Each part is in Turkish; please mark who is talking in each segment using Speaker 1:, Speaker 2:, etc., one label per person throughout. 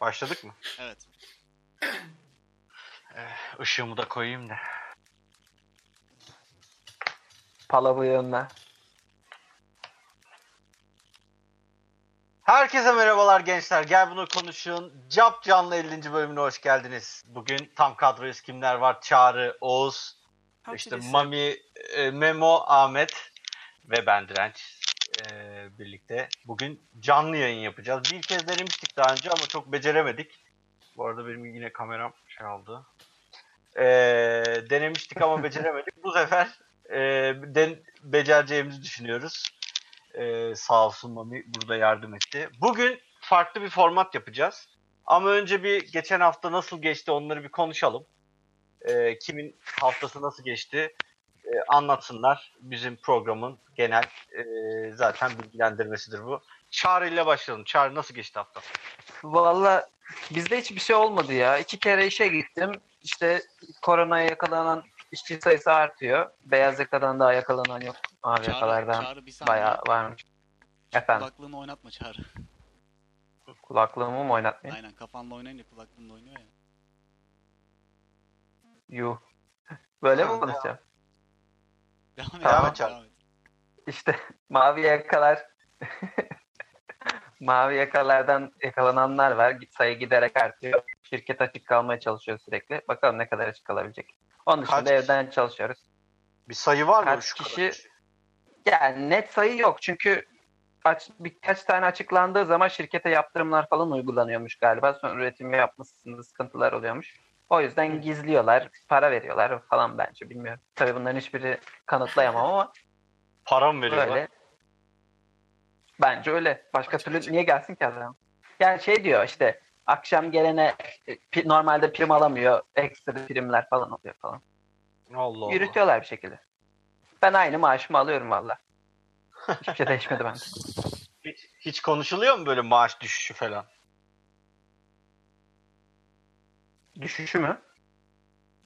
Speaker 1: Başladık mı?
Speaker 2: Evet.
Speaker 1: Işığımı Eh, da koyayım da.
Speaker 3: Palavı yanına.
Speaker 1: Herkese merhabalar gençler. Gel bunu konuşun. Cap Canlı 50. bölümüne hoş geldiniz. Bugün tam kadroyuz. Kimler var? Çağrı, Oğuz, işte Mami, e, Memo, Ahmet ve ben Direnç e, birlikte. Bugün canlı yayın yapacağız. Bir kez denemiştik daha önce ama çok beceremedik. Bu arada benim yine kameram şey oldu. E, denemiştik ama beceremedik. Bu sefer e, den, becereceğimizi düşünüyoruz. E, sağ olsun Mami burada yardım etti. Bugün farklı bir format yapacağız. Ama önce bir geçen hafta nasıl geçti onları bir konuşalım. E, kimin haftası nasıl geçti e, anlatsınlar. Bizim programın genel e, zaten bilgilendirmesidir bu. Çağrı ile başlayalım. Çağrı nasıl geçti hafta?
Speaker 3: Valla bizde hiçbir şey olmadı ya. İki kere işe gittim. İşte koronaya yakalanan işçi sayısı artıyor. Beyaz yakadan daha yakalanan yok. Mavi yakalardan
Speaker 2: Çağrı bir saniye.
Speaker 3: bayağı varmış. Efendim
Speaker 2: Kulaklığını oynatma Çağrı.
Speaker 3: kulaklığımı mı oynatmayayım?
Speaker 2: Aynen kafanla oynayınca kulaklığınla oynuyor ya.
Speaker 3: Yuh. Böyle mi
Speaker 1: Tamam,
Speaker 3: konuşacağım?
Speaker 2: Devam et.
Speaker 1: Devam
Speaker 2: abi,
Speaker 1: et Çağrı.
Speaker 2: devam et.
Speaker 3: İşte mavi yakalar mavi yakalardan yakalananlar var. Sayı giderek artıyor. Şirket açık kalmaya çalışıyor sürekli. Bakalım ne kadar açık kalabilecek. Onun dışında
Speaker 1: Kaç kişi?
Speaker 3: evden çalışıyoruz.
Speaker 1: Bir sayı var mı?
Speaker 3: Kaç
Speaker 1: Şu kadar
Speaker 3: kişi- Yani net sayı yok çünkü aç, birkaç tane açıklandığı zaman şirkete yaptırımlar falan uygulanıyormuş galiba. Son üretim yapmasında sıkıntılar oluyormuş. O yüzden gizliyorlar, para veriyorlar falan bence bilmiyorum. Tabii bunların hiçbiri kanıtlayamam ama
Speaker 1: Para mı veriyorlar?
Speaker 3: böyle. Bence öyle. Başka
Speaker 2: Açık
Speaker 3: türlü
Speaker 2: açık.
Speaker 3: niye gelsin ki adam? Yani şey diyor işte akşam gelene e, pi- normalde prim alamıyor. Ekstra primler falan oluyor falan.
Speaker 1: Allah Allah.
Speaker 3: Yürütüyorlar bir şekilde. Ben aynı maaşımı alıyorum valla. Hiçbir şey değişmedi bende.
Speaker 1: Hiç, hiç konuşuluyor mu böyle maaş düşüşü falan?
Speaker 3: Düşüşü mü?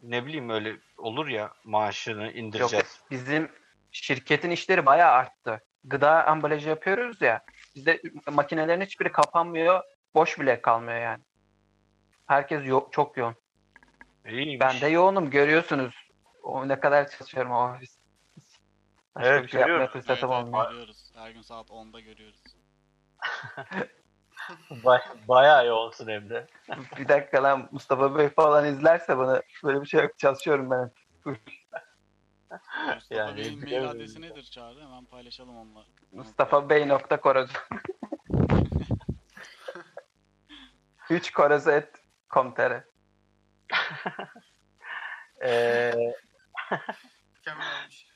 Speaker 1: Ne bileyim öyle olur ya maaşını
Speaker 3: Yok
Speaker 1: indireceğiz.
Speaker 3: bizim şirketin işleri bayağı arttı. Gıda ambalajı yapıyoruz ya. Bizde makinelerin hiçbiri kapanmıyor. Boş bile kalmıyor yani. Herkes yo- çok yoğun.
Speaker 1: İyiymiş.
Speaker 3: Ben de yoğunum görüyorsunuz. O ne kadar çalışıyorum o ofis. Başka
Speaker 1: Evet,
Speaker 3: bir şey yapmaya
Speaker 1: görüyorum.
Speaker 3: fırsatım
Speaker 2: evet,
Speaker 3: olmuyor.
Speaker 2: evet, görüyoruz. Her gün saat 10'da görüyoruz.
Speaker 1: Ba- bayağı yoğunsun hem de.
Speaker 3: bir dakika lan Mustafa Bey falan izlerse bana böyle bir şey yok çalışıyorum ben.
Speaker 2: Mustafa
Speaker 1: Yani
Speaker 2: Bey'in mail
Speaker 1: bilemiyorum.
Speaker 2: adresi nedir Çağrı? Hemen paylaşalım onunla.
Speaker 3: Mustafa Bey nokta koroz. 3 koroz et komtere.
Speaker 1: Ee,
Speaker 4: Mükemmel olmuş.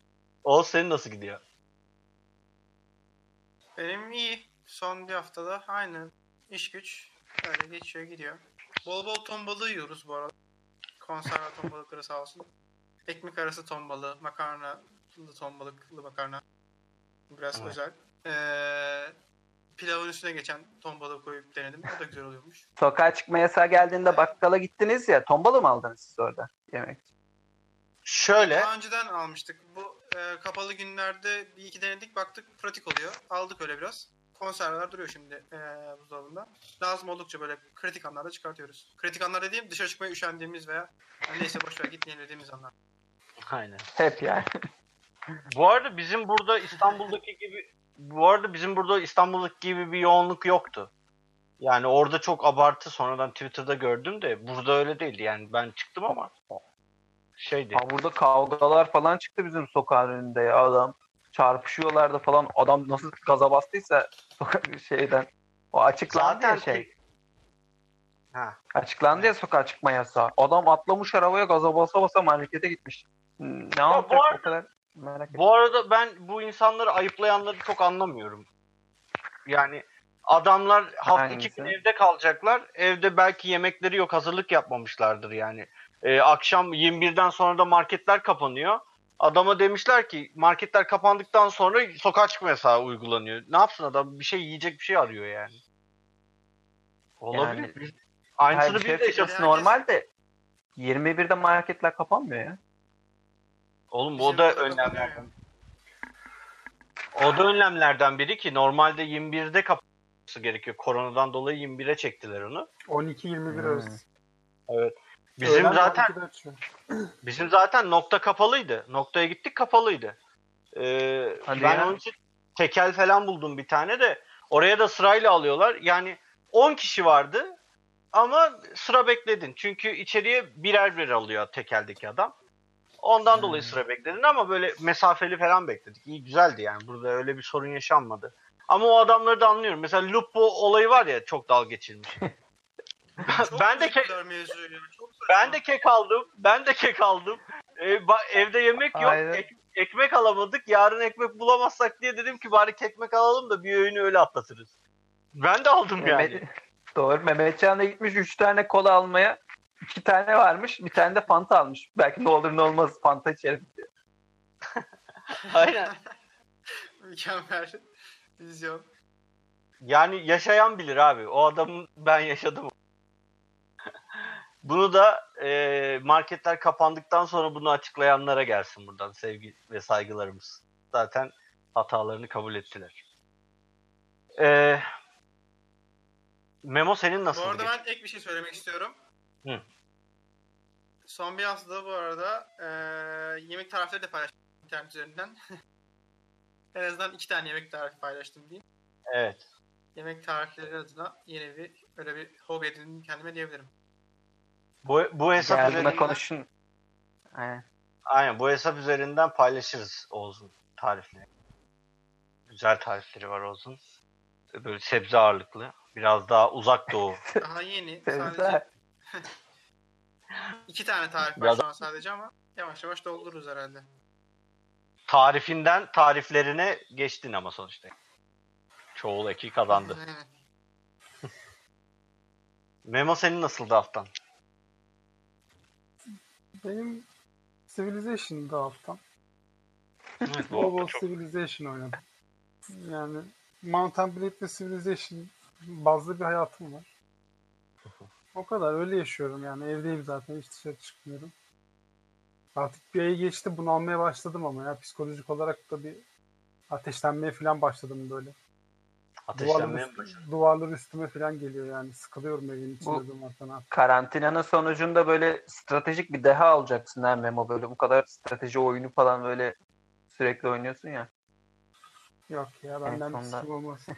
Speaker 1: o senin nasıl gidiyor?
Speaker 4: Benim iyi. Son bir haftada aynı. İş güç öyle geçiyor gidiyor. Bol bol ton balığı yiyoruz bu arada. Konserve ton balıkları sağ olsun. Ekmek arası ton balığı, makarnalı ton balıklı makarna. Biraz
Speaker 1: Evet.
Speaker 4: özel. Ee, pilavın üstüne geçen ton balığı koyup denedim. O da güzel oluyormuş.
Speaker 3: Sokağa çıkma yasağı geldiğinde bakkala gittiniz ya tombalı mı aldınız siz orada yemek?
Speaker 1: Şöyle
Speaker 4: Daha önceden almıştık. Bu e, kapalı günlerde bir iki denedik baktık pratik oluyor. Aldık öyle biraz. Konserveler duruyor şimdi e, buzdolabında. Lazım oldukça böyle kritik anlarda çıkartıyoruz. Kritik anlar dediğim dışarı çıkmaya üşendiğimiz veya yani neyse boşver gitmeyelim dediğimiz anlar.
Speaker 1: aynen.
Speaker 3: Hep yani.
Speaker 1: Bu arada bizim burada İstanbul'daki gibi bu arada bizim burada İstanbul'daki gibi bir yoğunluk yoktu. Yani orada çok abartı sonradan Twitter'da gördüm de burada öyle değildi. Yani ben çıktım ama şeydi.
Speaker 3: Ha, burada kavgalar falan çıktı bizim sokağın önünde ya adam. Çarpışıyorlardı falan. Adam nasıl gaza bastıysa şeyden. O açıklandı ya
Speaker 1: Zaten-
Speaker 3: şey.
Speaker 1: Ha.
Speaker 3: Açıklandı ya sokağa çıkma yasağı. Adam atlamış arabaya gaza basa basa markete gitmiş. Hmm, Ne
Speaker 1: bu
Speaker 3: yapacak
Speaker 1: arada-
Speaker 3: o kadar merak ettim.
Speaker 1: Bu arada ben bu insanları ayıplayanları çok anlamıyorum. Yani adamlar hafta iki gün
Speaker 3: Hangisi?
Speaker 1: evde kalacaklar. Evde belki yemekleri yok hazırlık yapmamışlardır yani. Ee, akşam 21'den sonra da marketler kapanıyor. Adama demişler ki marketler kapandıktan sonra sokağa çıkma yasağı uygulanıyor. Ne yapsın adam? Bir şey yiyecek bir şey arıyor yani. Olabilir.
Speaker 3: Yani-
Speaker 1: Biz-
Speaker 3: Her
Speaker 1: Aynısını
Speaker 3: bir şey
Speaker 1: biz de yaşadık.
Speaker 3: açıkçası normal de 21'de marketler kapanmıyor ya.
Speaker 1: Oğlum
Speaker 4: Bizim
Speaker 3: şey
Speaker 1: o da
Speaker 4: burada kapanıyor
Speaker 1: önlemlerden. O da önlemlerden biri ki normalde 21'de kap gerekiyor. Koronadan dolayı 21'e çektiler onu.
Speaker 5: 12-21
Speaker 3: Hmm.
Speaker 5: arası.
Speaker 1: Bizim
Speaker 5: Öğlen
Speaker 1: zaten
Speaker 5: 12'de açıyor.
Speaker 1: bizim zaten nokta kapalıydı. Noktaya gittik kapalıydı. Ee,
Speaker 3: Hadi
Speaker 1: ben
Speaker 3: ya.
Speaker 1: onun için tekel falan buldum bir tane de. Oraya da sırayla alıyorlar. Yani 10 kişi vardı ama sıra bekledin. Çünkü içeriye birer birer alıyor tekeldeki adam. Ondan
Speaker 3: Hmm.
Speaker 1: dolayı sıra bekledin ama böyle mesafeli falan bekledik. İyi güzeldi yani. Burada öyle bir sorun yaşanmadı. Ama o adamları da anlıyorum. Mesela Lupo olayı var ya çok dalga geçilmiş.
Speaker 4: Çok
Speaker 1: ben de
Speaker 4: büyük
Speaker 1: ke-
Speaker 4: bir mevzu ya, Çok saçma.
Speaker 1: ben de kek aldım. Ben de kek aldım. Ee, ba- evde yemek yok.
Speaker 3: Aynen.
Speaker 1: ek- ekmek alamadık. Yarın ekmek bulamazsak diye dedim ki bari kekmek alalım da bir öğünü öyle atlatırız. Ben de aldım yani.
Speaker 3: Mehmet, doğru. Mehmetcan da gitmiş 3 tane kola almaya. 2 tane varmış. Bir tane de Fanta almış. Belki ne olur ne olmaz Fanta içerim.
Speaker 1: Aynen.
Speaker 4: mükemmel vizyon.
Speaker 1: Yani yaşayan bilir abi. O adamın ben yaşadım. Bunu da e, marketler kapandıktan sonra bunu açıklayanlara gelsin buradan sevgi ve saygılarımız. Zaten hatalarını kabul ettiler. E, Memo senin nasıl?
Speaker 4: Bu arada ben ek bir şey söylemek istiyorum.
Speaker 1: Hı.
Speaker 4: Son bir haftada bu arada eee, yemek tarifleri de paylaştım internet üzerinden. en azından iki tane yemek tarifi paylaştım diyeyim.
Speaker 1: Evet.
Speaker 4: Yemek tarifleri adına yeni bir öyle bir hobi edindim kendime diyebilirim.
Speaker 1: Bu, bu hesap
Speaker 3: Gel buna
Speaker 1: üzerinden,
Speaker 3: konuşun. Aynen.
Speaker 1: aynen bu hesap üzerinden paylaşırız Oğuz'un tarifleri. Güzel tarifleri var Oğuz'un. Böyle sebze ağırlıklı. Biraz daha uzak doğu.
Speaker 4: Daha yeni. sadece
Speaker 3: Sevda.
Speaker 4: iki tane tarif var
Speaker 1: Biraz-
Speaker 4: şu an sadece ama yavaş yavaş doldururuz herhalde.
Speaker 1: Tarifinden tariflerine geçtin ama sonuçta. Çoğul eki kazandı.
Speaker 4: Aynen.
Speaker 1: Memo senin nasıldı haftan?
Speaker 5: Benim Civilization'da haftam.
Speaker 1: Evet,
Speaker 5: Bol bol Civilization oynadım. Yani Mountain Blade ve Civilization bazlı bir hayatım var. O kadar öyle yaşıyorum yani evdeyim zaten hiç dışarı çıkmıyorum. Artık bir ayı geçti bunu almaya başladım ama ya psikolojik olarak da bir ateşlenmeye falan başladım böyle. Duvarlar,
Speaker 1: Ateşlenmeye mi başladın?
Speaker 5: üst- duvarlar üstüme falan geliyor yani sıkılıyorum evin
Speaker 3: Bu-
Speaker 5: içinde durmaktan artık.
Speaker 3: Karantinanın sonucunda böyle stratejik bir deha alacaksın ha Memo böyle. Bu kadar strateji oyunu falan böyle sürekli oynuyorsun ya.
Speaker 5: Yok ya benden bir
Speaker 3: sonunda-
Speaker 5: sıkıntı olmaz.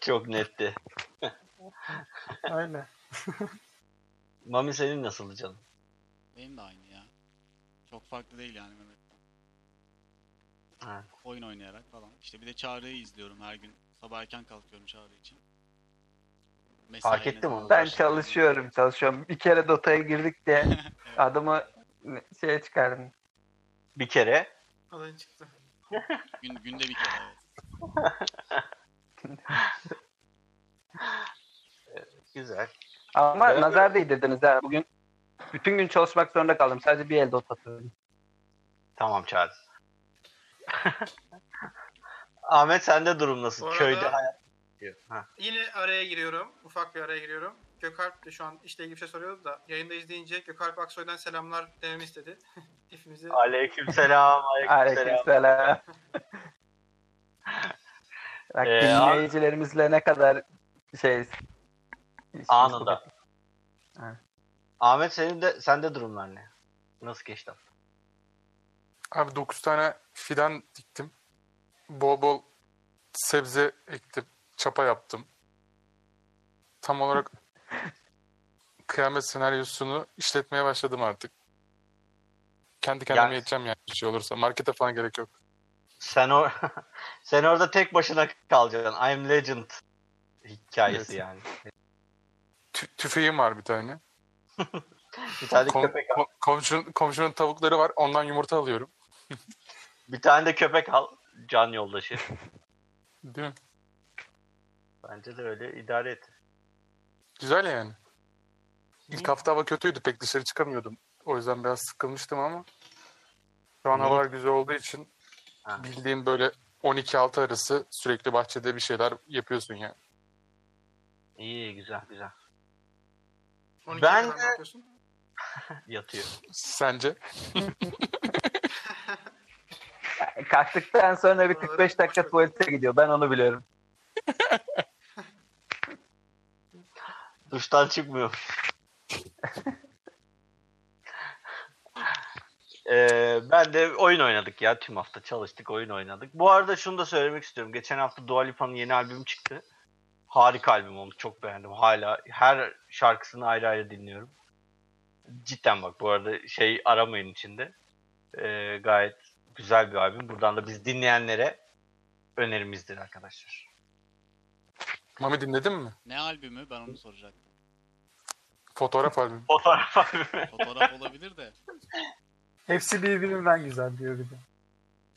Speaker 1: Çok netti.
Speaker 5: Öyle.
Speaker 1: Mami senin nasıldı canım?
Speaker 2: Benim de aynı ya. Çok farklı değil yani Mehmet'ten.
Speaker 1: Evet.
Speaker 2: Oyun oynayarak falan. İşte bir de Çağrı'yı izliyorum her gün. Sabah erken kalkıyorum Çağrı için. Mesaine
Speaker 1: Fark ettim
Speaker 2: falan
Speaker 1: onu.
Speaker 3: Ben
Speaker 2: başlıyorum.
Speaker 3: çalışıyorum çalışıyorum. Bir kere Dota'ya girdik diye adamı şeye çıkardım.
Speaker 1: Bir kere
Speaker 4: Adayın çıktı.
Speaker 2: Gün, günde bir kere evet.
Speaker 1: güzel.
Speaker 3: Ama
Speaker 1: Evet.
Speaker 3: nazar değdirdiniz ha. Bugün bütün gün çalışmak zorunda kaldım. Sadece bir el Dota atıyordum.
Speaker 1: Tamam Çağrı. Ahmet sende durum nasıl?
Speaker 4: Bu arada-
Speaker 1: Köyde hayat. Ha.
Speaker 4: Yine araya giriyorum. Ufak bir araya giriyorum. Gökalp de şu an işle ilgili bir şey soruyordu da yayında izleyince Gökalp Aksoy'dan selamlar dememi istedi. Hepimizi
Speaker 1: Aleyküm selam, aleyküm selam.
Speaker 3: Aleykümselam. Bak
Speaker 1: Ee,
Speaker 3: dinleyicilerimizle ne kadar şey
Speaker 1: Anında.
Speaker 3: Evet.
Speaker 1: Ahmet senin de sende durumlar ne? Nasıl geçti? hafta?
Speaker 6: Abi 9 tane fidan diktim. Bol bol sebze ektim. Çapa yaptım. Tam olarak kıyamet senaryosunu işletmeye başladım artık. Kendi kendime
Speaker 1: Yani-
Speaker 6: yeteceğim yani bir şey olursa. Markete falan gerek yok.
Speaker 1: Sen or sen orada tek başına kalacaksın. I'm Legend hikayesi
Speaker 6: Evet.
Speaker 1: yani.
Speaker 6: Tü- tüfeğim var bir tane.
Speaker 1: Bir tane
Speaker 6: Kom-
Speaker 1: köpek al.
Speaker 6: ko- komşunun, komşunun tavukları var. Ondan yumurta alıyorum.
Speaker 1: Bir tane de köpek al. Can yoldaşı.
Speaker 6: Değil mi?
Speaker 1: Bence de öyle idare et.
Speaker 6: Güzel yani. İlk hafta hava kötüydü. Pek dışarı çıkamıyordum. O yüzden biraz sıkılmıştım ama şu an
Speaker 1: Hı.
Speaker 6: havalar güzel olduğu için
Speaker 1: Ha.
Speaker 6: bildiğim böyle 12-6 arası sürekli bahçede bir şeyler yapıyorsun yani.
Speaker 1: İyi güzel güzel.
Speaker 4: 12'ye
Speaker 1: Ben
Speaker 4: kadar
Speaker 1: de-
Speaker 4: ne yapıyorsun?
Speaker 1: Yatıyor.
Speaker 6: Sence?
Speaker 3: Kalktıktan sonra bir 45 dakika tuvalete gidiyor. Ben onu biliyorum.
Speaker 1: Duştan çıkmıyor. Ee, ben de oyun oynadık ya tüm hafta çalıştık oyun oynadık. Bu arada şunu da söylemek istiyorum. Geçen hafta Dua Lipa'nın yeni albümü çıktı. Harika albüm olmuş. Çok beğendim. Hala her şarkısını ayrı ayrı dinliyorum. Cidden bak bu arada şey aramayın içinde. Ee, gayet güzel bir albüm. Buradan da biz dinleyenlere önerimizdir arkadaşlar.
Speaker 6: Mami dinledin mi?
Speaker 2: Ne albümü ben onu soracaktım.
Speaker 6: Fotoğraf albümü.
Speaker 1: Fotoğraf albümü.
Speaker 2: Fotoğraf olabilir de.
Speaker 5: Hepsi birbirinden güzel diyor bir de.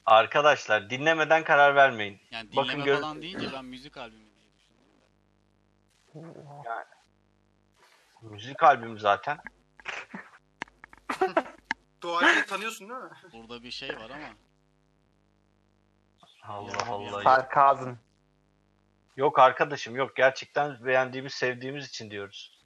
Speaker 1: Arkadaşlar dinlemeden karar vermeyin.
Speaker 2: Yani
Speaker 1: Bakın
Speaker 2: dinleme
Speaker 1: gör-
Speaker 2: falan deyince ben müzik albümü diye düşündüm. de.
Speaker 1: Müzik albümü zaten.
Speaker 4: Doğayı tanıyorsun değil mi?
Speaker 2: Burada bir şey var ama.
Speaker 1: Allah Allah. Yok.
Speaker 3: Sarkazm.
Speaker 1: Yok arkadaşım yok. Gerçekten beğendiğimiz, sevdiğimiz için diyoruz.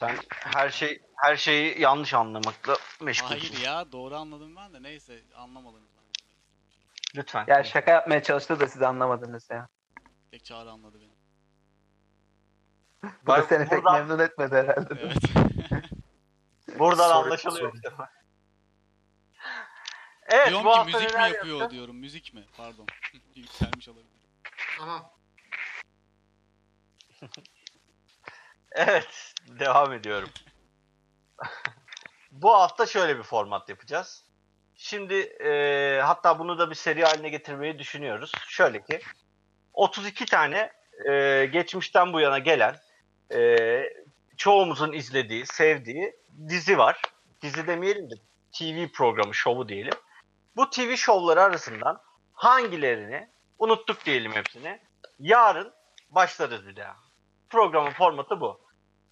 Speaker 1: Sen her şey her şeyi yanlış anlamakla
Speaker 2: Hayır
Speaker 1: meşgulsün.
Speaker 2: ya doğru anladım ben de neyse anlamadım. Ben.
Speaker 1: Lütfen.
Speaker 3: Ya şey, şaka yapmaya çalıştı da siz anlamadınız ya.
Speaker 2: Tek çağrı anladı beni.
Speaker 3: Bu da
Speaker 1: Bak,
Speaker 3: seni pek
Speaker 1: buradan-
Speaker 3: memnun etmedi herhalde.
Speaker 2: Evet.
Speaker 1: Buradan
Speaker 6: Sorry,
Speaker 1: anlaşılıyor. evet
Speaker 2: diyorum
Speaker 1: bu
Speaker 2: ki
Speaker 1: hafta
Speaker 2: müzik mi
Speaker 1: neler
Speaker 2: yapıyor
Speaker 1: yaptın?
Speaker 2: diyorum. Müzik mi? Pardon. Yükselmiş olabilir.
Speaker 4: Tamam.
Speaker 1: Evet, devam ediyorum. Bu hafta şöyle bir format yapacağız. Şimdi e, hatta bunu da bir seri haline getirmeyi düşünüyoruz. Şöyle ki 32 tane e, geçmişten bu yana gelen e, çoğumuzun izlediği, sevdiği dizi var. Dizi demeyelim de TV programı, şovu diyelim. Bu TV şovları arasından hangilerini unuttuk diyelim hepsini. Yarın başlarız bir daha programın formatı bu.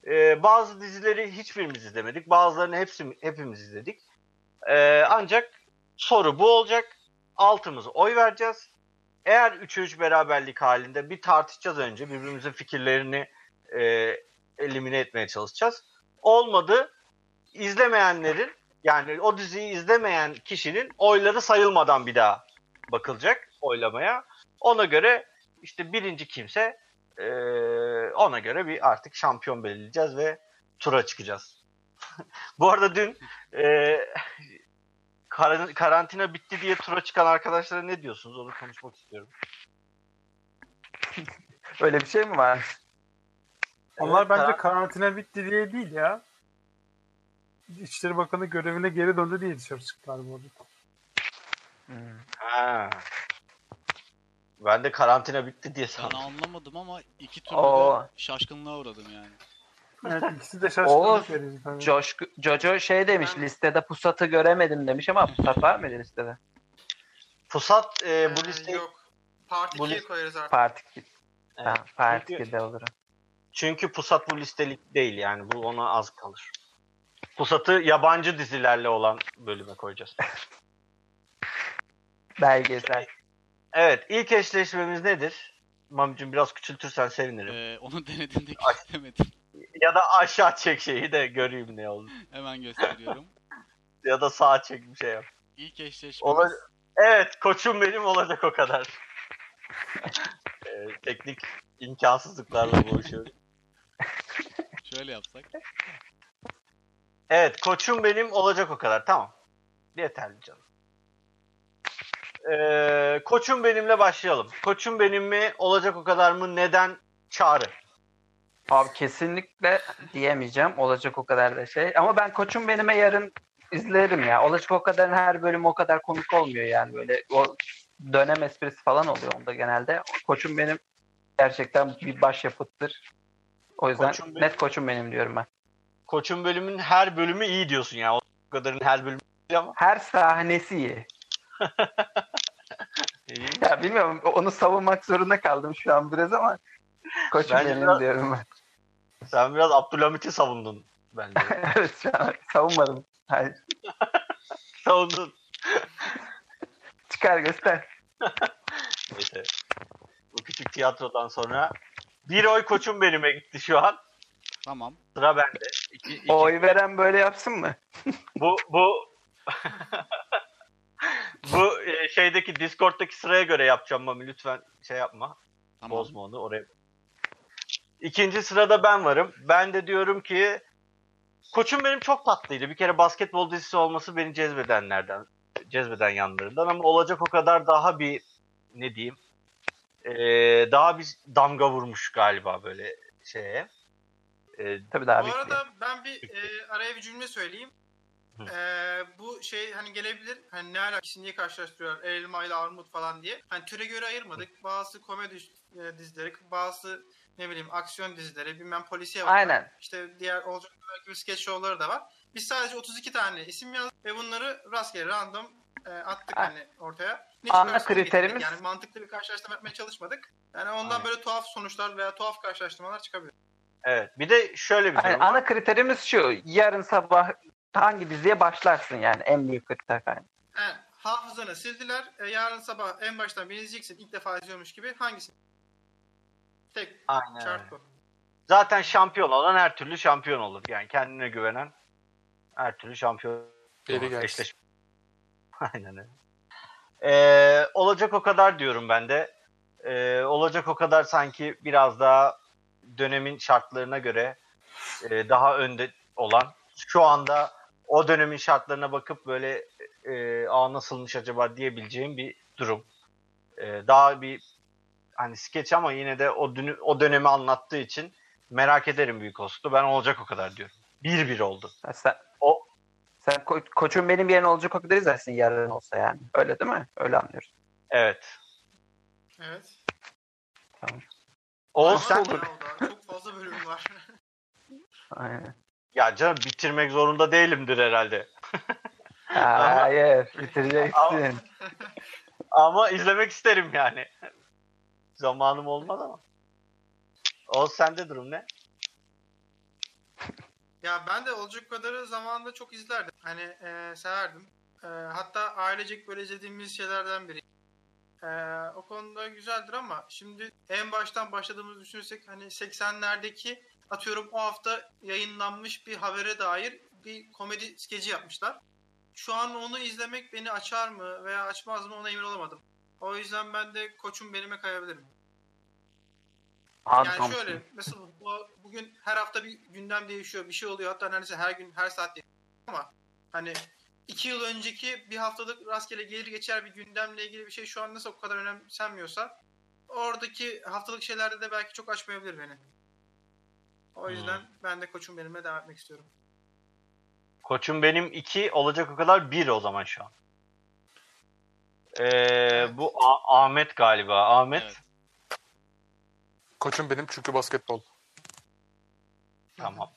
Speaker 1: Ee, bazı dizileri hiçbirimiz izlemedik. Bazılarını hepsi, hepimiz izledik. Ee, ancak soru bu olacak. Altımız oy vereceğiz. Eğer 3'e 3 beraberlik halinde bir tartışacağız önce. Birbirimizin fikirlerini e, elimine etmeye çalışacağız. Olmadı izlemeyenlerin yani o diziyi izlemeyen kişinin oyları sayılmadan bir daha bakılacak oylamaya. Ona göre işte birinci kimse ee, ona göre bir artık şampiyon belirleyeceğiz ve tura çıkacağız. Bu arada dün e, kar- karantina bitti diye tura çıkan arkadaşlara ne diyorsunuz? Onu konuşmak istiyorum.
Speaker 3: Öyle bir şey mi var?
Speaker 5: Onlar
Speaker 1: Evet,
Speaker 5: bence
Speaker 1: karan-
Speaker 5: karantina bitti diye değil ya. İçişleri Bakanı görevine geri döndü diye dışarı çıktılar bu arada.
Speaker 3: Hmm.
Speaker 1: Ha. Ben de karantina bitti diye
Speaker 2: Ben
Speaker 1: sandım.
Speaker 2: anlamadım ama iki türlü
Speaker 3: Oo.
Speaker 2: de şaşkınlığa uğradım yani.
Speaker 5: Evet ikisi de
Speaker 3: Oğuz,
Speaker 5: şaşkınlık verici. tabii.
Speaker 3: Coşku, Jojo şey demiş
Speaker 4: Ben-
Speaker 3: listede pusatı göremedim demiş ama pusat var mıydı listede?
Speaker 1: Pusat e, bu
Speaker 4: Ee,
Speaker 1: listeyi
Speaker 4: Yok. Part
Speaker 1: Bu
Speaker 4: 2'ye
Speaker 1: liste-
Speaker 4: koyarız artık.
Speaker 3: Parti
Speaker 1: Evet.
Speaker 3: Tamam, Parti
Speaker 1: Çünkü-
Speaker 3: de olur.
Speaker 1: Çünkü Pusat bu listelik değil yani. Bu ona az kalır. Pusat'ı yabancı dizilerle olan bölüme koyacağız.
Speaker 3: Belgesel.
Speaker 1: Evet ilk eşleşmemiz nedir? Mamicim biraz küçültürsen sevinirim.
Speaker 2: Ee, onu denediğinde
Speaker 1: Ay.
Speaker 2: istemedim.
Speaker 1: Ya da aşağı çek şeyi de göreyim ne oldu.
Speaker 2: Hemen gösteriyorum.
Speaker 1: Ya da sağa çek bir şey yap.
Speaker 2: İlk
Speaker 1: Ola-
Speaker 2: eşleşmemiz
Speaker 1: Evet koçum benim olacak o kadar. Ee, teknik imkansızlıklarla boğuşuyoruz.
Speaker 2: şöyle yapsak.
Speaker 1: Evet koçum benim olacak o kadar tamam. Yeterli canım. Ee, koçum benimle başlayalım. Koçum benim mi olacak o kadar mı neden çağrı?
Speaker 3: Abi kesinlikle diyemeyeceğim. Olacak o kadar da şey. Ama ben koçum benime yarın izlerim ya. Olacak o kadar her bölüm o kadar komik olmuyor yani böyle. O dönem esprisi falan oluyor onda genelde. Koçum benim gerçekten bir başyapıttır. O yüzden
Speaker 1: Koçum Benim-
Speaker 3: net koçum benim diyorum ben.
Speaker 1: Koçum bölümün her bölümü iyi diyorsun ya. O kadarın her bölümü iyi ama.
Speaker 3: Her sahnesi iyi.
Speaker 1: İyi.
Speaker 3: Ya bilmiyorum onu savunmak zorunda kaldım şu an biraz ama koçum
Speaker 1: Bence
Speaker 3: benim
Speaker 1: biraz-
Speaker 3: diyorum ben.
Speaker 1: Sen biraz Abdülhamit'i savundun bence.
Speaker 3: evet şu an savunmadım. Hayır.
Speaker 1: savundun.
Speaker 3: Çıkar göster.
Speaker 1: Neyse. Bu küçük tiyatrodan sonra bir oy koçum benime gitti şu an.
Speaker 2: Tamam.
Speaker 1: Sıra bende. İki, iki-
Speaker 3: Oy veren böyle yapsın mı?
Speaker 1: Bu bu bu e, şeydeki Discord'daki sıraya göre yapacağım Mami lütfen şey yapma.
Speaker 2: Tamam.
Speaker 1: Bozma onu oraya. İkinci sırada ben varım. Ben de diyorum ki koçum benim çok tatlıydı. Bir kere basketbol dizisi olması beni cezbedenlerden cezbeden yanlarından ama olacak o kadar daha bir ne diyeyim ee, daha bir damga vurmuş galiba böyle şeye. Ee,
Speaker 3: Tabii daha
Speaker 4: Bu
Speaker 3: büyük.
Speaker 4: arada ben bir
Speaker 1: Bekliyor.
Speaker 4: e, araya bir cümle söyleyeyim.
Speaker 1: Hı.
Speaker 4: E, bu şey hani gelebilir hani ne alakası niye karşılaştırıyorlar elma ile armut falan diye. Hani türe göre ayırmadık. Bazısı komedi e, dizileri, bazısı ne bileyim aksiyon dizileri, bilmem polisiye var.
Speaker 3: Aynen.
Speaker 4: İşte diğer olacak gibi skeç şovları da var. Biz sadece 32 tane isim yazdık ve bunları rastgele random e, attık
Speaker 3: A-
Speaker 4: hani ortaya. Hiç
Speaker 3: Ana
Speaker 4: böyle spesifik
Speaker 3: kriterimiz-
Speaker 4: değil. Yani mantıklı bir karşılaştırma yapmaya çalışmadık. Yani ondan
Speaker 1: Aynen.
Speaker 4: böyle tuhaf sonuçlar veya tuhaf karşılaştırmalar çıkabilir.
Speaker 1: evet. Bir de şöyle bir
Speaker 3: Aynen.
Speaker 1: durum.
Speaker 3: Hani Ana kriterimiz şu. Yarın sabah hangi diziye başlarsın yani en büyük kriter kaynağı.
Speaker 4: Yani hafızanı sildiler. E, yarın sabah en baştan beni izleyeceksin. ilk defa izliyormuş gibi. Hangisi? Tek
Speaker 1: Aynen.
Speaker 4: şart bu.
Speaker 1: Zaten şampiyon olan her türlü şampiyon olur. Yani kendine güvenen her türlü şampiyon
Speaker 6: Beri
Speaker 1: olur.
Speaker 6: gelsin.
Speaker 1: Eşleşme. Aynen öyle. Ee, olacak o kadar diyorum ben de. Ee, olacak o kadar sanki biraz daha dönemin şartlarına göre e, daha önde olan. Şu anda o dönemin şartlarına bakıp böyle e, aa nasılmış acaba diyebileceğim bir durum. Ee, daha bir hani skeç ama yine de o, dünü, o dönemi anlattığı için merak ederim büyük olsun. Ben olacak o kadar diyorum. 1-1 oldu.
Speaker 3: Ya Sen,
Speaker 1: O-
Speaker 3: sen ko- koçum benim yerine olacak o kadar izlersin yarın olsa yani. Öyle değil mi? Öyle anlıyoruz.
Speaker 1: Evet.
Speaker 4: Evet.
Speaker 1: O
Speaker 4: Ama
Speaker 1: sen
Speaker 4: bayağı oldu abi. Çok fazla bölüm var.
Speaker 3: Aynen.
Speaker 1: ya canım bitirmek zorunda değilimdir herhalde.
Speaker 3: Hayır. Bitireceksin.
Speaker 1: Ama izlemek isterim yani. Zamanım olmaz ama. O sende durum ne?
Speaker 4: Ya ben de olacak kadarı zamanında çok izlerdim. Hani e, severdim. E, hatta ailecek böyle izlediğimiz şeylerden biri. E, o konuda güzeldir ama şimdi en baştan başladığımızı düşünürsek hani 80'lerdeki atıyorum o hafta yayınlanmış bir habere dair bir komedi skeci yapmışlar. Şu an onu izlemek beni açar mı veya açmaz mı ona emin olamadım. O yüzden ben de koçum benime kayabilirim.
Speaker 3: Abi,
Speaker 4: Yani
Speaker 3: tamam.
Speaker 4: şöyle mesela bu, bugün her hafta bir gündem değişiyor bir şey oluyor hatta neredeyse her gün her saat değişiyor ama hani iki yıl önceki bir haftalık rastgele gelir geçer bir gündemle ilgili bir şey şu an nasıl o kadar önemsenmiyorsa oradaki haftalık şeylerde de belki çok açmayabilir beni. O yüzden ben de koçum benimle devam etmek istiyorum.
Speaker 1: Koçum benim 2 olacak o kadar 1 o zaman şu an. Ee, bu A- Ahmet galiba. Ahmet.
Speaker 2: Evet.
Speaker 6: Koçum benim çünkü basketbol.
Speaker 1: Tamam.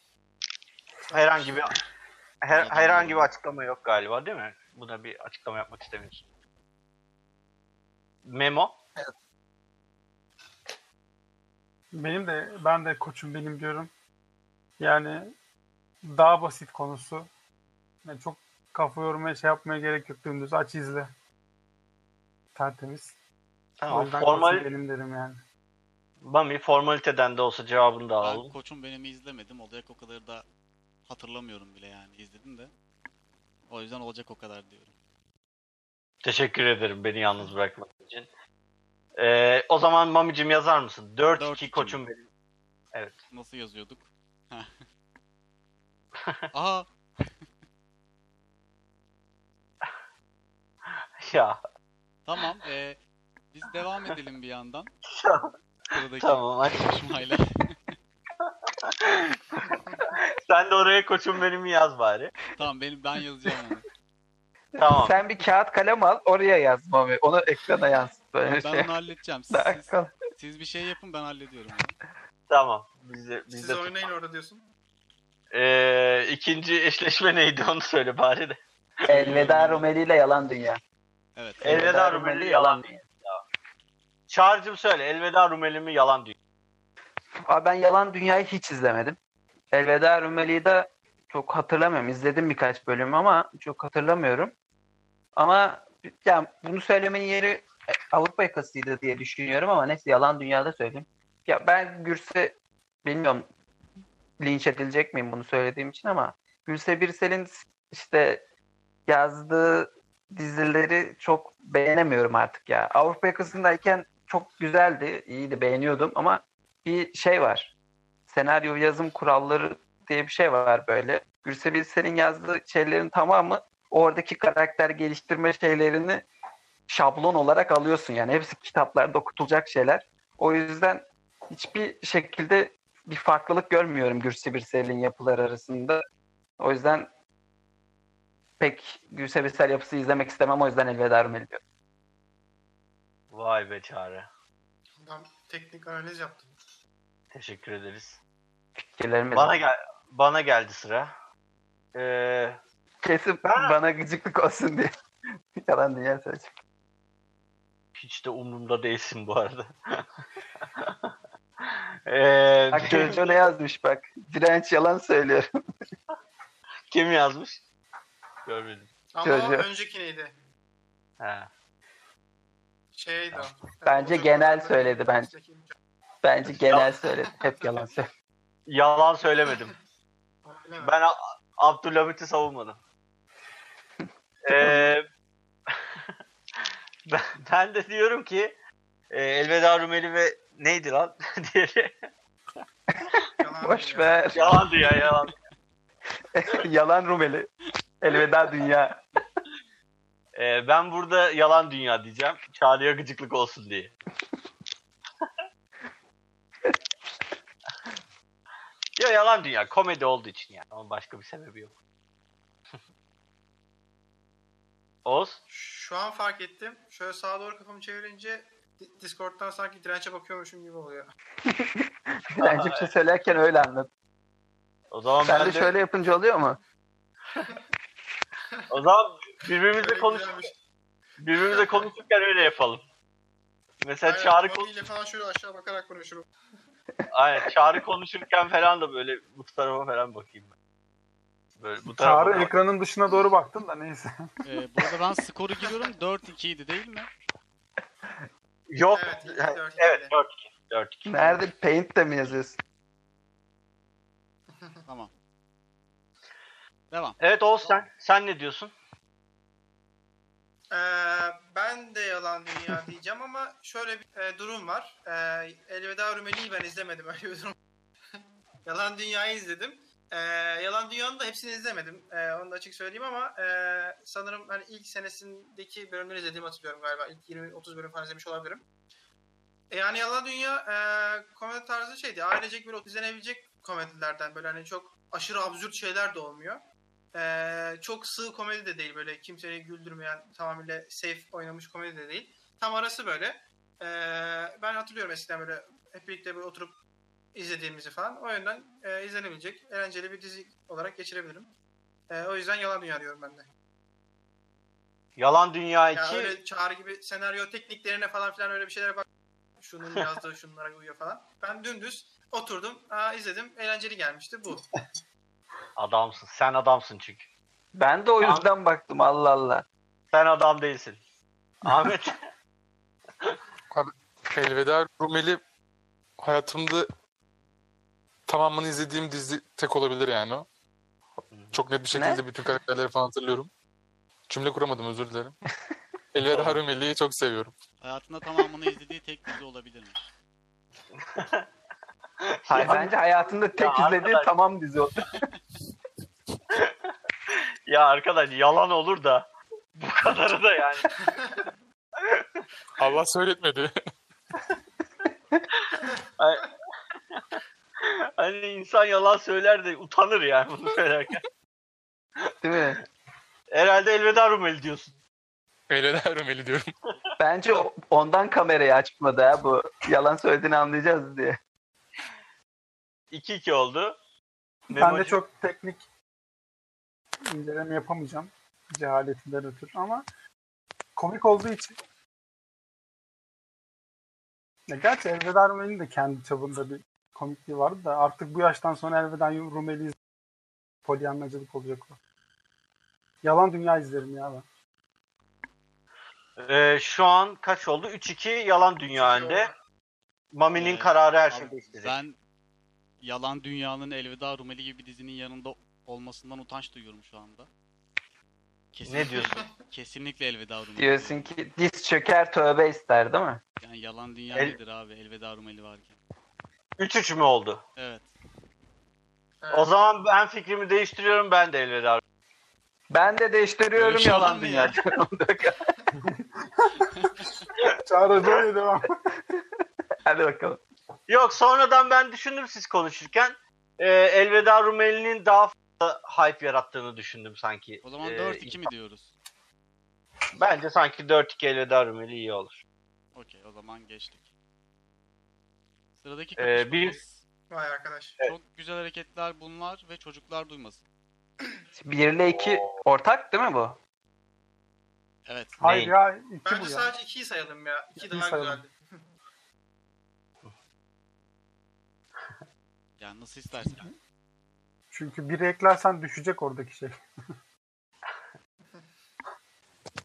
Speaker 1: Herhangi bir her- herhangi bir açıklama yok galiba değil mi? Buna bir açıklama yapmak istemiyorsun. Memo.
Speaker 5: Benim de ben de koçum benim diyorum. Yani daha basit konusu. Yani çok kafa yormaya şey yapmaya gerek yok. Dümdüz aç izle. Tertemiz. o
Speaker 1: Tamam.
Speaker 5: yüzden
Speaker 1: Formal
Speaker 5: koçum benim derim yani.
Speaker 1: Bami formaliteden de olsa cevabını da
Speaker 2: Ben
Speaker 1: alalım.
Speaker 2: Koçum Benim'i izlemedim. Olacak o kadar da hatırlamıyorum bile yani. izledim de. O yüzden olacak o kadar diyorum.
Speaker 1: Teşekkür ederim beni yalnız bırakmadığın için. Ee, o zaman Mami'cim yazar mısın? 4-2
Speaker 2: 4-2
Speaker 1: koçum benim.
Speaker 2: Nasıl yazıyorduk? Aha!
Speaker 1: Ya
Speaker 2: Tamam. ee, biz devam edelim bir yandan. Sıradaki
Speaker 1: tamam. hadi.
Speaker 2: konuşmayla.
Speaker 1: Sen de oraya koçum benimi yaz bari.
Speaker 2: tamam benim ben yazacağım onu.
Speaker 1: Tamam.
Speaker 3: Sen bir kağıt kalem al oraya yaz Mami. Onu ekrana yansıt. Böyle şey.
Speaker 2: Ben onu halledeceğim. Siz,
Speaker 3: Daha kal-
Speaker 2: siz bir şey yapın ben hallediyorum. onu.
Speaker 1: Tamam. Biz de, biz
Speaker 4: Siz
Speaker 1: de
Speaker 4: oynayın orada diyorsun.
Speaker 1: Ee, ikinci eşleşme neydi onu söyle bari de.
Speaker 3: Elveda Rumeli ile yalan dünya.
Speaker 2: Evet.
Speaker 1: Elveda Rumeli Yalan
Speaker 3: dünya.
Speaker 1: Çağrı'cım söyle. Elveda Rumeli mi yalan diyor.
Speaker 3: Abi ben yalan dünyayı hiç izlemedim. Elveda Rumeli'yi de çok hatırlamıyorum. İzledim birkaç bölüm ama çok hatırlamıyorum. Ama yani bunu söylemenin yeri e, Avrupa yakasıydı diye düşünüyorum ama neyse yalan dünyada söyleyeyim. Ya ben Gürse bilmiyorum linç edilecek miyim bunu söylediğim için ama Gülse Birsel'in işte yazdığı dizileri çok beğenemiyorum artık ya. Avrupa yakasındayken çok güzeldi, iyiydi, beğeniyordum ama bir şey var. Senaryo yazım kuralları diye bir şey var böyle. Gürse Birsel'in yazdığı şeylerin tamamı oradaki karakter geliştirme şeylerini şablon olarak alıyorsun. Yani hepsi kitaplarda okutulacak şeyler. O yüzden hiçbir şekilde bir farklılık görmüyorum Gürse Birsel'in yapıları arasında. O yüzden pek Gürse Birsel yapısı izlemek istemem. O yüzden elveda Rumeli diyorum.
Speaker 1: Vay be Çağrı.
Speaker 4: Adam teknik analiz yaptım.
Speaker 1: Teşekkür ederiz.
Speaker 3: Fikirlerimi
Speaker 1: Bana gel bana geldi sıra. Ee,
Speaker 3: kesip
Speaker 1: Ha.
Speaker 3: bana gıcıklık olsun diye. Yalan dünya söyleyeceğim.
Speaker 1: hiç de umurumda değilsin bu arada. Ee,
Speaker 3: Bak şey- Jojo ne yazmış bak. Direnç yalan söylüyor.
Speaker 1: kim yazmış? Görmedim.
Speaker 4: Ama
Speaker 3: Jojo.
Speaker 4: önceki neydi?
Speaker 1: Ha.
Speaker 4: Şeydi o.
Speaker 3: Bence genel söyledi bence. Bence genel söyledi. Hep yalan söylüyor.
Speaker 1: Yalan söylemedim.
Speaker 4: Ben
Speaker 1: Ben A- Abdülhamit'i savunmadım. Ee, ben, ben de diyorum ki e, Elveda Rumeli ve neydi lan diğeri?
Speaker 4: Yalan
Speaker 3: Boş
Speaker 4: ya.
Speaker 3: ver.
Speaker 1: Yalandı ya yalan.
Speaker 3: yalan Rumeli. Elveda dünya.
Speaker 1: Ee, ben burada yalan dünya diyeceğim. Çağrı'ya gıcıklık olsun diye. ya yalan dünya komedi olduğu için yani. Ama başka bir sebebi yok. Oz?
Speaker 4: Şu an fark ettim. Şöyle sağa doğru kafamı çevirince Di- Discord'dan sanki dirençe bakıyormuşum gibi oluyor.
Speaker 3: Direnç bir şey söylerken öyle anlat.
Speaker 1: O zaman
Speaker 3: Sen
Speaker 1: ben
Speaker 3: de
Speaker 1: de-
Speaker 3: şöyle yapınca oluyor mu?
Speaker 1: o zaman
Speaker 4: Öyle
Speaker 1: birbirimizle konuş
Speaker 4: güzelmiş.
Speaker 1: birbirimizle konuşurken öyle yapalım. Mesela
Speaker 4: Aynen,
Speaker 1: Çağrı
Speaker 4: Mami ile falan şöyle aşağı bakarak konuşurum.
Speaker 1: Aynen Çağrı konuşurken falan da böyle bu tarafa falan bakayım ben. Böyle bu tarafa.
Speaker 5: Çağrı ekranın dışına doğru baktın da neyse.
Speaker 2: Ee, bu arada ben skoru giriyorum. 4-2 idi değil mi?
Speaker 1: Yok.
Speaker 4: Evet,
Speaker 1: Evet,
Speaker 4: dört iki.
Speaker 1: 4 2. 4 2.
Speaker 3: Nerede? Paint'te mi yazıyorsun?
Speaker 2: Tamam. Devam.
Speaker 1: Evet Oğuz sen sen ne diyorsun?
Speaker 4: Ee, ben de yalan dünya diyeceğim ama şöyle bir e, durum var. Ee, Elveda Rumeli'yi ben izlemedim öyle bir durum. yalan Dünya'yı izledim. Ee, yalan Dünya'nın da hepsini izlemedim. Ee, onu da açık söyleyeyim ama e, sanırım hani ilk senesindeki bölümleri izlediğimi hatırlıyorum galiba. İlk 20-30 bölüm falan izlemiş olabilirim. E, yani Yalan Dünya e, komedi tarzı şeydi. Ailecek böyle izlenebilecek komedilerden böyle hani çok aşırı absürt şeyler de olmuyor. Ee, çok sığ komedi de değil böyle kimseyi güldürmeyen tamamıyla safe oynamış komedi de değil. Tam arası böyle. Ee, ben hatırlıyorum eskiden böyle hep birlikte böyle oturup izlediğimizi falan. O yönden e, izlenebilecek eğlenceli bir dizi olarak geçirebilirim. Ee, o yüzden yalan dünya diyorum ben de.
Speaker 1: Yalan Dünya 2.
Speaker 4: Ya öyle çağrı gibi senaryo tekniklerine falan filan öyle bir şeylere bak. Şunun yazdığı şunlara uyuyor falan. Ben dümdüz oturdum, aa, izledim. Eğlenceli gelmişti bu.
Speaker 1: Adamsın. Sen adamsın çünkü.
Speaker 3: Ben de o
Speaker 1: Tamam.
Speaker 3: yüzden baktım Allah Allah.
Speaker 1: Sen adam değilsin. Ahmet
Speaker 6: Elveda Rumeli hayatımda tamamını izlediğim dizi tek olabilir yani o. Çok net bir şekilde bütün karakterleri falan hatırlıyorum. Cümle kuramadım özür dilerim. Elveda Rumeli'yi çok seviyorum.
Speaker 2: Hayatında tamamını izlediği tek dizi olabilir mi?
Speaker 3: Hayır, bence hayatında tek
Speaker 1: Ya
Speaker 3: izlediği
Speaker 1: arkadaş.
Speaker 3: tamam dizi oldu.
Speaker 1: ya arkadaş yalan olur da bu kadarı da yani.
Speaker 6: Allah söyletmedi.
Speaker 1: Hani insan yalan söyler de utanır yani bunu söylerken.
Speaker 3: Değil mi?
Speaker 1: Herhalde elveda Rumeli diyorsun.
Speaker 6: Elveda Rumeli diyorum.
Speaker 3: Bence o- ondan kamerayı açmadı ha bu. Yalan söylediğini anlayacağız diye.
Speaker 1: 2-2 oldu.
Speaker 5: Ben de
Speaker 1: Memo'cum-
Speaker 5: çok teknik inceleme yapamayacağım. Cehaletinden ötürü ama komik olduğu için ya gerçi Elveda Rumeli'nin de kendi çapında bir komikliği vardı da artık bu yaştan sonra Elveda Rumeli iz- polyanlacılık olacak o. Yalan Dünya izlerim ya ben.
Speaker 1: Ee, şu an kaç oldu? 3-2 yalan dünya önde. Mami'nin
Speaker 2: Ee,
Speaker 1: kararı her şey
Speaker 2: abi,
Speaker 1: şeyi değiştirecek.
Speaker 2: Ben Yalan Dünya'nın Elveda Rumeli gibi bir dizinin yanında olmasından utanç duyuyorum şu anda. Kesinlikle
Speaker 1: diyorsun?
Speaker 2: elveda- Kesinlikle elveda Rumeli.
Speaker 3: Diyorsun ki diz çöker tövbe ister değil mi?
Speaker 2: Yani yalan dünya
Speaker 1: El-
Speaker 2: nedir abi elveda Rumeli varken.
Speaker 1: 3-3 mü oldu?
Speaker 2: Evet.
Speaker 1: O zaman ben fikrimi değiştiriyorum ben de elveda.
Speaker 3: Ben de değiştiriyorum
Speaker 2: Görüş alan
Speaker 3: yalan
Speaker 2: mı
Speaker 3: dünya.
Speaker 2: ya?
Speaker 5: Çağrı böyle devam.
Speaker 3: Hadi bakalım.
Speaker 1: Yok sonradan ben düşündüm siz konuşurken. Ee, elveda Rumeli'nin daha fazla hype yarattığını düşündüm sanki.
Speaker 2: O zaman
Speaker 1: Ee,
Speaker 2: 4-2 mi diyoruz?
Speaker 1: Bence sanki 4-2 elveda Rumeli iyi olur.
Speaker 2: Okey o zaman geçtik. Sıradaki
Speaker 1: Ee,
Speaker 2: kapışmamız.
Speaker 4: Vay arkadaş.
Speaker 2: Çok güzel hareketler bunlar ve çocuklar duymasın.
Speaker 3: 1 ile 2 ortak değil mi bu?
Speaker 2: Evet.
Speaker 5: Hayır
Speaker 1: Neyin?
Speaker 5: ya iki
Speaker 4: Bence
Speaker 5: bu ya.
Speaker 4: sadece 2'yi sayalım ya. 2
Speaker 5: İkiyi
Speaker 4: daha
Speaker 5: sayalım.
Speaker 4: güzeldi.
Speaker 2: Yani nasıl istersen.
Speaker 5: Çünkü biri eklersen düşecek oradaki şey.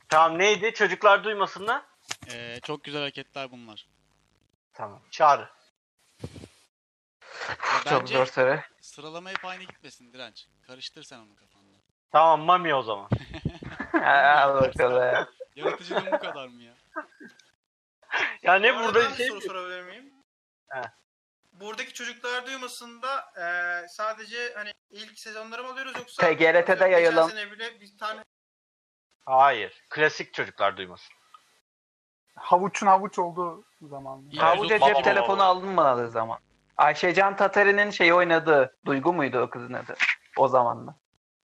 Speaker 1: Tamam neydi? Çocuklar duymasınlar.
Speaker 2: Ee, çok güzel hareketler bunlar.
Speaker 1: Tamam. Çağrı.
Speaker 2: Ya
Speaker 3: Çok zor
Speaker 2: bence
Speaker 3: soru.
Speaker 2: sıralama hep aynı gitmesin direnç. Karıştır sen onu kafanda.
Speaker 1: Tamam Mami o zaman.
Speaker 3: Al bakalım.
Speaker 2: Yaratıcılığın bu kadar mı ya?
Speaker 1: Ya ne
Speaker 4: Bu arada
Speaker 1: burada
Speaker 4: bir
Speaker 1: şey...
Speaker 4: soru sorabilir miyim?
Speaker 1: He.
Speaker 4: Buradaki çocuklar duymasında e, sadece hani ilk sezonları mı alıyoruz yoksa
Speaker 3: TGRT'de
Speaker 4: Geçen
Speaker 3: yayılan-
Speaker 4: sene bile bir tane
Speaker 1: Hayır. Klasik çocuklar duymasın.
Speaker 5: Havuçun havuç olduğu zaman.
Speaker 2: İyi,
Speaker 3: Havuca
Speaker 2: Erzurum
Speaker 3: cep
Speaker 2: baba
Speaker 3: telefonu
Speaker 1: baba.
Speaker 3: alınmadığı zaman. Ayşecan Tatari'nin şeyi oynadığı, Duygu muydu o kızın adı? O zamanla.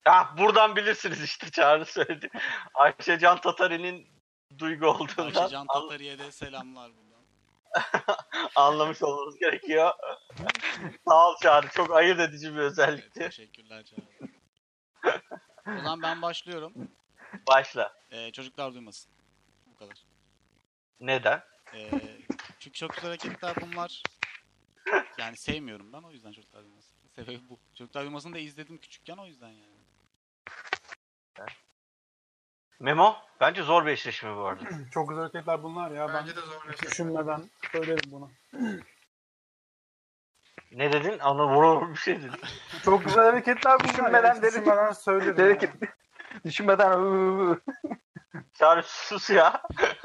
Speaker 1: Ah buradan bilirsiniz işte Çağrı söyledi. Ayşe Can Tatari'nin duygu olduğundan
Speaker 2: Ayşecan
Speaker 1: an-
Speaker 2: Tatari'ye de selamlar buradan.
Speaker 1: anlamış olmamız gerekiyor. Sağ ol Çağrı. Çok ayırt edici bir
Speaker 2: Evet,
Speaker 1: özellikti.
Speaker 2: teşekkürler canım. o zaman ben başlıyorum.
Speaker 1: Başla.
Speaker 2: Ee, çocuklar duymasın. Bu kadar.
Speaker 1: Neden?
Speaker 2: Ee, çünkü çok güzel hareketler bunlar. Yani sevmiyorum ben o yüzden çocuklar duymasın. Sebebi bu. Çocuklar duymasını da izledim küçükken o yüzden yani.
Speaker 1: Memo? Bence zor bir eşleşme bu arada.
Speaker 5: Çok güzel hareketler bunlar ya. Ben
Speaker 4: bence de zorluyor.
Speaker 5: düşünmeden söylerim bunu.
Speaker 1: ne dedin? Ana vurur bir şey dedin.
Speaker 5: Çok güzel hareketler bunlar.
Speaker 3: Düşünmeden
Speaker 5: ya.
Speaker 3: dedim.
Speaker 5: Düşünmeden söylerim.
Speaker 3: Dedi ki
Speaker 5: ya.
Speaker 3: düşünmeden "Uuu."
Speaker 1: Çağrı sus ya.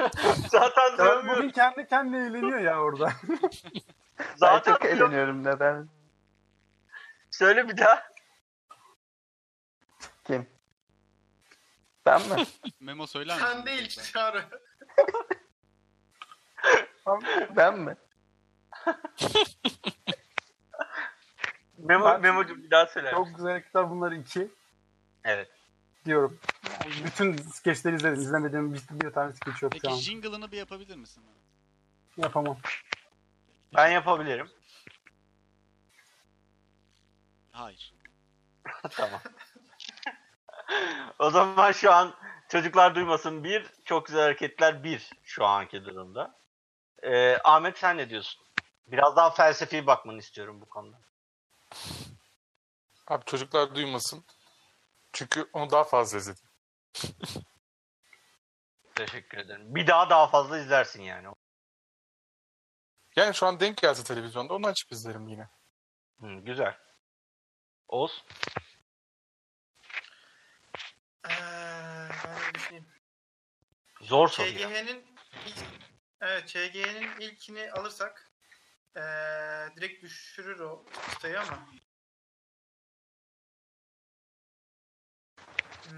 Speaker 1: Zaten
Speaker 5: Ya
Speaker 1: duymuyorum.
Speaker 5: bugün kendi kendine eğleniyor ya orada.
Speaker 3: ben
Speaker 1: Zaten
Speaker 3: çok eğleniyorum neden?
Speaker 1: Söyle bir daha.
Speaker 3: Ben mi?
Speaker 2: Memo söyler misin?
Speaker 4: Sen
Speaker 2: bu
Speaker 4: değil
Speaker 2: konuda?
Speaker 4: çağrı.
Speaker 3: ben mi?
Speaker 1: Memo,
Speaker 5: Ben-
Speaker 1: Memo'cum bir daha söyle.
Speaker 5: Çok güzel hareketler bunlar iki
Speaker 1: Evet.
Speaker 5: diyorum. Yani bütün skeçleri izledim. İzlemediğim bir, bir tane skeç yok şu
Speaker 2: Peki
Speaker 5: an.
Speaker 2: jingle'ını bir yapabilir misin? bana?
Speaker 5: Yapamam.
Speaker 1: Ben yapabilirim.
Speaker 2: Hayır.
Speaker 1: tamam. o zaman şu an çocuklar duymasın bir, çok güzel hareketler bir şu anki durumda. Ee, Ahmet sen ne diyorsun? Biraz daha felsefi bakmanı istiyorum bu konuda.
Speaker 6: Abi çocuklar duymasın. Çünkü onu daha fazla izledim.
Speaker 1: Teşekkür ederim. Bir daha daha fazla izlersin yani.
Speaker 6: Yani şu an denk gelse televizyonda onu açıp izlerim yine.
Speaker 1: Hı, güzel. Oğuz.
Speaker 4: Eee, ben de düşüneyim.
Speaker 1: Zor soru
Speaker 4: Şey,
Speaker 1: ya.
Speaker 4: ÇGH'nin ilk, evet ÇGH'nin ilkini alırsak eee, direkt düşürür o listeyi ama. Hmm,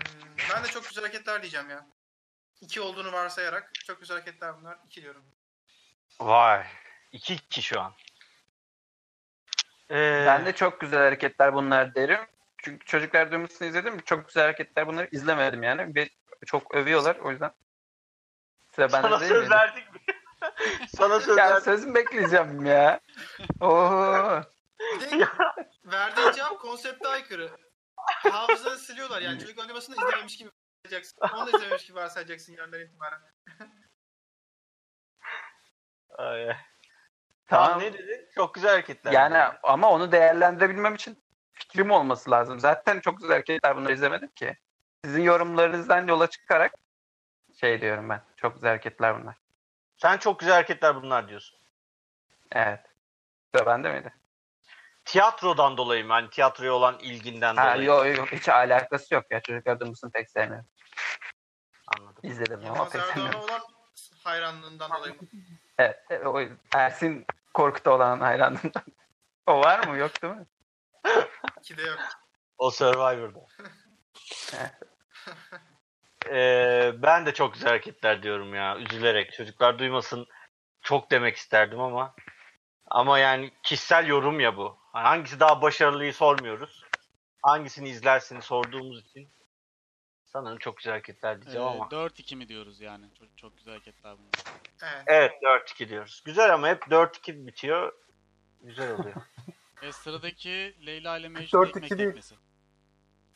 Speaker 4: ben de çok güzel hareketler diyeceğim ya. İki olduğunu varsayarak çok güzel hareketler bunlar. İki diyorum.
Speaker 1: Vay. 2-2 şu an. Ee,
Speaker 3: Ben de çok güzel hareketler bunlar derim. Çünkü çocuklar duymasını izledim. Çok güzel hareketler bunları izlemedim yani. Ve çok övüyorlar o yüzden. Sıra bende
Speaker 1: sana
Speaker 3: değil
Speaker 1: söz
Speaker 3: miydi?
Speaker 1: verdik mi? sana söz
Speaker 3: Ya
Speaker 1: verdik.
Speaker 3: sözümü bekleyeceğim ya. Oo.
Speaker 4: Bir de verdiği cevap konsepte aykırı. Hafızanı siliyorlar yani. Çocuk oynamasını izlememiş gibi varsayacaksın. Onu da izlememiş gibi varsayacaksın yarından itibaren.
Speaker 1: Ay, ay. Tamam,
Speaker 3: Tamam.
Speaker 1: ne dedin? Çok güzel hareketler.
Speaker 3: Yani ama onu değerlendirebilmem için fikrim olması lazım. Zaten çok güzel hareketler bunları izlemedim ki. Sizin yorumlarınızdan yola çıkarak şey diyorum ben. Çok güzel hareketler bunlar.
Speaker 1: Sen çok güzel hareketler bunlar diyorsun.
Speaker 3: Evet. Sıra bende miydi?
Speaker 1: Tiyatrodan dolayı mı? Hani tiyatroya olan ilginden
Speaker 3: Ha,
Speaker 1: dolayı.
Speaker 3: yok yok hiç alakası yok ya. Çocuklar duymasını pek sevmiyorum. İzledim ya.
Speaker 4: Yılmaz
Speaker 3: hakikaten.
Speaker 4: Erdoğan'a olan hayranlığından dolayı mı?
Speaker 3: Evet, evet, o Ersin Korkut'a olan hayranından. o var mı yok değil mi?
Speaker 4: İki de yok.
Speaker 1: O Survivor'da. Ee, ben de çok güzel hareketler diyorum ya. Üzülerek. Çocuklar duymasın. Çok demek isterdim ama. Ama yani kişisel yorum ya bu. Hangisi daha başarılıyı sormuyoruz. Hangisini izlersini sorduğumuz için sanırım çok güzel hareketler
Speaker 2: Ee,
Speaker 1: diyeceğim ama.
Speaker 2: 4-2 mi diyoruz yani? Çok, çok güzel hareketler bunlar.
Speaker 4: Evet.
Speaker 1: Evet 4-2 diyoruz. Güzel ama hep 4-2 bitiyor. Güzel oluyor.
Speaker 2: E, sıradaki Leyla ile Mecnun
Speaker 5: 4-2
Speaker 2: ekmek
Speaker 5: değil.
Speaker 2: tekmesi.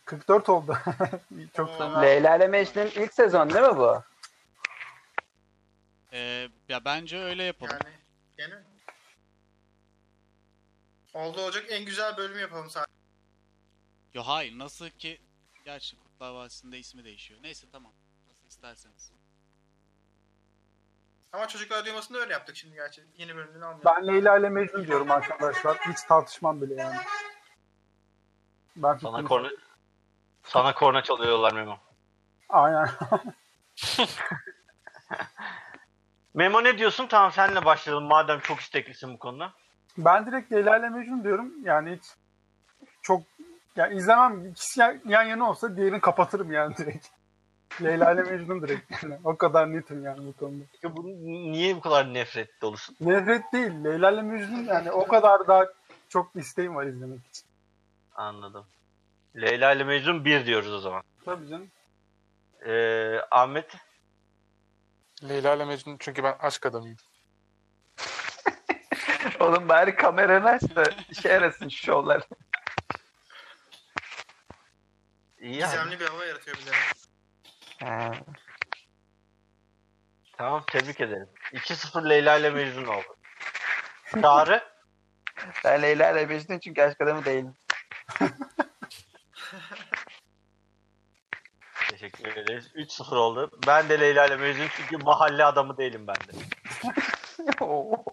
Speaker 5: 44 oldu. Çok
Speaker 4: Oo.
Speaker 5: fena.
Speaker 3: Leyla ile Mecnun ilk sezon değil mi bu?
Speaker 2: Ee, ya bence öyle yapalım.
Speaker 4: Yani gene. Oldu olacak en güzel bölümü yapalım sadece.
Speaker 2: Yo hayır nasıl ki gerçi Kurtlar Vadisi'nde ismi değişiyor. Neyse tamam. Nasıl isterseniz.
Speaker 4: Ama çocuklar duymasını da öyle yaptık şimdi gerçi. Yeni bölümünü almıyorum.
Speaker 5: Ben Leyla ile Mecnun diyorum arkadaşlar. Hiç tartışmam bile yani. Ben
Speaker 1: Sana
Speaker 5: fikrimi-
Speaker 1: korna, sana korna çalıyorlar Memo.
Speaker 5: Aynen.
Speaker 1: Memo ne diyorsun? Tamam senle başlayalım madem çok isteklisin bu konuda.
Speaker 5: Ben direkt Leyla ile Mecnun diyorum. Yani hiç çok yani izlemem. İkisi yan, yan yana olsa diğerini kapatırım yani direkt. Leyla ile Mecnun direkt. Yani o kadar netim yani bu konuda.
Speaker 1: Peki bunu niye bu kadar nefret dolusun?
Speaker 5: Nefret değil. Leyla ile Mecnun yani o kadar daha çok isteğim var izlemek için.
Speaker 1: Anladım. Leyla ile Mecnun 1 diyoruz o zaman.
Speaker 5: Tabii canım.
Speaker 1: Ee, Ahmet
Speaker 6: Leyla ile Mecnun çünkü ben aşk adamıyım.
Speaker 3: Oğlum bari kameranı aç da işe yarasın şu şovlar.
Speaker 1: iyi yani.
Speaker 4: Gizemli bir hava yaratıyor bize.
Speaker 3: Ha.
Speaker 1: Tamam tebrik ederim. 2-0 Leyla ile Mecnun oldu. Çağrı
Speaker 3: Ben Leyla ile Mecnun çünkü aşk adamı değilim.
Speaker 1: teşekkür ederiz. 3-0 oldu. Ben de Leyla ile Mecnun çünkü mahalle adamı değilim ben de.
Speaker 3: Oo.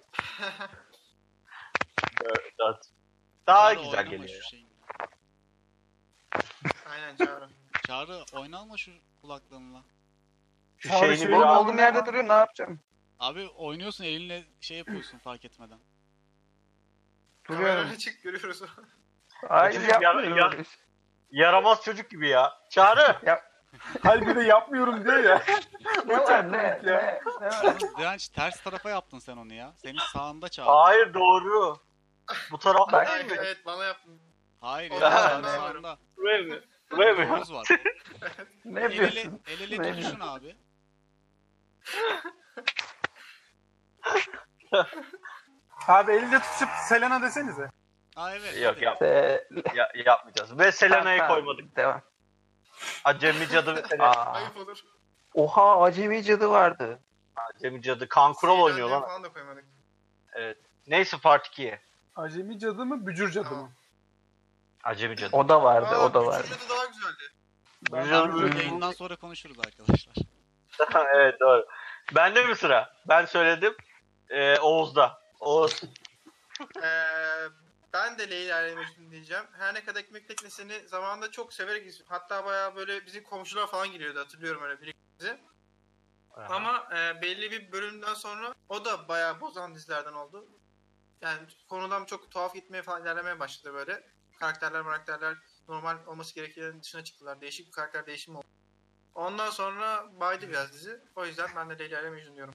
Speaker 1: Dört. Daha
Speaker 2: Çağrı
Speaker 1: güzel
Speaker 2: oynama
Speaker 1: geliyor.
Speaker 2: şu şeyin.
Speaker 4: Aynen Çağrı.
Speaker 2: Çağrı oynama şu kulaklığınla.
Speaker 1: Şu
Speaker 5: Çağrı
Speaker 1: şeyini
Speaker 5: şey-
Speaker 1: bir
Speaker 3: Oğlum
Speaker 1: al.
Speaker 3: olduğum yerde duruyor ne yapacağım?
Speaker 2: Abi oynuyorsun elinle şey yapıyorsun fark etmeden.
Speaker 3: Duruyorum.
Speaker 4: Kamerayla çık görüyoruz.
Speaker 3: Hayır
Speaker 1: Yar-
Speaker 3: yapmıyorum.
Speaker 1: yar-
Speaker 3: öyle.
Speaker 1: Yaramaz çocuk gibi ya. Çağrı.
Speaker 5: Halbuki de yapmıyorum diyor ya.
Speaker 3: Ne var ne? ne, ne var?
Speaker 2: Yalnız Direnç ters tarafa yaptın sen onu ya. Senin sağında Çağrı.
Speaker 1: Hayır doğru. Bu tarafta
Speaker 4: Ay,
Speaker 1: değil mi?
Speaker 4: evet bana yaptın.
Speaker 2: Hayır ya.
Speaker 4: Oğlum,
Speaker 2: Çağrı
Speaker 4: ben varım.
Speaker 2: sağında.
Speaker 1: Buraya mı? Buraya mı?
Speaker 2: Omuz var.
Speaker 3: Ne
Speaker 2: El ele,
Speaker 3: yapıyorsun?
Speaker 2: el
Speaker 3: Ne
Speaker 2: ele tutuşun abi.
Speaker 5: Abi elinde tutuşup Selena desenize.
Speaker 2: Aa evet.
Speaker 1: Yok,
Speaker 2: hadi.
Speaker 1: yap.
Speaker 3: Se-
Speaker 1: Ya, yapmayacağız. Ve Selena'yı
Speaker 3: Tamam,
Speaker 1: koymadık.
Speaker 3: Ee, Devam.
Speaker 1: Acemi Cadı ve Selena.
Speaker 3: Aa.
Speaker 4: Ayıp olur.
Speaker 3: Oha acemi cadı vardı.
Speaker 1: Acemi Cadı. Kaan Kural
Speaker 4: Seyir
Speaker 1: oynuyor
Speaker 4: Ali'yi
Speaker 1: lan.
Speaker 4: Falan da koymadık.
Speaker 1: Neyse Part 2'ye.
Speaker 5: Acemi cadı mı, bücür cadı mı?
Speaker 1: Acemi Cadı.
Speaker 3: O da vardı,
Speaker 4: Aa,
Speaker 3: o da vardı.
Speaker 4: Üçüncü de daha güzeldi.
Speaker 5: Ben-
Speaker 1: Güzel
Speaker 2: Bu Yayından sonra konuşuruz arkadaşlar.
Speaker 1: evet doğru. Bende mi sıra? Ben söyledim. Ee, Oğuz'da. Oğuz.
Speaker 4: Ee, ben de Leyla ile Mecnun diyeceğim. Her ne kadar ekmek teknesini zamanında çok severek izliyordum. Hatta bayağı böyle bizim komşular falan giriyordu hatırlıyorum öyle bir bizi. Ama e, belli bir bölümden sonra o da bayağı bozan dizilerden oldu. Yani konudan çok tuhaf gitmeye falan ilerlemeye başladı böyle. Karakterler karakterler normal olması gerekenin dışına çıktılar. Değişik bir karakter değişimi oldu. Ondan sonra baydı biraz dizi. O yüzden ben de Leyla ile Mecnun diyorum.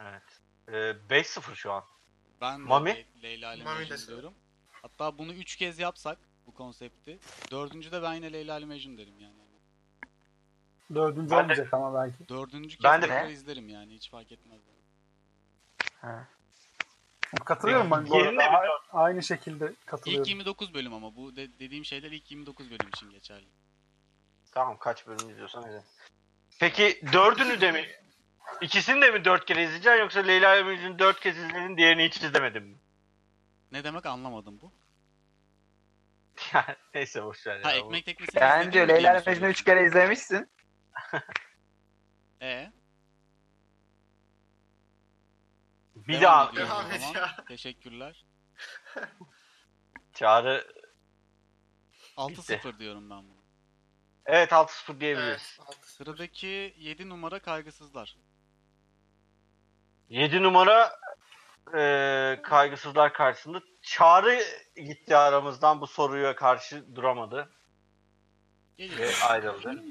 Speaker 1: Evet. Ee, 5-0 şu an.
Speaker 2: Ben de
Speaker 1: Mami?
Speaker 2: Le- Leyla ile
Speaker 4: Mami
Speaker 2: Mecnun
Speaker 4: desin.
Speaker 2: diyorum. Hatta bunu üç kez yapsak bu konsepti. Dördüncü de ben yine Leyla ile Mecnun derim yani.
Speaker 5: Dördüncü
Speaker 1: Ben de-
Speaker 5: olmayacak ama belki.
Speaker 2: Dördüncü kez
Speaker 1: Ben
Speaker 2: ben
Speaker 1: de-
Speaker 2: izlerim yani hiç fark etmez.
Speaker 5: Katılıyorum ben bu
Speaker 1: Yerine mi
Speaker 5: arada. A- Aynı şekilde
Speaker 2: İlk
Speaker 5: katılıyorum.
Speaker 2: 29 bölüm ama bu de- dediğim şeyler ilk 29 bölüm için geçerli.
Speaker 1: Tamam kaç bölüm izliyorsan öyle. Peki dördünü de mi? İkisini de mi dört kere izleyeceksin yoksa Leyla ile Mecnun'u dört kez izledin diğerini hiç izlemedin mi?
Speaker 2: Ne demek anlamadım bu.
Speaker 1: Yani neyse boşver ya.
Speaker 2: Ha
Speaker 1: Bu-
Speaker 2: ekmek teknesini izledin
Speaker 3: Bence
Speaker 2: mi diye
Speaker 3: Leyla
Speaker 2: mi
Speaker 3: ile Mecnun'u
Speaker 2: soruyorsun?
Speaker 3: üç kere izlemişsin.
Speaker 2: Ee,
Speaker 1: Bir
Speaker 2: devam
Speaker 1: daha
Speaker 2: ediyorum o
Speaker 4: Devam et
Speaker 2: zaman.
Speaker 4: ya.
Speaker 2: Teşekkürler.
Speaker 1: çağrı
Speaker 2: 6-0 diyorum ben bunu.
Speaker 1: Evet 6-0 diyebiliriz.
Speaker 4: Evet. altı.
Speaker 2: Sıradaki 7 numara kaygısızlar.
Speaker 1: 7 numara e, kaygısızlar karşısında Çağrı gitti aramızdan bu soruya karşı duramadı ve
Speaker 2: Gelir.
Speaker 1: ayrıldı.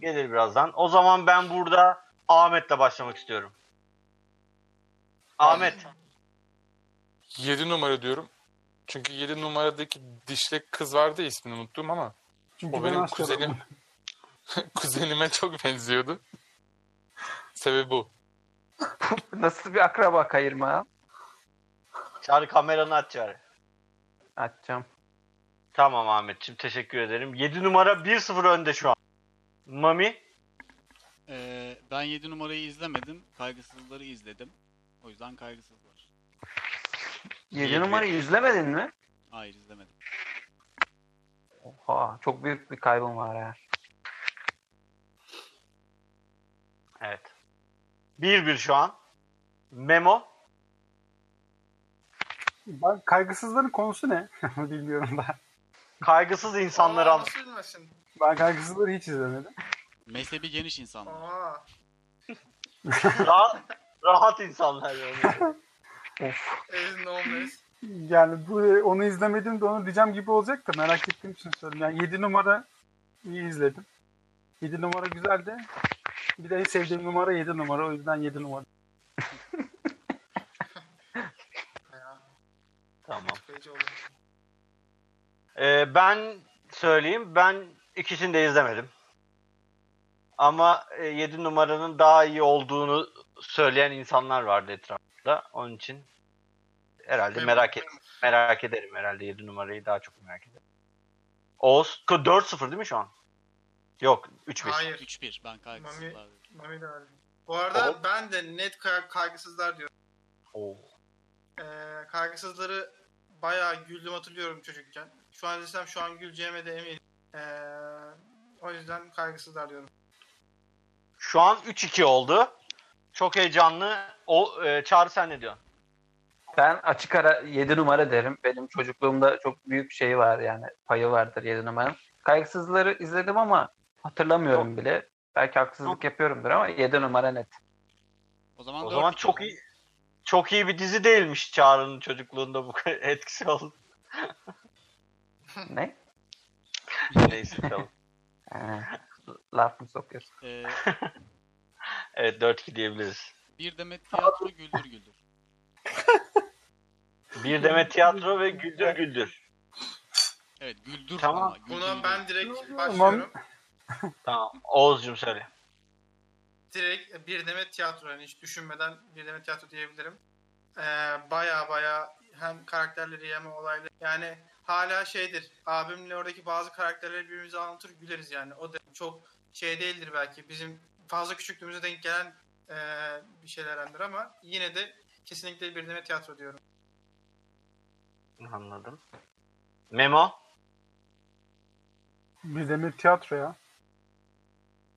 Speaker 1: Gelir birazdan. O zaman ben burada Ahmet'le başlamak istiyorum. Ahmet.
Speaker 6: 7 numara diyorum. Çünkü 7 numaradaki dişli kız vardı ya, ismini unuttum ama
Speaker 5: Çünkü
Speaker 6: o
Speaker 5: ben
Speaker 6: benim
Speaker 5: asker
Speaker 6: kuzenim
Speaker 5: adamım.
Speaker 6: kuzenime çok benziyordu. Sebebi bu.
Speaker 3: Nasıl bir akraba kayırma ya?
Speaker 1: Çağrı kameranı aç Çağrı.
Speaker 3: Atacağım.
Speaker 1: Tamam Ahmetciğim teşekkür ederim. 7 numara 1-0 önde şu an. Mami
Speaker 2: Ee, ben 7 numarayı izlemedim. Kaygısızları izledim. O yüzden kaygısızlar.
Speaker 3: 7
Speaker 1: Yedi.
Speaker 3: numarayı izlemedin mi?
Speaker 2: Hayır izlemedim.
Speaker 3: Oha çok büyük bir kaybım var ya.
Speaker 1: Evet. 1-1 şu an. Memo.
Speaker 5: Bak kaygısızların konusu ne? Bilmiyorum ben.
Speaker 1: Kaygısız insanları
Speaker 4: Aa,
Speaker 1: an-
Speaker 4: Nasıl bilmesin?
Speaker 5: Ben kaygısızları hiç izlemedim.
Speaker 2: Mezhebi geniş insanlar.
Speaker 4: Aa.
Speaker 1: Ra- rahat insanlar. yani.
Speaker 4: Ez no mess.
Speaker 5: Yani bu onu izlemedim de onu diyeceğim gibi olacak da merak ettiğim için söyledim. Yani 7 numara iyi izledim. 7 numara güzeldi. Bir de en sevdiğim numara 7 numara. O yüzden 7 numara.
Speaker 1: tamam.
Speaker 4: Peki oldu.
Speaker 1: Ee, ben söyleyeyim. Ben ikisini de izlemedim. Ama 7 numaranın daha iyi olduğunu söyleyen insanlar vardı etrafında. Onun için herhalde
Speaker 4: Memo,
Speaker 1: merak et
Speaker 4: memo.
Speaker 1: merak ederim herhalde 7 numarayı daha çok merak ederim. Oğuz 4-0 değil mi şu an? Yok 3-1.
Speaker 4: Hayır.
Speaker 2: 3-1 ben kaygısızlar. dedim.
Speaker 4: Mami de öyle. Bu arada
Speaker 1: Oğlum.
Speaker 4: ben de net kay- kaygısızlar diyorum.
Speaker 1: Oo.
Speaker 4: Ee, kaygısızları bayağı güldüm hatırlıyorum çocukken. Şu an izlesem şu an güleceğime de eminim. Ee, o yüzden kaygısızlar diyorum.
Speaker 1: Şu an 3-2 oldu. Çok heyecanlı. O e, Çağrı sen ne diyorsun?
Speaker 3: Ben açık ara 7 numara derim. Benim çocukluğumda çok büyük şey var yani payı vardır 7 numaranın. Kaygısızları izledim ama hatırlamıyorum bile. Belki haksızlık yapıyorumdur ama 7 numara net.
Speaker 2: O zaman,
Speaker 1: O
Speaker 2: dört
Speaker 1: zaman
Speaker 2: iki
Speaker 1: çok
Speaker 2: oldu.
Speaker 1: iyi çok iyi bir dizi değilmiş Çağrı'nın çocukluğunda bu etkisi oldu.
Speaker 3: Ne?
Speaker 1: Neyse tamam.
Speaker 3: Ee, laf mı sokuyorsun?
Speaker 2: Ee,
Speaker 1: Evet 4-2 diyebiliriz.
Speaker 2: bir demet tiyatro güldür güldür.
Speaker 1: Bir deme tiyatro ve güldür güldür.
Speaker 2: Evet güldür
Speaker 1: Tamam.
Speaker 2: ama. Güldür
Speaker 4: Buna
Speaker 2: güldür.
Speaker 4: ben
Speaker 5: Yok,
Speaker 4: direkt
Speaker 5: yok,
Speaker 4: başlıyorum.
Speaker 1: Tamam. Oğuz'cum söyle.
Speaker 4: Direkt bir demet tiyatro yani hiç düşünmeden bir demet tiyatro diyebilirim. Ee, baya baya hem karakterleri hem olayları yani hala şeydir abimle oradaki bazı karakterleri birbirimize anlatır güleriz yani o da çok şey değildir belki bizim fazla küçüklüğümüze denk gelen e, bir şeylerdendir ama yine de kesinlikle bir demet tiyatro diyorum.
Speaker 1: Anladım. Memo.
Speaker 5: Bir demir tiyatro ya.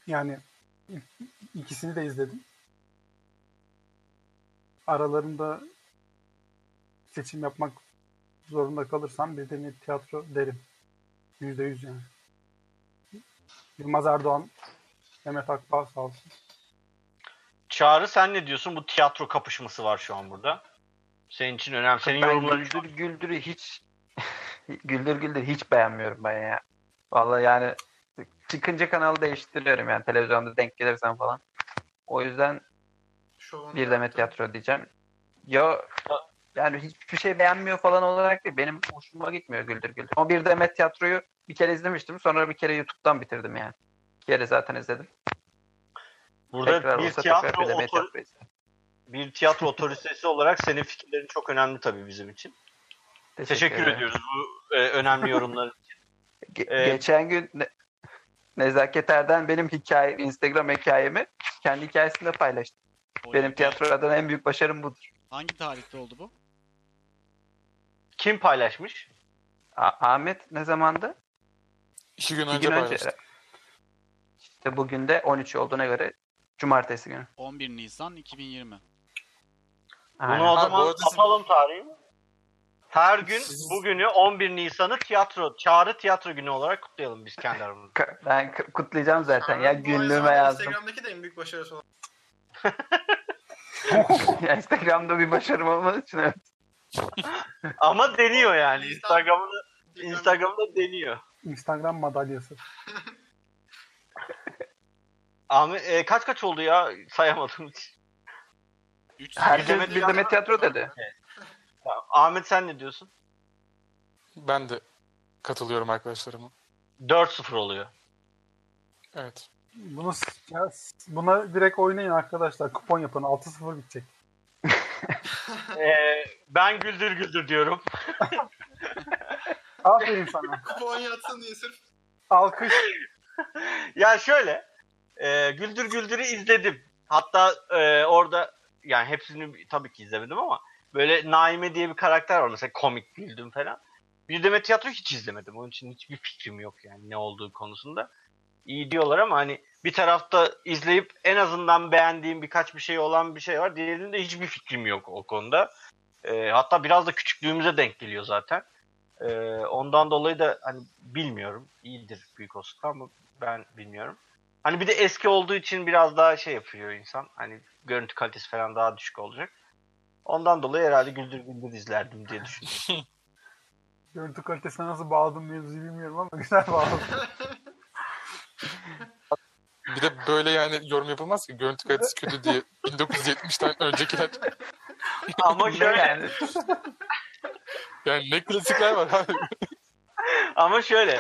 Speaker 5: Yani ik- ikisini de izledim. Aralarında seçim yapmak zorunda kalırsam bir demir tiyatro derim. Yüzde yüz yani. Yılmaz Erdoğan, Mehmet Akbağ sağ olsun.
Speaker 1: Çağrı sen ne diyorsun? Bu tiyatro kapışması var şu an burada. Senin için önemli. Senin
Speaker 3: Ben
Speaker 1: yorumların
Speaker 3: güldür güldürü hiç güldür güldür hiç beğenmiyorum ben ya. Vallahi yani çıkınca kanalı değiştiriyorum yani televizyonda denk gelirsem falan. O yüzden
Speaker 4: Şovun
Speaker 3: Bir demet tiyatro diyeceğim. Ya yani hiçbir şey beğenmiyor falan olarak değil. Benim hoşuma gitmiyor Güldür Güldür. Ama bir demet tiyatroyu bir kere izlemiştim. Sonra bir kere YouTube'dan bitirdim yani. Bir kere zaten izledim.
Speaker 1: burada
Speaker 3: tekrar
Speaker 1: bir
Speaker 3: olsa tekrar
Speaker 1: tiyatro,
Speaker 3: bir demet
Speaker 1: otor-
Speaker 3: tiyatro izlerim.
Speaker 1: bir tiyatro otoritesi olarak senin fikirlerin çok önemli tabii bizim için. Teşekkür,
Speaker 3: ederim.
Speaker 1: ediyoruz bu e, önemli yorumları.
Speaker 3: Ge-
Speaker 1: Ee,
Speaker 3: Geçen gün Ne- Nezaket Erden benim hikaye, Instagram hikayemi kendi hikayesinde paylaştı.
Speaker 2: O
Speaker 3: Benim
Speaker 2: yüzden-
Speaker 3: tiyatro adına en büyük başarım budur.
Speaker 2: Hangi tarihte oldu bu?
Speaker 1: Kim paylaşmış?
Speaker 3: A- Ahmet ne zamandı?
Speaker 6: 2 gün
Speaker 3: Bir
Speaker 6: önce
Speaker 3: gün önce.
Speaker 6: paylaştım.
Speaker 3: İşte bugün de 13 olduğuna göre cumartesi günü.
Speaker 2: 11 Nisan 2020.
Speaker 1: Bunu
Speaker 3: Aynen.
Speaker 1: o
Speaker 6: Ha, bu
Speaker 1: zaman
Speaker 6: arada-
Speaker 1: kapalım tarihi. mi? Her gün bugünü 11 Nisan'ı tiyatro, çağrı tiyatro günü olarak kutlayalım biz kendi aramızda.
Speaker 3: K- Ben k- kutlayacağım zaten ya
Speaker 4: Abi, bu aynı
Speaker 3: günlüğüme
Speaker 4: zamanda
Speaker 3: yazdım.
Speaker 4: Instagram'daki de en büyük başarısı olan.
Speaker 3: Ya Instagram'da bir başarım olmadığı için evet.
Speaker 1: Ama deniyor yani.
Speaker 4: Nisan-
Speaker 1: Instagram'da, Instagram'da deniyor.
Speaker 5: Instagram madalyası.
Speaker 1: Ahmet, e, kaç kaç oldu ya? Sayamadım hiç.
Speaker 2: 3
Speaker 3: Herkes
Speaker 1: Demet
Speaker 3: bir Demet Tiyatro dedi.
Speaker 1: Tamam. Ahmet sen ne diyorsun?
Speaker 6: Ben de katılıyorum arkadaşlarıma.
Speaker 1: 4-0 oluyor.
Speaker 6: Evet.
Speaker 5: Bunu s- ya s- buna direkt oynayın arkadaşlar. Kupon yapın. 6-0 bitecek.
Speaker 1: E, ben güldür güldür diyorum.
Speaker 5: Aferin sana.
Speaker 4: Kupon yatsın diye sırf
Speaker 5: Alkış.
Speaker 1: ya şöyle. e, güldür güldürü izledim. Hatta e, orada yani hepsini tabii ki izlemedim ama böyle Naime diye bir karakter var mesela komik güldüm falan. Bir de tiyatro hiç izlemedim. Onun için hiçbir fikrim yok yani ne olduğu konusunda. İyi diyorlar ama hani bir tarafta izleyip en azından beğendiğim birkaç bir şey olan bir şey var. Diğerinde hiçbir fikrim yok o konuda. E, hatta biraz da küçüklüğümüze denk geliyor zaten. E, ondan dolayı da hani bilmiyorum. İyidir büyük olasılıkla ama ben bilmiyorum. Hani bir de eski olduğu için biraz daha şey yapıyor insan. Hani görüntü kalitesi falan daha düşük olacak. Ondan dolayı herhalde güldür güldür izlerdim diye düşünüyorum.
Speaker 5: Görüntü kalitesine nasıl bağladım mevzuyu bilmiyorum ama güzel bağladım.
Speaker 6: Bir de böyle yani yorum yapılmaz ki görüntü kalitesi kötü diye 1970'ten öncekiler
Speaker 1: ama
Speaker 3: Ne
Speaker 1: şöyle,
Speaker 3: yani?
Speaker 6: yani ne klasikler var abi.
Speaker 1: ama şöyle.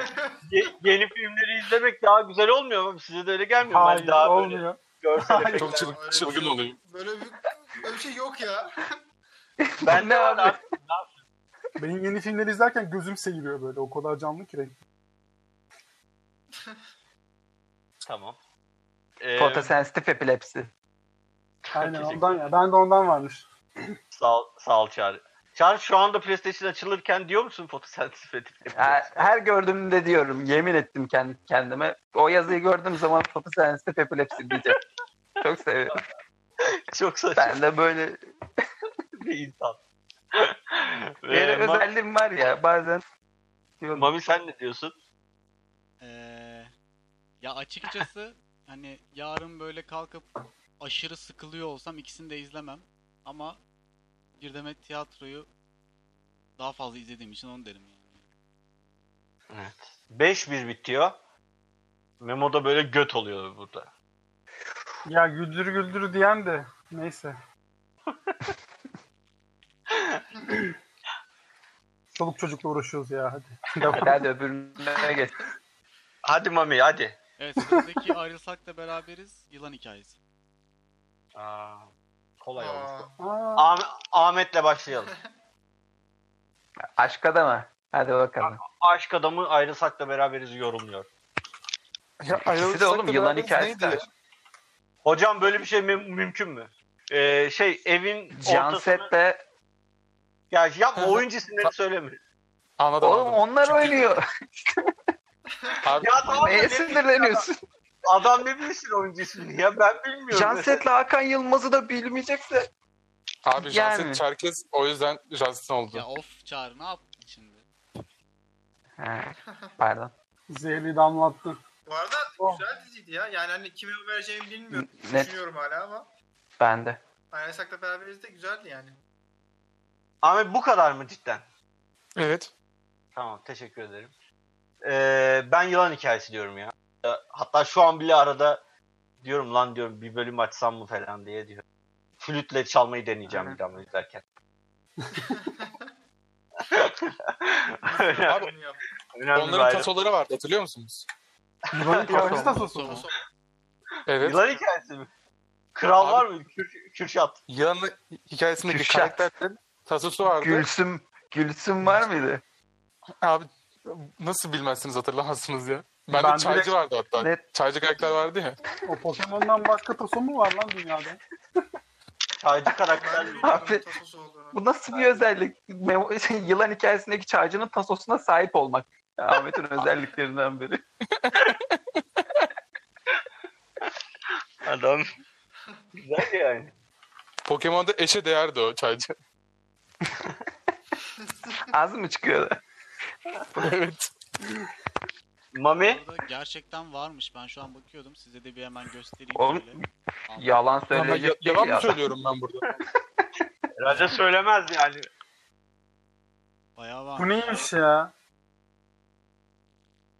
Speaker 1: ye- yeni filmleri izlemek daha güzel olmuyor mu? Size de öyle gelmiyor mu? Hani
Speaker 5: Hayır
Speaker 1: daha böyle
Speaker 5: olmuyor.
Speaker 1: görsel
Speaker 5: Hayır.
Speaker 1: efektler.
Speaker 6: Çok çılgın, çılgın oluyor.
Speaker 4: böyle bir, böyle bir şey yok ya.
Speaker 1: Ben
Speaker 3: Ne
Speaker 1: ne
Speaker 3: abi?
Speaker 1: abi?
Speaker 5: Benim yeni filmleri izlerken gözüm seyiriyor böyle. O kadar canlı ki renk.
Speaker 1: Tamam. Ee,
Speaker 3: Fotosensitif epilepsi.
Speaker 5: Aynen
Speaker 1: Teşekkür
Speaker 5: ondan ya. Ben de ondan varmış.
Speaker 1: sağ, ol- sağ ol Çağrı. Çağrı şu anda PlayStation açılırken diyor musun fotosensitif edip?
Speaker 3: Her, her gördüğümde diyorum yemin ettim kendi kendime. O yazıyı gördüğüm zaman fotosensitif epilepsi diyeceğim. Çok seviyorum.
Speaker 1: Çok saçma
Speaker 3: Ben de böyle
Speaker 1: bir insan.
Speaker 3: böyle
Speaker 1: Ee, Ma-
Speaker 3: özelliğim var ya bazen diyorum.
Speaker 1: Mami sen ne diyorsun?
Speaker 2: Ee, ya açıkçası hani yarın böyle kalkıp aşırı sıkılıyor olsam ikisini de izlemem. Ama bir demet tiyatroyu daha fazla izlediğim için onu derim yani.
Speaker 1: 5-1 bitiyor. Memo da böyle göt oluyor burada.
Speaker 5: Ya güldür güldür diyen de neyse. Çoluk çocukla uğraşıyoruz ya hadi. Devam.
Speaker 3: Hadi, hadi öbürüne geç.
Speaker 1: Hadi Mami hadi.
Speaker 2: Evet sıradaki ayrılsak da beraberiz. Yılan hikayesi.
Speaker 1: Aa, kolay
Speaker 4: Aa,
Speaker 1: oldu.
Speaker 5: Aa,
Speaker 1: Ah- Ahmet'le başlayalım.
Speaker 3: Aşka da mı? Hadi bakalım.
Speaker 1: Aşk adamı ayrılsak da beraberiz yorumluyor.
Speaker 6: Ya
Speaker 3: İkisi de oğlum yılan hikayesi de.
Speaker 1: Hocam böyle bir şey mü- mümkün mü? Ee, şey evin ortasını...
Speaker 3: Janset de
Speaker 1: Ya yapma oyuncu isimleri söyleme.
Speaker 6: Anladım.
Speaker 3: Oğlum
Speaker 6: anladım.
Speaker 3: onlar
Speaker 6: Çünkü-
Speaker 3: oynuyor.
Speaker 6: Abi,
Speaker 1: Ya tamam da ne
Speaker 3: Neye
Speaker 1: bileyim
Speaker 3: sinirleniyorsun?
Speaker 1: Adam, adam ne bilsin oyuncu ismini ya ben bilmiyorum.
Speaker 3: Janset'le Hakan Yılmaz'ı da bilmeyecekse.
Speaker 6: abi Janset
Speaker 3: yani.
Speaker 6: Çerkez o yüzden Jansen oldu.
Speaker 2: Ya of Çağrı ne yaptın şimdi?
Speaker 3: Ha, pardon.
Speaker 5: zehirli damlattı.
Speaker 4: bu arada
Speaker 5: Oh.
Speaker 4: güzel diziydi ya. Yani hani kime vereceğimi bilmiyorum.
Speaker 3: Net.
Speaker 4: Düşünüyorum hala ama.
Speaker 3: Ben de.
Speaker 4: Ayrılsak'la beraberiz de güzeldi yani.
Speaker 1: Ahmet bu kadar mı cidden?
Speaker 6: Evet.
Speaker 1: Tamam teşekkür ederim. Ee, ben yılan hikayesi diyorum ya. Ya, Hatta şu an bile arada diyorum lan diyorum bir bölüm açsam mı falan diye diyor. Flütle çalmayı deneyeceğim
Speaker 3: Aynen.
Speaker 1: bir daha izlerken.
Speaker 6: Abi,
Speaker 4: Bunu yap.
Speaker 1: Önemli bir
Speaker 6: onların
Speaker 1: ayrım.
Speaker 6: tasoları vardı hatırlıyor musunuz?
Speaker 5: Yılanın kahvesi
Speaker 3: Tamam.
Speaker 5: de sosu mu?
Speaker 4: Son-
Speaker 6: Evet.
Speaker 1: Yılan hikayesi mi? Kral
Speaker 6: Abi-
Speaker 1: var mı? Kür- Kürşat.
Speaker 6: Yılan hikayesindeki
Speaker 3: Kürşat.
Speaker 6: karakterlerin tasosu vardı.
Speaker 3: Gülsüm. Gülsüm var mıydı?
Speaker 6: Abi nasıl bilmezsiniz hatırlamazsınız ya. Bende
Speaker 5: Ben
Speaker 6: çaycı
Speaker 5: direkt-
Speaker 6: vardı hatta.
Speaker 3: Net.
Speaker 6: Çaycı karakter vardı ya.
Speaker 5: O Pokemon'dan başka taso mu var lan dünyada?
Speaker 1: Çaycı karakter.
Speaker 4: Ben de
Speaker 3: Abi-
Speaker 4: bilmiyorum tasosu olduğunu.
Speaker 3: Bu nasıl bir özellik? Memo- şey, Yılan hikayesindeki çaycının tasosuna sahip olmak. Ahmet'in özelliklerinden biri.
Speaker 1: Adam. Güzel yani.
Speaker 6: Pokemon'da eşe değerdi o çaycı.
Speaker 3: Az mı çıkıyor?
Speaker 6: evet.
Speaker 1: Mami
Speaker 2: Orada gerçekten varmış. Ben şu an bakıyordum. Size de bir hemen göstereyim.
Speaker 3: Oğlum,
Speaker 2: şöyle. Al.
Speaker 3: Yalan
Speaker 6: Lan ben ya-
Speaker 3: söyleyecek şey değil
Speaker 6: yalan mı
Speaker 3: ya.
Speaker 6: söylüyorum ben burada?
Speaker 1: Raja söylemez yani.
Speaker 2: Bayağı varmış.
Speaker 5: Bu neymiş ya?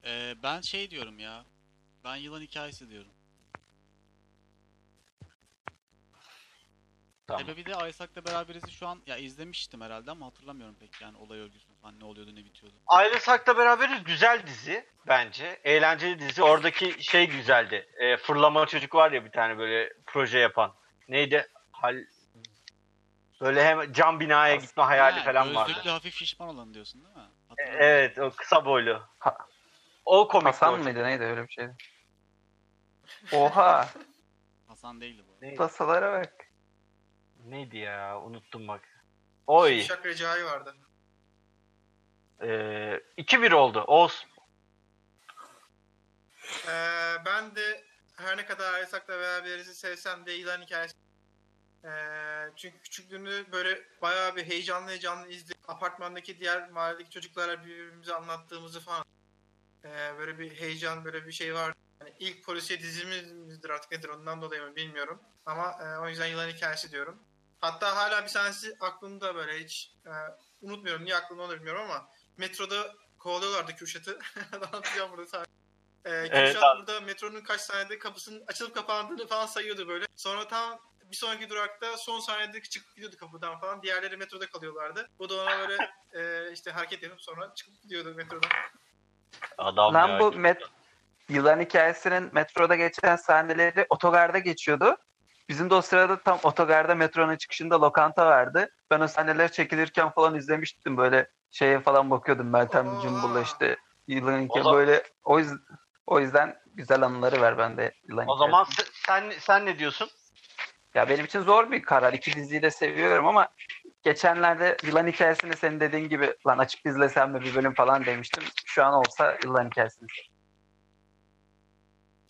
Speaker 2: Ee, ben şey diyorum ya. Ben yılan hikayesi diyorum.
Speaker 1: Tamam.
Speaker 2: Sebebi de Aysak'la beraberizi şu an ya izlemiştim herhalde ama hatırlamıyorum pek yani olay örgüsünü falan ne oluyordu ne bitiyordu.
Speaker 1: Ayrılsak'la beraberiz güzel dizi bence. Eğlenceli dizi. Oradaki şey güzeldi. E, fırlama çocuk var ya bir tane böyle proje yapan. Neydi? Hal... Böyle hem cam binaya gitme hayali
Speaker 2: Ha,
Speaker 1: falan E, vardı.
Speaker 2: Gözlüklü hafif şişman olanı diyorsun değil mi? Hatırlıyorum.
Speaker 1: Evet o kısa boylu.
Speaker 3: Ha-
Speaker 1: O komik.
Speaker 3: Hasan mıydı neydi öyle bir şeydi. Oha
Speaker 2: Hasan değildi bu. arada.
Speaker 1: Neydi?
Speaker 3: tasalara bak.
Speaker 1: Neydi ya unuttum bak. Oy.
Speaker 4: Şak Recai vardı.
Speaker 1: Ee, 2-1 oldu. Oğuz.
Speaker 4: Ee, ben de her ne kadar Aysak'la beraberizi sevsem de yılan hikayesi. Ee, çünkü küçüklüğünü böyle bayağı bir heyecanlı heyecanlı izleyip apartmandaki diğer mahalledeki çocuklara birbirimize anlattığımızı falan. Ee, böyle bir heyecan böyle bir şey vardı. Yani ilk polisiye dizimizdir artık nedir ondan dolayı mı bilmiyorum. Ama e, o yüzden yılan hikayesi diyorum. Hatta hala bir tanesi aklımda böyle hiç e, unutmuyorum. Niye aklımda onu bilmiyorum ama metroda kovalıyorlardı Kürşat'ı. Anlatacağım burada sadece. E, Kürşat
Speaker 1: Evet abi.
Speaker 4: burada metronun kaç saniyede kapısının açılıp kapandığını falan sayıyordu böyle. Sonra tam bir sonraki durakta son saniyede çıkıp gidiyordu kapıdan falan. Diğerleri metroda kalıyorlardı. Bu da ona böyle e, işte hareket yapıp sonra çıkıp gidiyordu metrodan.
Speaker 1: Adam ya.
Speaker 3: Lan bu met yılan hikayesinin metroda geçen sahneleri otogarda geçiyordu. Bizim de o sırada tam otogarda metronun çıkışında lokanta vardı. Ben o sahneler çekilirken falan izlemiştim böyle şeye falan bakıyordum Meltem
Speaker 4: Aa.
Speaker 3: Cumbul'la işte yılan hikayesi
Speaker 1: zaman-
Speaker 3: böyle o yüzden, o yüzden güzel anıları var bende yılan
Speaker 1: O
Speaker 3: hikayesi.
Speaker 1: zaman se- sen sen ne diyorsun?
Speaker 3: Ya benim için zor bir karar. İki diziyi de seviyorum ama geçenlerde yılan hikayesini senin dediğin gibi lan açık izlesem mi bir bölüm falan demiştim. Şu an olsa yılan hikayesini.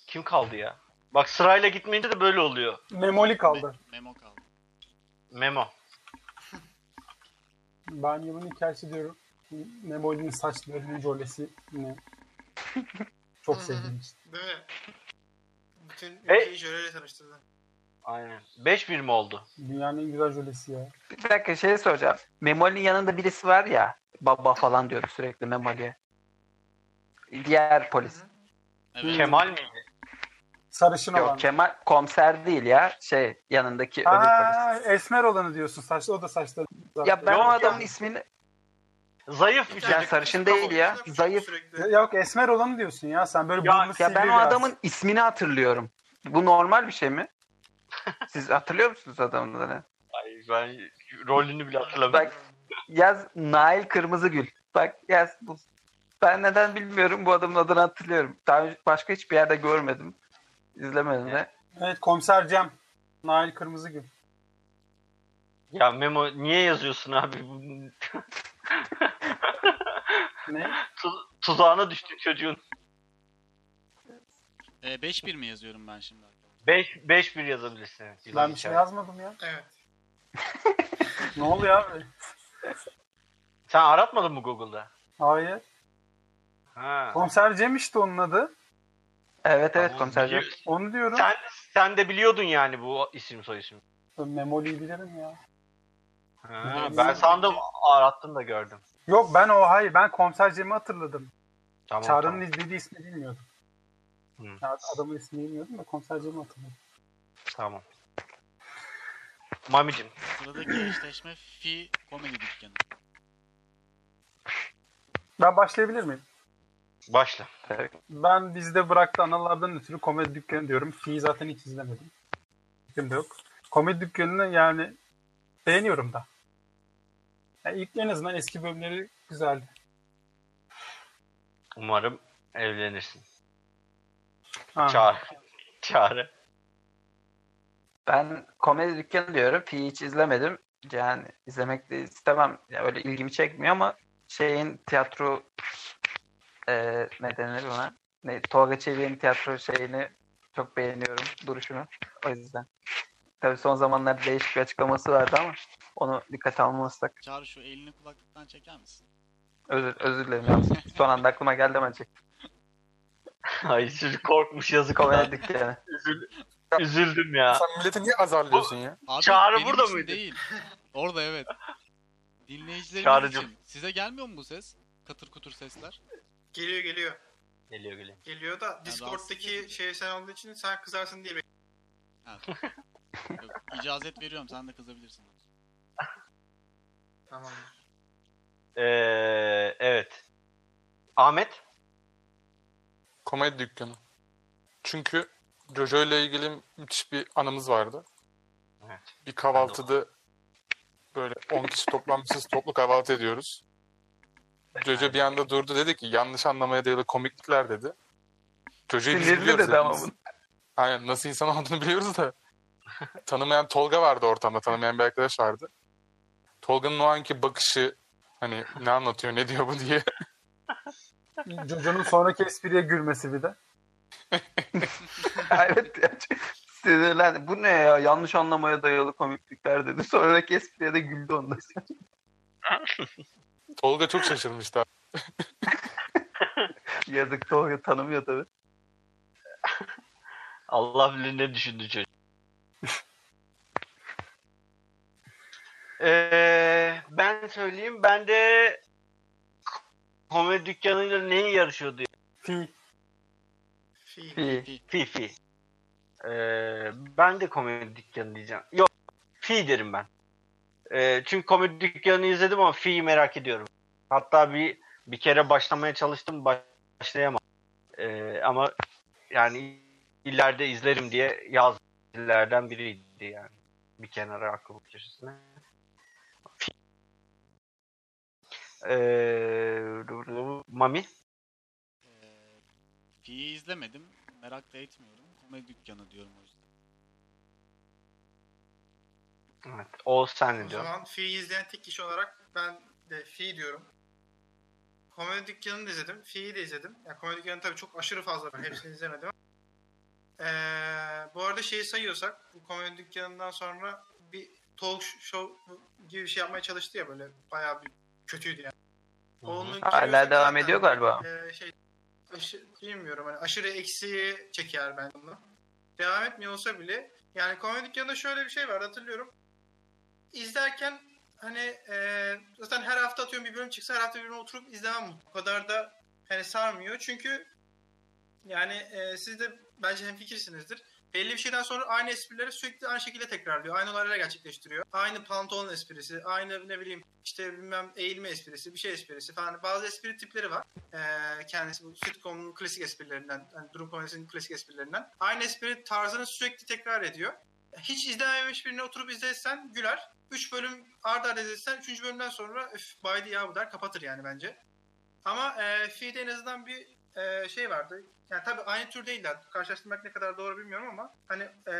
Speaker 1: Kim kaldı ya? Bak sırayla gitmeyince de böyle oluyor.
Speaker 5: Memoli kaldı.
Speaker 2: Me- memo kaldı.
Speaker 1: Memo.
Speaker 5: Ben yılın hikayesi diyorum. Memoli'nin saç bölümü jolesi ne? Çok sevdiğim için.
Speaker 4: Değil mi? Bütün
Speaker 1: E-
Speaker 4: ülkeyi jöleyle tanıştırdı.
Speaker 1: Aynen. 5-1 mi oldu?
Speaker 5: Dünyanın en güzel jölesi ya.
Speaker 3: Bir dakika şey soracağım. Memoli'nin yanında birisi var ya baba falan diyordu sürekli Memoli'ye. Diğer polis.
Speaker 2: Evet.
Speaker 1: Kemal miydi?
Speaker 5: Sarışın olan.
Speaker 3: Yok Kemal komiser değil ya. Şey yanındaki öbür
Speaker 5: Aa,
Speaker 3: polis.
Speaker 5: esmer olanı diyorsun. Saç, o da saçları.
Speaker 3: Ya ben
Speaker 1: Yok
Speaker 3: o
Speaker 1: ya.
Speaker 3: adamın ismini...
Speaker 1: Zayıf bir
Speaker 4: Bir
Speaker 1: çocuk.
Speaker 4: tane
Speaker 3: sarışın
Speaker 4: kız
Speaker 3: değil ya,
Speaker 4: kafalıydı, küçük
Speaker 3: zayıf.
Speaker 4: Sürekli.
Speaker 5: Yok esmer olanı diyorsun ya. Sen böyle
Speaker 1: Ya-
Speaker 5: burnunu
Speaker 3: Ya
Speaker 5: sivri
Speaker 3: ben o
Speaker 5: biraz.
Speaker 3: adamın ismini hatırlıyorum. Bu normal bir şey mi? Siz hatırlıyor musunuz adamın adını?
Speaker 1: Ay, ben rolünü bile hatırlamıyorum.
Speaker 3: Bak yaz Nail Kırmızıgül. Bak yaz bu. Ben neden bilmiyorum bu adamın adını hatırlıyorum. Daha önce başka hiçbir yerde görmedim. İzlemedim de.
Speaker 5: Evet komiser Cem. Nail Kırmızıgül.
Speaker 1: Ya Memo niye yazıyorsun abi? Bu-
Speaker 5: Ne?
Speaker 1: Tu- tuzağına düştük çocuğun.
Speaker 2: Ee, 5-1 mi yazıyorum ben şimdi?
Speaker 1: 5 5-1 yazabilirsin. evet. Yılan
Speaker 5: Ben bir şey
Speaker 1: hikaye.
Speaker 5: yazmadım ya.
Speaker 4: Evet.
Speaker 5: Ne oluyor abi?
Speaker 1: Sen aratmadın mı Google'da?
Speaker 5: Hayır.
Speaker 1: Ha.
Speaker 5: Komiser Cem işte onun adı.
Speaker 3: Evet evet
Speaker 1: Tamam,
Speaker 3: komiser. Cem.
Speaker 1: biliyor-
Speaker 5: Onu diyorum.
Speaker 1: Sen, sen de biliyordun yani bu isim soy isim.
Speaker 5: Memoli'yi bilirim ya.
Speaker 1: Ha, ben sandım arattım da gördüm.
Speaker 5: Yok ben o hayır ben komiser Cem'i hatırladım.
Speaker 1: Tamam.
Speaker 5: Çağrı'nın
Speaker 1: tamam.
Speaker 5: izlediği ismi bilmiyordum.
Speaker 1: Hı.
Speaker 5: Ya adamın ismini bilmiyordum da komiser Cem'i hatırladım.
Speaker 1: tamam. Mamicim.
Speaker 2: Sıradaki eşleşme Fi Komedi Dükkanı.
Speaker 5: Ben başlayabilir miyim?
Speaker 1: Başla.
Speaker 5: Ben dizide bıraktı analardan ötürü komedi dükkanı diyorum. Fi'yi zaten hiç izlemedim. Fikrim de yok. Komedi dükkanını yani beğeniyorum da. Yani ilk en azından eski bölümleri güzeldi.
Speaker 1: Umarım evlenirsin.
Speaker 5: Ha.
Speaker 1: Çağrı. Çağrı.
Speaker 3: Ben komedi dükkanı diyorum. Fi'yi hiç izlemedim. Yani izlemek de istemem. Ya öyle ilgimi çekmiyor ama şeyin tiyatro eee ne denir ona? Ne, Tolga Çevik'in tiyatro şeyini çok beğeniyorum duruşunu. O yüzden. Tabii son zamanlarda değişik bir açıklaması vardı ama onu dikkate almazsak.
Speaker 2: Çağrı şu elini kulaklıktan çeker misin?
Speaker 3: Özür, özür dilerim yalnız. Son anda aklıma geldi ama çek.
Speaker 1: Ay çocuk korkmuş yazık ona.
Speaker 3: Komedi dükkanı.
Speaker 1: Üzül- Üzüldüm ya.
Speaker 6: Sen milleti niye azarlıyorsun ya?
Speaker 2: Abi,
Speaker 1: Çağrı
Speaker 2: benim
Speaker 1: burada
Speaker 2: için
Speaker 1: mıydı?
Speaker 2: Değil. Orada evet. Dinleyicilerimiz
Speaker 1: Çağrıcığım.
Speaker 2: için. Size gelmiyor mu bu ses? Katır kutur sesler.
Speaker 4: Geliyor geliyor.
Speaker 1: Geliyor geliyor.
Speaker 4: Geliyor da
Speaker 2: rahatsız
Speaker 4: Discord'daki
Speaker 2: edici.
Speaker 4: şey sen olduğu için sen kızarsın diye bekliyorum.
Speaker 2: Yok, icazet veriyorum sen de kızabilirsin.
Speaker 4: Tamam.
Speaker 1: Ee, evet. Ahmet?
Speaker 6: Komedi dükkanı. Çünkü Jojo ile ilgili müthiş bir anımız vardı.
Speaker 1: Evet.
Speaker 6: Bir kahvaltıda böyle 10 kişi toplanmışız toplu kahvaltı ediyoruz. Jojo bir anda durdu dedi ki yanlış anlamaya dayalı komiklikler dedi. Jojo'yu biz
Speaker 3: Sinirli
Speaker 6: biliyoruz
Speaker 3: dedi ama
Speaker 6: hepimiz.
Speaker 3: bunu.
Speaker 6: Aynen nasıl insan olduğunu biliyoruz da. tanımayan Tolga vardı ortamda. Tanımayan bir arkadaş vardı. Tolga'nın o anki bakışı hani ne anlatıyor ne diyor bu diye.
Speaker 5: Jojo'nun sonraki espriye gülmesi bir de.
Speaker 3: evet ya. Sinirlendi. Bu ne ya? Yanlış anlamaya dayalı komiklikler dedi. Sonraki espriye de güldü onda.
Speaker 6: Tolga çok şaşırmıştı.
Speaker 3: Yazık Tolga tanımıyor tabii.
Speaker 1: Allah bilir ne düşündü çocuk. Ee, ben söyleyeyim. Ben de komedi dükkanıyla neyi yarışıyordu?
Speaker 5: Fi.
Speaker 4: Fiil.
Speaker 3: İyi.
Speaker 1: Fi fi. Ee, ben de komedi dükkanı diyeceğim. Yok. Fi derim ben. Ee, çünkü komedi dükkanını izledim ama fi'yi merak ediyorum. Hatta bir bir kere başlamaya çalıştım baş- başlayamadım. Ee, ama yani ileride izlerim diye yazdım. dizilerden biriydi yani. Bir kenara aklım köşesine. Fi. Ee, Mami?
Speaker 2: Ee, Fi'yi izlemedim. Merak da etmiyorum. Komedi dükkanı diyorum o yüzden.
Speaker 1: Evet. O sen
Speaker 4: O
Speaker 1: ne diyorsun?
Speaker 4: zaman Fi'yi izleyen tek kişi olarak ben de Fi diyorum. Komedi Dükkanı'nı da izledim. Fi'yi de izledim. Ya Komedi Dükkanı tabii çok aşırı fazla var. Hepsini izlemedim. Ee, bu arada şeyi sayıyorsak bu Komedi Dükkanı'ndan sonra bir talk show gibi bir şey yapmaya çalıştı ya böyle bayağı bir kötüydü yani. Onu
Speaker 3: Hala
Speaker 4: görüyorsak
Speaker 3: devam
Speaker 4: zaten,
Speaker 3: ediyor galiba.
Speaker 4: ee, şey aşı- bilmiyorum hani aşırı eksiği çeker ben bunu. Devam etmiyor olsa bile yani komedi dükkanında şöyle bir şey var hatırlıyorum. İzlerken hani e, zaten her hafta atıyorum bir bölüm çıksa her hafta bir bölüm oturup izlemem. O kadar da hani sarmıyor çünkü yani e, siz de bence hemfikirsinizdir. Belli bir şeyden sonra aynı esprileri sürekli aynı şekilde tekrarlıyor. Aynı olaylara gerçekleştiriyor. Aynı pantolon esprisi, aynı ne bileyim işte bilmem eğilme esprisi, bir şey esprisi falan. Bazı espri tipleri var. Ee, kendisi bu sitcom'un klasik esprilerinden, yani durum komedisinin klasik esprilerinden. Aynı espri tarzını sürekli tekrar ediyor. Hiç izlememiş birine oturup izlesen güler. 3 bölüm arda arda izlesen 3. bölümden sonra öf baydı ya bu der kapatır yani bence. Ama e, Fi'de en azından bir e, şey vardı. Yani tabii aynı tür değiller. Karşılaştırmak ne kadar doğru bilmiyorum ama hani e,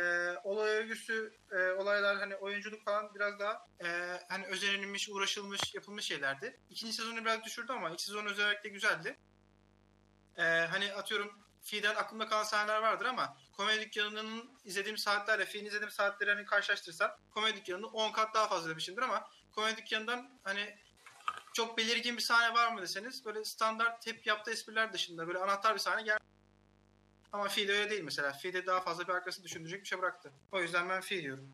Speaker 4: olay örgüsü, e, olaylar hani oyunculuk falan biraz daha e, hani özenilmiş, uğraşılmış, yapılmış şeylerdi. İkinci sezonu biraz düşürdü ama ilk sezon özellikle güzeldi. E, hani atıyorum Fi'den aklımda kalan sahneler vardır ama komedi dükkanının izlediğim saatlerle Fi'nin izlediğim saatleri hani karşılaştırsam komedi dükkanını 10 kat daha fazla demişimdir ama komedi dükkanından hani çok belirgin bir sahne var mı deseniz böyle standart hep yaptığı espriler dışında böyle anahtar bir sahne gel. Ama Fi'de öyle değil mesela. Fi'de daha fazla bir arkasını düşündürecek bir şey bıraktı. O yüzden ben Fi diyorum.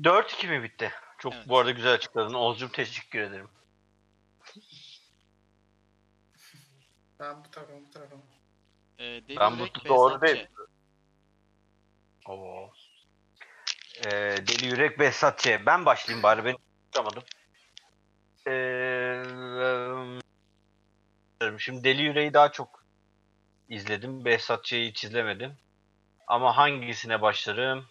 Speaker 1: 4-2 mi bitti? Çok
Speaker 2: Evet.
Speaker 1: bu arada güzel açıkladın. Oğuzcum teşekkür ederim.
Speaker 4: Ben bu tarafım bu tarafım.
Speaker 2: Ee, Deli
Speaker 1: Ben bu
Speaker 2: Yürek
Speaker 1: doğru
Speaker 2: Behzat
Speaker 1: değil.
Speaker 2: Ç.
Speaker 1: Oo. Ee, Deli Yürek Behzat Ç. Ben başlayayım bari ben tutamadım. Ee, em, şimdi Deli Yürek'i daha çok izledim. Behzat Ç'yi hiç izlemedim. Ama hangisine başlarım?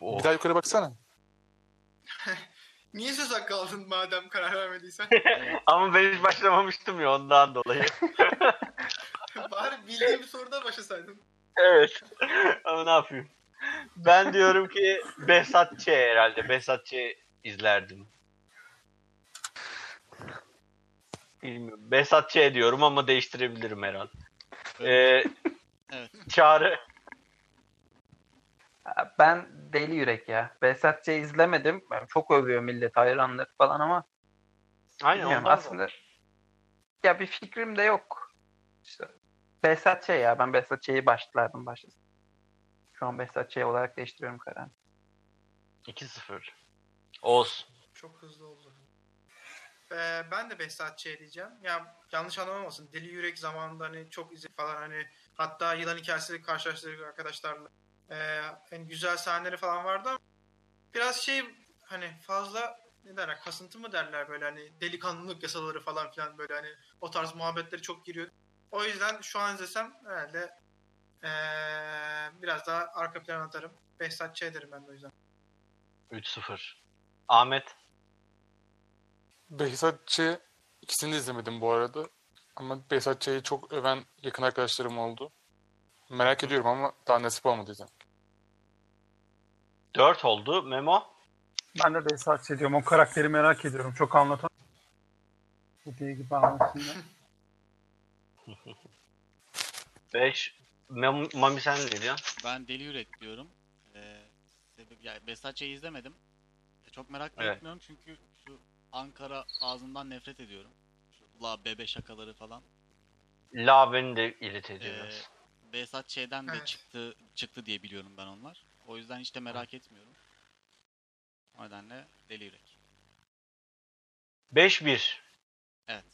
Speaker 1: Oo,
Speaker 6: Bir daha yukarı baksana.
Speaker 4: Niye söz hakkı aldın madem karar vermediysen?
Speaker 1: Ama ben hiç başlamamıştım ya ondan dolayı.
Speaker 4: Bari bildiğim bir soruda başlasaydın.
Speaker 1: Evet. Ama ne yapayım? Ben diyorum ki Behzat Ç herhalde. Behzat Ç izlerdim. Bilmiyorum. Behzat Ç diyorum ama değiştirebilirim herhalde. Ee,
Speaker 2: Evet.
Speaker 1: Çağrı.
Speaker 3: Ben deli yürek ya. Behzatçı'yı izlemedim. Ben çok övüyor millet hayranlık falan ama
Speaker 1: Aynen
Speaker 3: bilmiyorum
Speaker 1: ondan da.
Speaker 3: aslında. Ya bir fikrim de yok. İşte Behzatçı ya. Ben Behzatçı'yı başlardım başlasın. Şu an Behzatçı olarak değiştiriyorum kararımı.
Speaker 1: 2-0. Oğuz.
Speaker 4: Çok hızlı oldu. Ee, ben de Behzatçı'ya diyeceğim. Ya yanlış anlamamasın. Deli Yürek zamanında hani çok izledik falan hani hatta yılan hikayesiyle karşılaştık arkadaşlarla. Ee, hani güzel sahneleri falan vardı ama biraz şey hani fazla ne derler kasıntı mı derler böyle hani delikanlılık yasaları falan filan böyle hani o tarz muhabbetleri çok giriyor. O yüzden şu an izlesem herhalde ee, biraz daha arka plana atarım. Behzatçı'ya derim ben de o yüzden.
Speaker 1: 3-0. Ahmet.
Speaker 6: Behzatçı ikisini de izlemedim bu arada. Ama Behzatçı'yı çok öven yakın arkadaşlarım oldu. Merak ediyorum ama daha nasip olmadı izlemek.
Speaker 1: 4 oldu. Memo.
Speaker 5: Ben de Behzatçı ediyorum. O karakteri merak ediyorum. Çok anlatan. Dediği gibi anlatayım.
Speaker 1: 5. Mem- Mami sen ne diyorsun?
Speaker 2: Ben Deli Yürek diyorum. Ee, sebep, yani Besatçı'yı izlemedim. E, Çok merak da
Speaker 1: Evet.
Speaker 2: etmiyorum çünkü şu Ankara ağzından nefret ediyorum. Şu la bebe şakaları falan.
Speaker 1: La beni de ilet ediyor
Speaker 2: Ee,
Speaker 1: biraz.
Speaker 2: Behzatçı'dan de
Speaker 4: Evet.
Speaker 2: çıktı çıktı diye biliyorum ben onlar. O yüzden hiç de merak etmiyorum. O nedenle Deli Yürek.
Speaker 1: 5-1.
Speaker 2: Evet.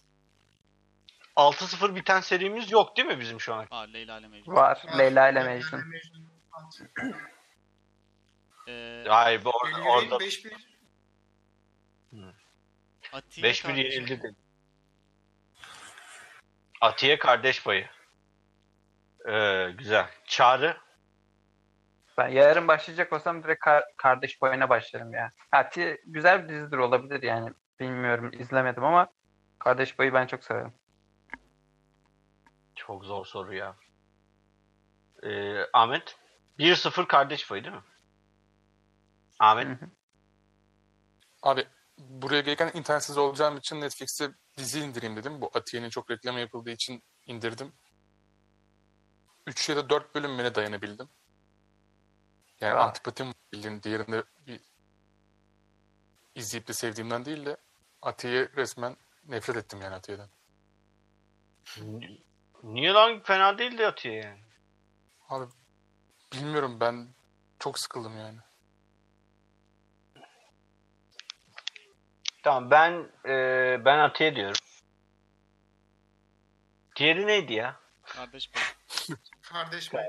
Speaker 1: 6-0 biten serimiz yok değil mi bizim şu an?
Speaker 2: Aa Leyla ile Mecnun.
Speaker 3: Var. Leyla ile
Speaker 4: Leyla
Speaker 3: Mecnun.
Speaker 4: Mecnun.
Speaker 2: Ee,
Speaker 1: Hayır bu or-
Speaker 4: Deli Yürek'in
Speaker 1: orada
Speaker 4: 5-1
Speaker 2: Atiye
Speaker 1: 5-1
Speaker 2: kardeşim.
Speaker 1: yenildi dedi. Atiye kardeş payı. Ee, güzel. Çağrı.
Speaker 3: Ben yarın başlayacak olsam direkt kar- kardeş boyuna başlarım ya. Hati güzel bir dizidir olabilir yani. Bilmiyorum izlemedim ama kardeş boyu ben çok severim.
Speaker 1: Çok zor soru ya. Ee, Ahmet. 1-0 kardeş payı değil mi? Ahmet.
Speaker 6: Abi buraya gelirken internetsiz olacağım için Netflix'e dizi indireyim dedim. Bu Atiye'nin çok reklamı yapıldığı için indirdim. 3 ya da 4 bölüm bile dayanabildim. Yani
Speaker 3: Aa.
Speaker 6: antipatim var bildiğin diğerinde bir izleyip de sevdiğimden değil de Atiye resmen nefret ettim yani Atiye'den.
Speaker 1: Ni- Niye lan fena değildi Atiye yani.
Speaker 6: Abi bilmiyorum ben çok sıkıldım yani.
Speaker 1: Tamam ben e, ben Atiye diyorum. Diğeri neydi ya?
Speaker 2: Kardeş payı.
Speaker 4: kardeş mi?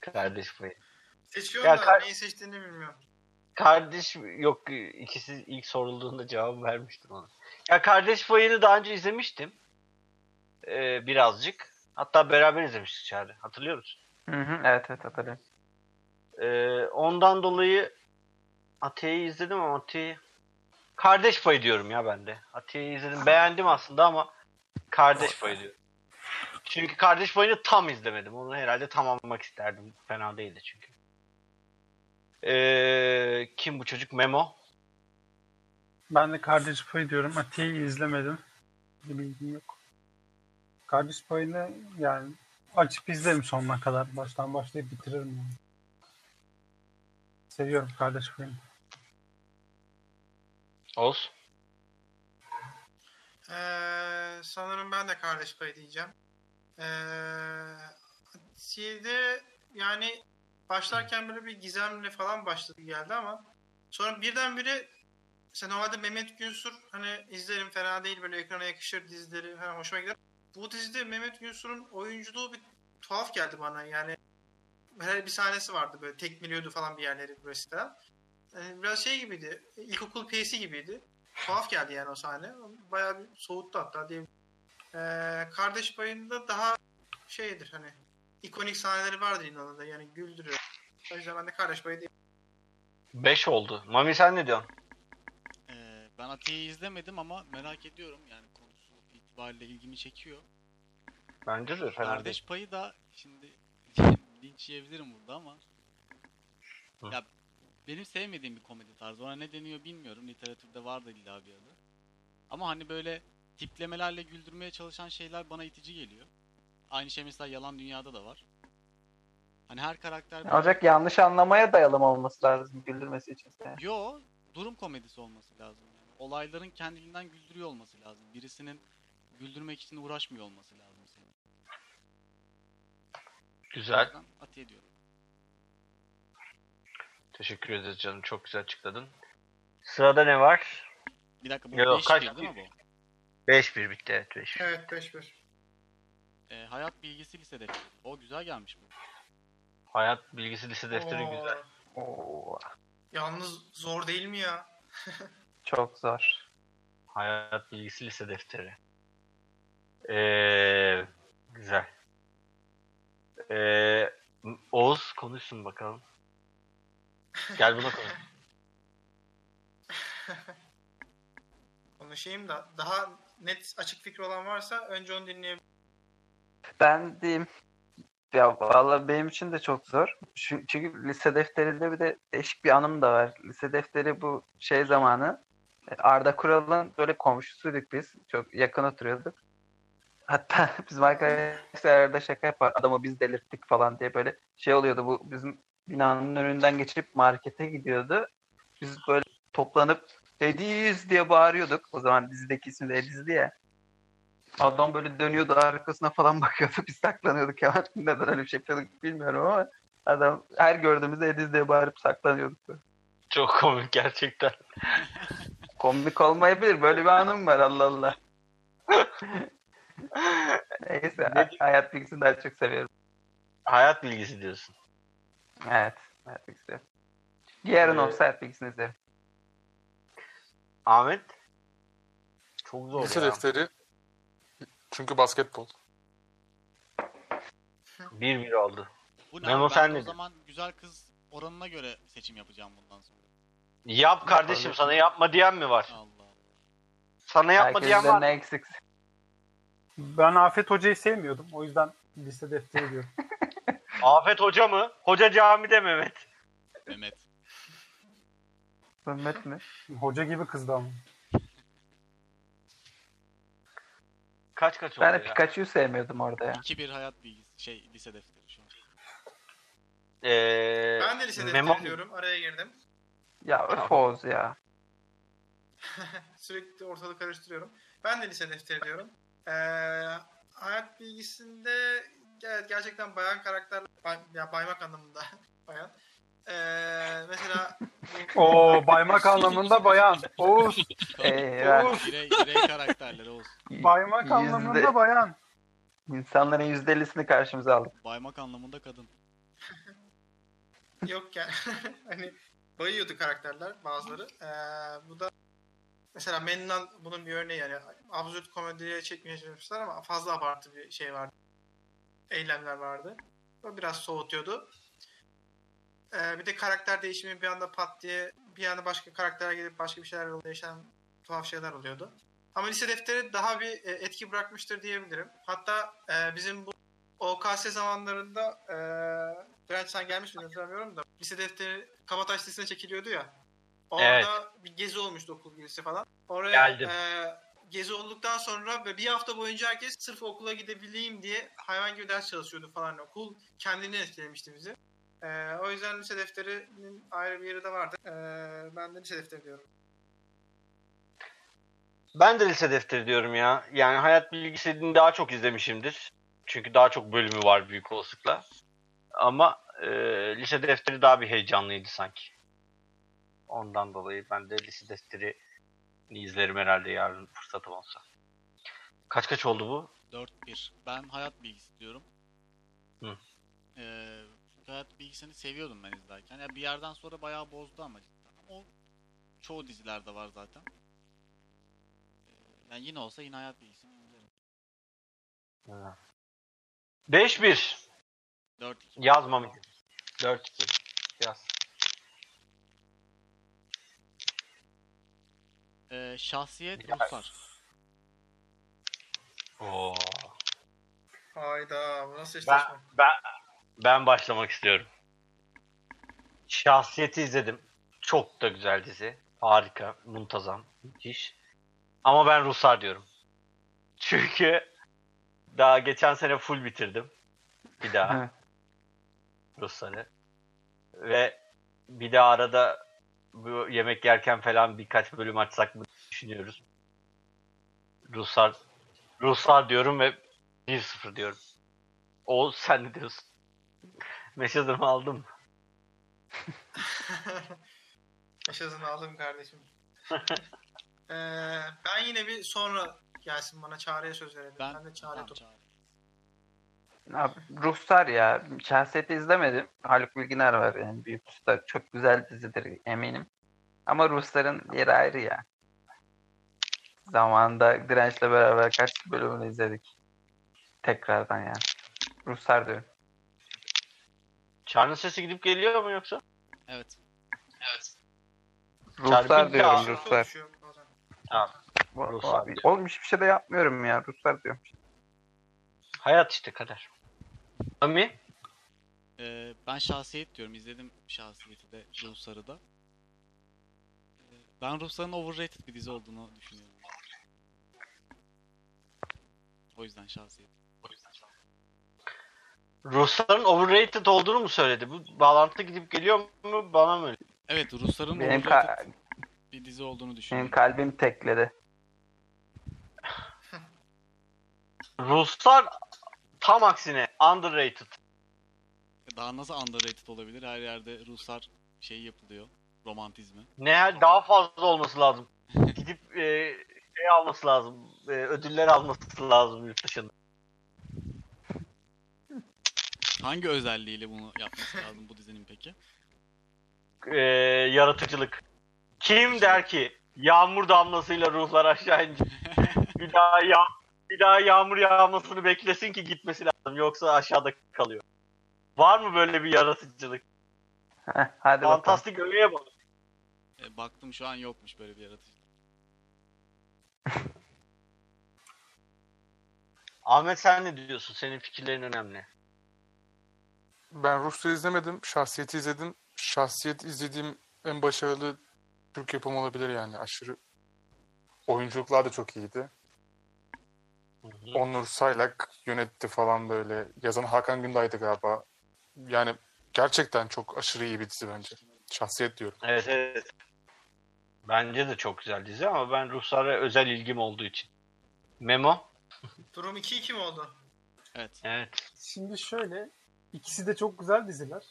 Speaker 1: Kardeş payı.
Speaker 4: Seçiyorum
Speaker 1: Ya
Speaker 4: da
Speaker 1: kar-
Speaker 4: neyi seçtiğini bilmiyorum.
Speaker 1: Kardeş yok ikisi ilk sorulduğunda cevabı vermiştim ona. Ya kardeş payını daha önce izlemiştim. Ee, birazcık. Hatta beraber izlemiştik Çağrı. Hatırlıyoruz.
Speaker 3: Hı hı, evet evet hatırlıyorum.
Speaker 1: Ee, ondan dolayı Atiye'yi izledim ama Atiye kardeş payı diyorum ya ben de. Atiye'yi izledim. Beğendim aslında ama kardeş payı diyorum. Çünkü kardeş payını tam izlemedim. Onu herhalde tamamlamak isterdim. Fena değildi çünkü. Ee, kim bu çocuk? Memo.
Speaker 5: Ben de Kardeş Payı diyorum. Atiye'yi izlemedim. Bir bilgim yok. Kardeş Payı'nı yani açıp izlerim sonuna kadar. Baştan başlayıp bitiririm yani. Seviyorum Kardeş Payı'nı.
Speaker 1: Oz.
Speaker 4: Ee, sanırım ben de kardeş payı diyeceğim. Ee, Atiye'de yani başlarken böyle bir gizemle falan başladı geldi ama sonra birdenbire sen o halde Mehmet Günsür hani izlerim fena değil böyle ekrana yakışır dizileri hani hoşuma gider. Bu dizide Mehmet Günsür'ün oyunculuğu bir tuhaf geldi bana yani. Her bir sahnesi vardı böyle tekmeliyordu falan bir yerleri böyle siteden. Yani biraz şey gibiydi. İlkokul piyesi gibiydi tuhaf geldi yani o sahne. Bayağı bir soğuttu hatta diye. kardeş payında daha şeydir hani ikonik sahneleri vardır inanında yani güldürüyor. O yüzden ben de kardeş payı değil.
Speaker 1: 5 oldu. Mami sen ne diyorsun?
Speaker 2: Ee, ben Atiye'yi izlemedim ama merak ediyorum. Yani konusu itibariyle ilgimi çekiyor.
Speaker 1: Bence de fena değil.
Speaker 2: Kardeş payı da şimdi linç yiyebilirim burada ama
Speaker 1: Hı.
Speaker 2: ya benim sevmediğim bir komedi tarzı. Ona ne deniyor bilmiyorum. Literatürde vardı illa bir adı. Ama hani böyle tiplemelerle güldürmeye çalışan şeyler bana itici geliyor. Aynı şey mesela Yalan Dünya'da da var. Hani her karakter böyle-
Speaker 3: Ancak yanlış anlamaya dayalı mı olması lazım güldürmesi için. seni?
Speaker 2: Yo, durum komedisi olması lazım. Yani olayların kendiliğinden güldürüyor olması lazım. Birisinin güldürmek için uğraşmıyor olması lazım senin. O
Speaker 1: Güzel.
Speaker 2: yüzden Ati ediyorum.
Speaker 1: Teşekkür ederiz canım. Çok güzel açıkladın. Sırada ne var?
Speaker 2: Bir dakika bu
Speaker 1: Yo,
Speaker 2: 5
Speaker 1: kaç-
Speaker 2: değil mi bu?
Speaker 1: 5-1 bitti. Evet 5
Speaker 4: Evet 5-1.
Speaker 2: Ee, hayat bilgisi lise defteri. O güzel gelmiş bu.
Speaker 1: Hayat bilgisi lise defteri
Speaker 4: Oo,
Speaker 1: güzel.
Speaker 3: Oo,
Speaker 4: Yalnız zor değil mi ya?
Speaker 3: çok zor.
Speaker 1: Hayat bilgisi lise defteri. Ee, güzel. Ee, Oğuz konuşsun bakalım. Gel buna konuş.
Speaker 4: Konuşayım da daha net açık fikri olan varsa önce onu dinleyebilirim.
Speaker 3: Ben diyeyim. Ya valla benim için de çok zor. Çünkü, çünkü lise defterinde bir de değişik bir anım da var. Lise defteri bu şey zamanı. e, Arda Kural'ın böyle komşusuyduk biz. Çok yakın oturuyorduk. Hatta bizim arkadaşlar arada şaka yapar. Adamı biz delirttik falan diye böyle şey oluyordu. Bu bizim binanın önünden geçip markete gidiyordu. Biz böyle toplanıp Ediz diye bağırıyorduk. O zaman dizideki isim de Ediz'di ya. Adam böyle dönüyordu arkasına falan bakıyordu. Biz saklanıyorduk ya. Neden öyle bir şey yapıyorduk bilmiyorum ama adam her gördüğümüzde Ediz diye bağırıp saklanıyorduk. böyle.
Speaker 1: Çok komik gerçekten.
Speaker 3: Komik olmayabilir. Böyle bir anım var Allah Allah. Neyse hay- hayat bilgisini daha çok seviyorum.
Speaker 1: Hayat bilgisi diyorsun.
Speaker 3: Evet. Hayat bilgisi. Yarın
Speaker 1: Ee,
Speaker 3: olsa hayat bilgisini izlerim.
Speaker 1: Ahmet? Çok zor
Speaker 6: Lise
Speaker 1: ya.
Speaker 6: defteri. Çünkü basketbol.
Speaker 1: 1-1 oldu.
Speaker 2: Bu
Speaker 1: Memo
Speaker 2: Ben
Speaker 1: sen
Speaker 2: de
Speaker 1: ne
Speaker 2: o
Speaker 1: diyorsun?
Speaker 2: zaman güzel kız oranına göre seçim yapacağım bundan sonra.
Speaker 1: Yap kardeşim sana yapma diyen mi var?
Speaker 2: Allah Allah.
Speaker 1: Sana yapma
Speaker 3: Herkesin
Speaker 1: diyen var.
Speaker 3: ne eksik.
Speaker 5: Ben Afet Hoca'yı sevmiyordum. O yüzden liste defteri diyorum.
Speaker 1: Afet Hoca mı? Hoca camide Mehmet.
Speaker 2: Mehmet.
Speaker 3: Mehmet mi?
Speaker 5: Hoca gibi kızdı ama.
Speaker 1: Kaç kaç oldu
Speaker 3: Ben
Speaker 1: ya?
Speaker 3: de Pikachu'yu sevmiyordum orada ya.
Speaker 2: 2-1 hayat bilgisi şey lise defteri şu an.
Speaker 1: Ee,
Speaker 4: Ben de lisede
Speaker 1: Memo-
Speaker 4: dinliyorum. Araya girdim.
Speaker 3: Ya öf Oğuz ya.
Speaker 4: Sürekli ortalığı karıştırıyorum. Ben de lise defteri diyorum. Ee, hayat bilgisinde evet, gerçekten bayan karakter bay- ya baymak anlamında bayan. Ee, mesela bu-
Speaker 5: Oo baymak anlamında bayan. Oğuz
Speaker 3: Eyvah.
Speaker 2: Birey, birey karakterleri olsun.
Speaker 5: baymak
Speaker 3: Yüzde-
Speaker 5: anlamında bayan.
Speaker 3: İnsanların %50'sini karşımıza aldık.
Speaker 2: Baymak anlamında kadın.
Speaker 4: yokken hani bayıyordu karakterler bazıları. Ee, bu da mesela Mennan bunun bir örneği yani absürt komediye çekmeye çalışmışlar ama fazla abartı bir şey vardı. Eylemler vardı. O biraz soğutuyordu. Ee, bir de karakter değişimi bir anda pat diye bir anda başka karaktere gelip başka bir şeyler oluyor. Yaşanan tuhaf şeyler oluyordu. Ama lise defteri daha bir e, etki bırakmıştır diyebilirim. Hatta e, bizim bu OKS zamanlarında e, Bülent sen gelmiş miydin hatırlamıyorum da lise defteri Kabataş Lisesi'ne çekiliyordu ya. Orada
Speaker 1: Evet.
Speaker 4: bir gezi olmuştu okul gezisi falan. Oraya
Speaker 1: Geldim.
Speaker 4: e, gezi olduktan sonra ve bir hafta boyunca herkes sırf okula gidebileyim diye hayvan gibi ders çalışıyordu falan. Okul kendini etkilemişti bizi. E, o yüzden lise defterinin ayrı bir yeri de vardı. E, ben de lise defteri diyorum.
Speaker 1: Ben de lise defteri diyorum ya. Yani hayat bilgisini daha çok izlemişimdir. Çünkü daha çok bölümü var büyük olasılıkla. Ama e, lise defteri daha bir heyecanlıydı sanki. Ondan dolayı ben de lise defteri izlerim herhalde yarın fırsatım olsa. Kaç kaç oldu bu?
Speaker 2: 4-1. Ben hayat bilgisi diyorum.
Speaker 1: Hı.
Speaker 2: Ee, hayat bilgisini seviyordum ben izlerken. Ya bir yerden sonra bayağı bozdu ama cidden. Ama o çoğu dizilerde var zaten. Ee, Yani yine olsa yine hayat bilgisini izlerim.
Speaker 1: 5-1.
Speaker 2: 4-2.
Speaker 1: Yazmam. 4-2. Yaz.
Speaker 2: Ee, şahsiyet
Speaker 1: Ya.
Speaker 2: ruhsar.
Speaker 1: Oo.
Speaker 4: Hayda bu nasıl
Speaker 1: Ben,
Speaker 4: eşleşme?
Speaker 1: ben, ben başlamak istiyorum. Şahsiyeti izledim. Çok da güzel dizi. Harika, muntazam, müthiş. Ama ben Ruslar diyorum. Çünkü daha geçen sene full bitirdim. Bir daha.
Speaker 3: Evet.
Speaker 1: Rusları. Ve bir de arada bu yemek yerken falan birkaç bölüm açsak mı düşünüyoruz. Ruslar Ruslar diyorum ve 1-0 diyorum. O sen ne diyorsun? Mesajımı aldım.
Speaker 4: Yaşasını aldım kardeşim. Ee, ben yine bir sonra gelsin bana Çağrı'ya söz verelim. Ben,
Speaker 2: Ben-
Speaker 4: de Çağrı'ya
Speaker 2: Tamam,
Speaker 4: dur.
Speaker 2: çağır.
Speaker 3: Abi, Ruhsar ya. Şahsiyeti izlemedim. Haluk Bilginer var yani. Büyük usta. Çok güzel dizidir eminim. Ama Rusların yeri ayrı ya. Zamanında Direnç'le beraber kaç bölümünü izledik. Tekrardan yani. Ruslar diyorum.
Speaker 1: Çağrı'nın sesi gidip geliyor mu yoksa?
Speaker 2: Evet. Evet.
Speaker 3: Ruslar
Speaker 1: Çarpıntı
Speaker 3: diyorum
Speaker 1: ağzı
Speaker 3: Ruslar.
Speaker 4: Konuşuyor bazen.
Speaker 3: Bu- bu-
Speaker 1: Ruslar.
Speaker 3: Oğlum hiçbir şey de yapmıyorum ya. Ruslar diyorum.
Speaker 1: Hayat işte kader. Mami?
Speaker 2: Ee, ben şahsiyet diyorum. İzledim şahsiyeti de Ruslar'ı da. Ee, Ben Ruslar'ın overrated bir dizi olduğunu düşünüyorum. O yüzden şahsiyet. O yüzden şahsiyet.
Speaker 1: Rusların overrated olduğunu mu söyledi? Bu bağlantı gidip geliyor mu bana mı?
Speaker 2: Evet Ruslar'ın
Speaker 3: Benim,
Speaker 2: overrated
Speaker 3: ka-
Speaker 2: bir dizi olduğunu
Speaker 3: benim
Speaker 2: düşünüyorum.
Speaker 3: kalbim tekledi.
Speaker 1: Ruslar tam aksine underrated.
Speaker 2: Daha nasıl underrated olabilir? Her yerde Ruslar şey yapılıyor. Romantizmi.
Speaker 1: Ne daha fazla olması lazım. Gidip e, şey alması lazım. E, ödüller alması lazım yurt dışında.
Speaker 2: Hangi özelliğiyle bunu yapması lazım bu dizinin peki?
Speaker 1: E, yaratıcılık. Kim der ki yağmur damlasıyla ruhlar aşağı inecek. bir daha ya bir daha yağmur yağmasını beklesin ki gitmesi lazım yoksa aşağıda kalıyor. Var mı böyle bir yaratıcılık?
Speaker 3: Heh, hadi bakalım.
Speaker 1: Fantastik öğeye bak.
Speaker 2: E, baktım şu an yokmuş böyle bir yaratıcı.
Speaker 1: Ahmet sen ne diyorsun? Senin fikirlerin önemli.
Speaker 6: Ben Rus'u izlemedim. Şahsiyeti izledim. Şahsiyet izlediğim en başarılı Türk yapımı olabilir yani. Aşırı oyunculuklar da çok iyiydi. Onur Saylak yönetti falan böyle. Yazan Hakan Günday'dı galiba. Yani gerçekten çok aşırı iyi bir dizi bence. Şahsiyet diyorum.
Speaker 1: Evet evet. Bence de çok güzel dizi ama ben Ruslara özel ilgim olduğu için. Memo?
Speaker 4: Durum 2-2 mi oldu?
Speaker 2: Evet.
Speaker 1: Evet.
Speaker 5: Şimdi şöyle, ikisi de çok güzel diziler.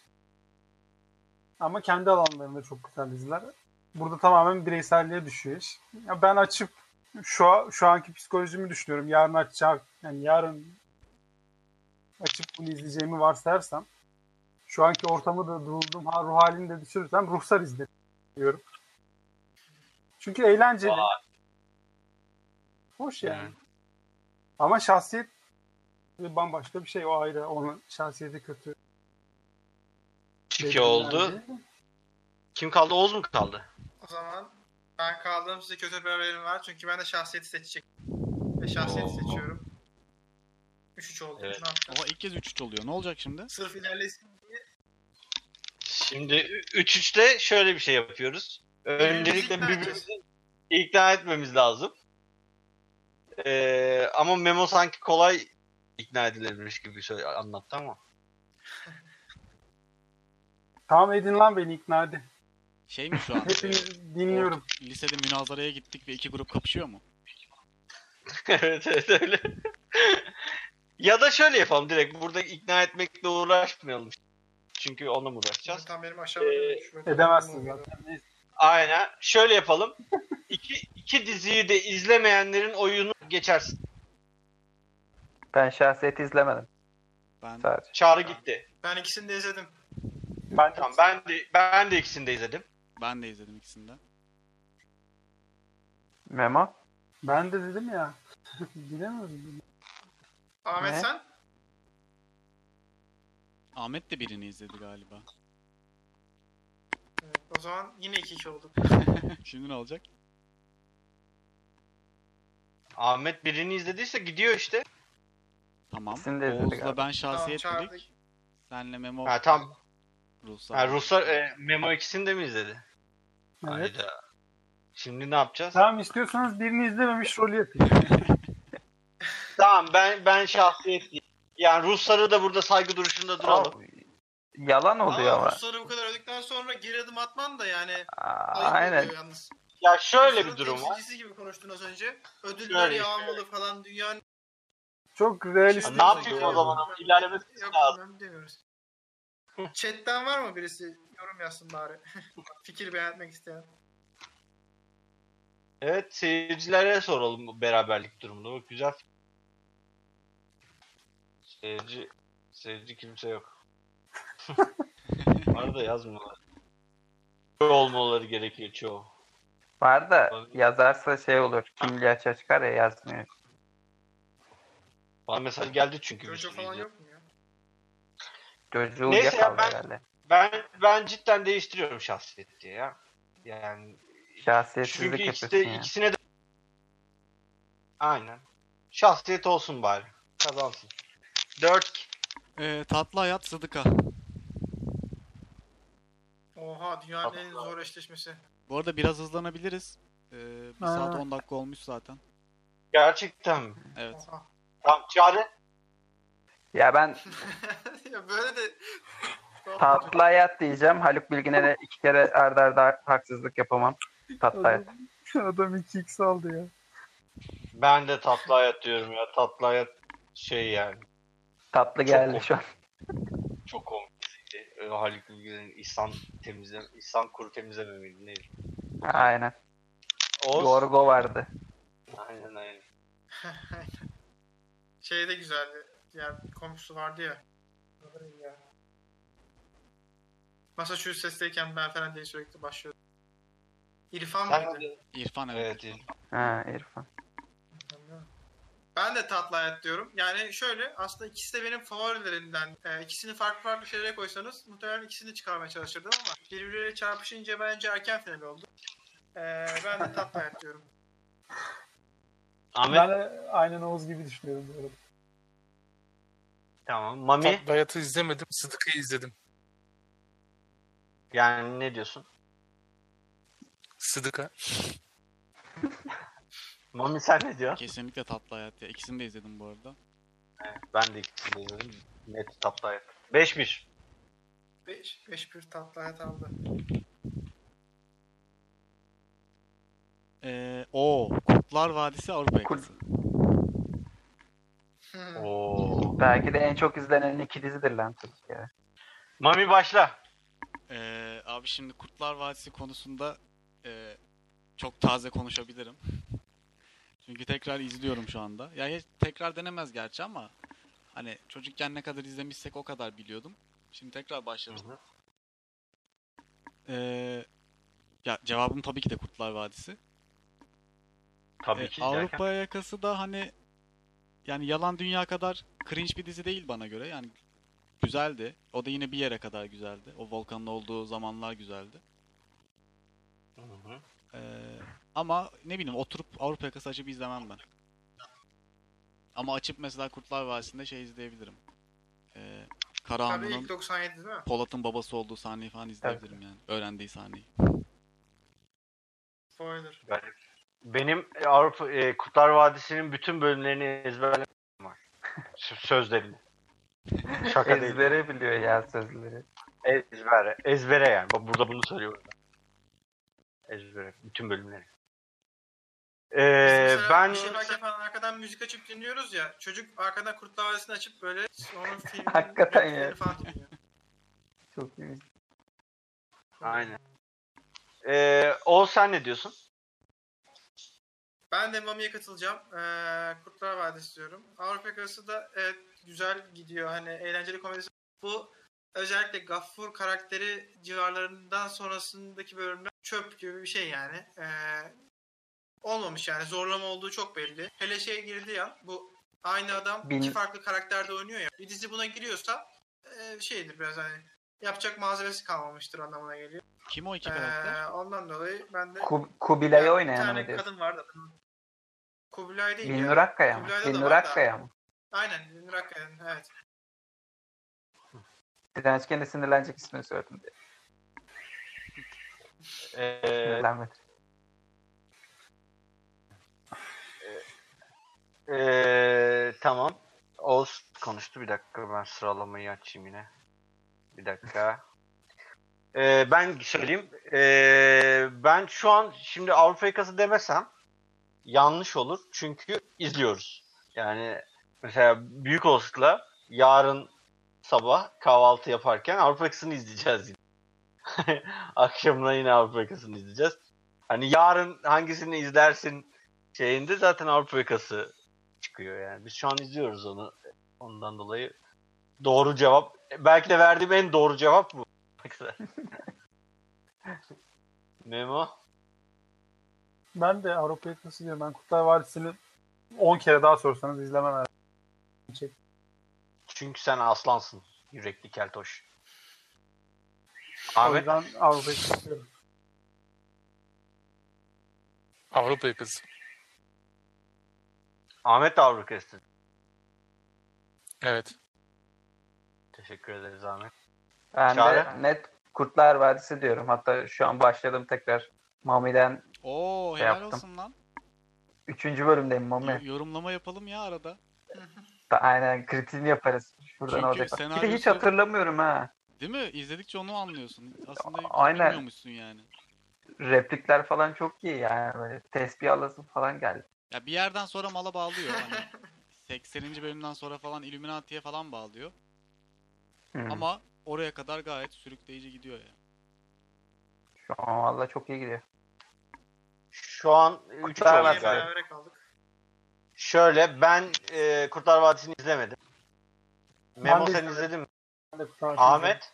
Speaker 5: Ama kendi alanlarında çok güzel diziler. Burada tamamen bireyselliğe düşüyor iş. Ya ben açıp şu a- şu anki psikolojimi düşünüyorum. Yarın açacağım, yani yarın açıp bunu izleyeceğimi varsayarsam şu anki ortamı da bulduğum ha, ruh halini de düşürürsem ruhsar izlerim diyorum. Çünkü eğlenceli.
Speaker 1: Vay.
Speaker 5: Hoş yani.
Speaker 1: Evet.
Speaker 5: Ama şahsiyet bambaşka bir şey. O ayrı. Onun şahsiyeti kötü.
Speaker 1: İki
Speaker 5: dediğim
Speaker 1: oldu.
Speaker 5: halde.
Speaker 1: Kim kaldı? Oğuz mu kaldı?
Speaker 4: O zaman ben kaldım size kötü bir haberim var. Çünkü ben de şahsiyeti seçecek. Ve şahsiyeti
Speaker 1: Oo.
Speaker 4: seçiyorum. 3-3 oldu.
Speaker 1: Evet.
Speaker 4: Ne yapacağız?
Speaker 2: Ama ilk kez 3-3 oluyor. Ne olacak şimdi?
Speaker 4: Sırf ilerlesin.
Speaker 1: Şimdi 3-3'te şöyle bir şey yapıyoruz. Öncelikle
Speaker 4: Birbirimizi
Speaker 1: birbirimizi ikna etmemiz lazım. Ee, ama Memo sanki kolay ikna edilebilmiş gibi söyle, anlattı ama.
Speaker 5: Tamam edin lan beni ikna hadi.
Speaker 2: Şey mi şu an?
Speaker 5: Hepinizi dinliyorum.
Speaker 2: Lisede münazaraya gittik ve iki grup kapışıyor mu?
Speaker 1: evet evet öyle. ya da şöyle yapalım direkt. Burada ikna etmekle uğraşmayalım. Çünkü onunla mı uğraşacağız?
Speaker 4: Tam benim aşağıma.
Speaker 1: Ee,
Speaker 4: Şurada-
Speaker 5: Edemezsin zaten. Neyse.
Speaker 1: Aynen. Şöyle yapalım. İki, iki diziyi de izlemeyenlerin oyunu geçersin.
Speaker 3: Ben şahsiyeti izlemedim
Speaker 2: Ben
Speaker 3: sadece.
Speaker 1: Çağrı gitti.
Speaker 4: Ben ikisini de izledim.
Speaker 5: Ben
Speaker 1: Tamam ben de ben de ikisini de izledim.
Speaker 2: ben de izledim ikisini de.
Speaker 3: Memo?
Speaker 5: ben de dedim ya. Bilemiyorum.
Speaker 4: Ahmet
Speaker 3: Ne?
Speaker 4: sen?
Speaker 2: Ahmet de birini izledi galiba.
Speaker 4: Evet, o zaman yine 2-2 olduk.
Speaker 2: Şimdi ne olacak?
Speaker 1: Ahmet birini izlediyse gidiyor işte.
Speaker 2: Tamam.
Speaker 3: İkisini de izledi
Speaker 2: Oğuz'la
Speaker 3: galiba.
Speaker 2: ben şahsiyet
Speaker 4: Tamam, çağırdık.
Speaker 2: dedik. Senle Memo
Speaker 1: Ha tamam.
Speaker 2: Ruslar.
Speaker 1: Ha, Ruslar e, Memo ikisini de mi izledi?
Speaker 5: Evet.
Speaker 1: Hayda. Şimdi ne yapacağız?
Speaker 5: Tamam istiyorsanız birini izlememiş rolü yapayım.
Speaker 1: Tamam ben ben şahsiyet Yani Rusları da burada saygı duruşunda duralım.
Speaker 3: Abi, Yalan oluyor ama.
Speaker 4: Ama Rusları bu kadar öldükten sonra geri adım atman da yani
Speaker 3: Aa,
Speaker 4: ayıp
Speaker 3: Aynen.
Speaker 4: oluyor yalnız.
Speaker 1: Ya şöyle
Speaker 4: Rusların
Speaker 1: bir durum var.
Speaker 4: temsilcisi gibi konuştun az önce. Ödüller
Speaker 1: Şöyle.
Speaker 4: yağmalı falan dünyanın...
Speaker 5: Çok realist.
Speaker 1: Ne yapayım o zaman? ama? İlerlemesi
Speaker 4: Yok
Speaker 1: lazım.
Speaker 4: önemli demiyoruz. Chatten var mı birisi? Yorum yazsın bari. Fikir beğenmek isteyen.
Speaker 1: Evet seyircilere soralım bu beraberlik durumunu. Bak güzel. Seyirci seyirci kimse yok. Var da yazmıyorlar. Böyle olmaları gerekiyor çoğu.
Speaker 3: Var da yazarsa şey olur. Kimliği açığa çıkar ya yazmıyor.
Speaker 1: Bana mesaj geldi çünkü. bir
Speaker 4: Jojo
Speaker 1: sürü
Speaker 4: falan
Speaker 1: izleyen.
Speaker 4: yok mu ya?
Speaker 3: Çocuğu
Speaker 1: Neyse ya,
Speaker 3: uyuyakaldı
Speaker 1: ben-
Speaker 3: herhalde.
Speaker 1: Ben ben cidden değiştiriyorum şahsiyeti ya. Yani
Speaker 3: Şahsiyetsizlik
Speaker 1: çünkü
Speaker 3: yapıyorsun
Speaker 1: ikisi,
Speaker 3: ya.
Speaker 1: ikisine de Aynen. Şahsiyet olsun bari. Kazansın. 4
Speaker 2: Ee, tatlı hayat Sıdıka.
Speaker 4: Oha dünyanın en
Speaker 1: Tatlı.
Speaker 4: zor eşleşmesi.
Speaker 2: Bu arada biraz hızlanabiliriz. Ee, bir
Speaker 5: Ha.
Speaker 2: saat 10 dakika olmuş zaten.
Speaker 1: gerçekten mi?
Speaker 2: Evet.
Speaker 4: Oha.
Speaker 1: Tamam çare.
Speaker 3: Ya ben
Speaker 4: ya böyle de...
Speaker 3: tatlı hayat diyeceğim. Haluk Bilginer'e iki kere arda arda haksızlık yapamam. Tatlı hayat.
Speaker 5: Adam, adam 2x aldı ya.
Speaker 1: Ben de tatlı hayat diyorum ya. Tatlı hayat şey yani.
Speaker 3: Tatlı geldi şu an.
Speaker 1: Çok komikti. Ee, Haluk Bilginer'in İhsan temizle İhsan kuru temizlememeli neydi?
Speaker 3: Aynen.
Speaker 1: O
Speaker 3: Gorgo vardı.
Speaker 1: Aynen aynen.
Speaker 4: şey de güzeldi. Yani komşusu vardı ya. ya. Massachusetts'teyken ben falan diye sürekli başlıyordum. İrfan
Speaker 1: Sen
Speaker 4: mıydı?
Speaker 2: İrfan evet.
Speaker 1: evet. iyi.
Speaker 3: Ha İrfan.
Speaker 4: Ben de tatlı hayat diyorum. Yani şöyle aslında ikisi de benim favorilerimden. Ee, ikisini farklı farklı şeylere koysanız muhtemelen ikisini çıkarmaya çalışırdım ama birbirleriyle çarpışınca bence erken final oldu. Ee, ben de tatlı hayat diyorum.
Speaker 1: Ahmet
Speaker 5: Ben de aynen Oğuz gibi düşünüyorum bu arada.
Speaker 1: tamam. Mami
Speaker 6: Tatlı Hayat'ı izlemedim. Sıdıka'yı izledim.
Speaker 1: yani ne diyorsun?
Speaker 6: Sıdıka.
Speaker 1: Mami sen ne diyorsun?
Speaker 2: Kesinlikle tatlı hayat ya. İkisini de izledim bu arada.
Speaker 1: Ben de ikisini de izledim. Net tatlı hayat. 5-1.
Speaker 4: 5 5 bir tatlı hayat aldı.
Speaker 2: Ee, o Kurtlar Vadisi Avrupa Yakası.
Speaker 4: Hmm.
Speaker 1: Oo.
Speaker 3: Belki de en çok izlenen iki dizidir lan Türkiye'de.
Speaker 1: Mami başla.
Speaker 2: Ee, abi şimdi Kurtlar Vadisi konusunda e, çok taze konuşabilirim. Çünkü tekrar izliyorum şu anda. Ya hiç tekrar denemez gerçi ama hani çocukken ne kadar izlemişsek o kadar biliyordum. Şimdi tekrar başladım.
Speaker 1: Hı hı.
Speaker 2: Ee, ya cevabım tabii ki de Kurtlar Vadisi.
Speaker 1: Tabii
Speaker 2: E,
Speaker 1: ki. derken.
Speaker 2: Avrupa Yakası da hani yani Yalan Dünya kadar cringe bir dizi değil bana göre. Yani güzeldi. O da yine bir yere kadar güzeldi. O volkanın olduğu zamanlar güzeldi.
Speaker 1: Hı hı.
Speaker 2: Ee, ama ne bileyim oturup Avrupa Yakası açıp izlemem ben. Ama açıp mesela Kurtlar Vadisi'nde şey izleyebilirim. Ee,
Speaker 4: Tabii
Speaker 2: Karahanlı'nın
Speaker 4: ilk 97 değil mi?
Speaker 2: Polat'ın babası olduğu sahneyi falan izleyebilirim yani. Öğrendiği sahneyi.
Speaker 4: Spoiler.
Speaker 1: Garip. Benim e, Avrupa e, Kurtlar Vadisi'nin bütün bölümlerini ezberlemek var. Sö- Sözlerini. Şaka değil.
Speaker 3: Ezbere biliyor ya sözleri.
Speaker 1: Ezbere. Ezbere yani. Bak burada bunu söylüyorum. Ezbere. Bütün bölümleri.
Speaker 4: Biz
Speaker 1: Ee,
Speaker 4: mesela
Speaker 1: ben
Speaker 4: bir şey merak yapan arkadan müzik açıp dinliyoruz ya. Çocuk arkadan Kurtlar Vadisi'ni açıp böyle onun filmini
Speaker 3: Hakikaten ya.
Speaker 4: falan dinliyor.
Speaker 3: Çok iyi.
Speaker 1: aynen. Ee, Oğuz sen ne diyorsun?
Speaker 4: Ben de Mami'ye katılacağım. Ee, Kurtlar Vadisi diyorum. Avrupa Yakası da evet, güzel gidiyor. Hani eğlenceli komedisi. Bu özellikle Gaffur karakteri civarlarından sonrasındaki bölümler çöp gibi bir şey yani. Ee, olmamış yani. Zorlama olduğu çok belli. Hele şeye girdi ya. Bu aynı adam
Speaker 3: Bil-
Speaker 4: iki farklı karakterde oynuyor ya. Bir dizi buna giriyorsa e, şeydir biraz hani yapacak malzemesi kalmamıştır anlamına geliyor.
Speaker 2: Kim o iki karakter?
Speaker 4: Ee, ondan dolayı ben de
Speaker 3: Ku- Kubilay'ı
Speaker 4: bir
Speaker 3: oynayan
Speaker 4: tane
Speaker 3: mı diyorsun?
Speaker 4: kadın vardı. Kubilay değil
Speaker 3: Bilnur
Speaker 4: ya.
Speaker 3: Akkaya mı?
Speaker 4: Kubilay'da da
Speaker 3: Bilnur
Speaker 4: var da.
Speaker 3: Akkaya mı?
Speaker 4: Aynen Bilnur Akkaya'nın evet.
Speaker 3: Direnç kendi sinirlenecek ismini söyledim diye.
Speaker 1: Ee,
Speaker 3: Sinirlenmedi.
Speaker 1: ee, tamam. Oğuz konuştu. Bir dakika ben sıralamayı açayım yine. Bir dakika. Ee, ben söyleyeyim. Ee, ben şu an şimdi Avrupa yakası demesem yanlış olur. Çünkü izliyoruz. Yani mesela büyük olasılıkla yarın sabah kahvaltı yaparken Avrupa yakasını izleyeceğiz yine. Akşamına yine Avrupa yakasını izleyeceğiz. Hani yarın hangisini izlersin şeyinde zaten Avrupa yakası çıkıyor yani. Biz şu an izliyoruz onu. Ondan dolayı doğru cevap. Belki de verdiğim en doğru cevap bu. Baksana. Memo.
Speaker 5: Ben de Avrupa Yakası diyorum. Ben Kurtlar Vadisi'ni 10 kere daha sorsanız izlemem herhalde. Çek.
Speaker 1: Çünkü sen aslansın. Yürekli keltoş.
Speaker 5: O
Speaker 1: Ahmet.
Speaker 5: yüzden Avrupa Yakası diyorum.
Speaker 6: Avrupa yakası.
Speaker 1: Ahmet de Avrupa yakası.
Speaker 6: Evet.
Speaker 1: Teşekkür ederiz Ahmet.
Speaker 3: Ben
Speaker 1: Çağrı?
Speaker 3: de net Kurtlar Vadisi diyorum. Hatta şu an başladım tekrar. Mami'den
Speaker 2: Oo
Speaker 3: Şey
Speaker 2: helal
Speaker 3: yaptım.
Speaker 2: olsun lan.
Speaker 3: 3. bölümdeyim
Speaker 2: Yo-
Speaker 3: Mami.
Speaker 2: Yorumlama yapalım ya arada.
Speaker 3: Da- Aynen kritiğini yaparız. Şuradan
Speaker 2: Çünkü
Speaker 3: orada. Bir de hiç
Speaker 2: senaryosu-
Speaker 3: hatırlamıyorum ha.
Speaker 2: Değil mi? İzledikçe onu anlıyorsun. Aslında
Speaker 3: Aynen.
Speaker 2: bilmiyormuşsun yani.
Speaker 3: Replikler falan çok iyi yani. Böyle tesbih alasın falan geldi.
Speaker 2: Ya bir yerden sonra mala bağlıyor. Hani 80. bölümden sonra falan Illuminati'ye falan bağlıyor.
Speaker 3: Hı.
Speaker 2: Ama oraya kadar gayet sürükleyici gidiyor ya.
Speaker 3: Şu an valla çok iyi gidiyor.
Speaker 1: Şu an 3
Speaker 3: Kurtlar
Speaker 1: oldu
Speaker 3: Vadisi.
Speaker 1: galiba.
Speaker 4: Berabere kaldık.
Speaker 1: Şöyle ben e, Kurtlar Vadisi'ni izlemedim. Memo
Speaker 5: Ben de
Speaker 1: sen
Speaker 5: izlemedim.
Speaker 1: izledin mi?
Speaker 5: Ben de Kurtlar Vadisi izledim.
Speaker 1: Ahmet.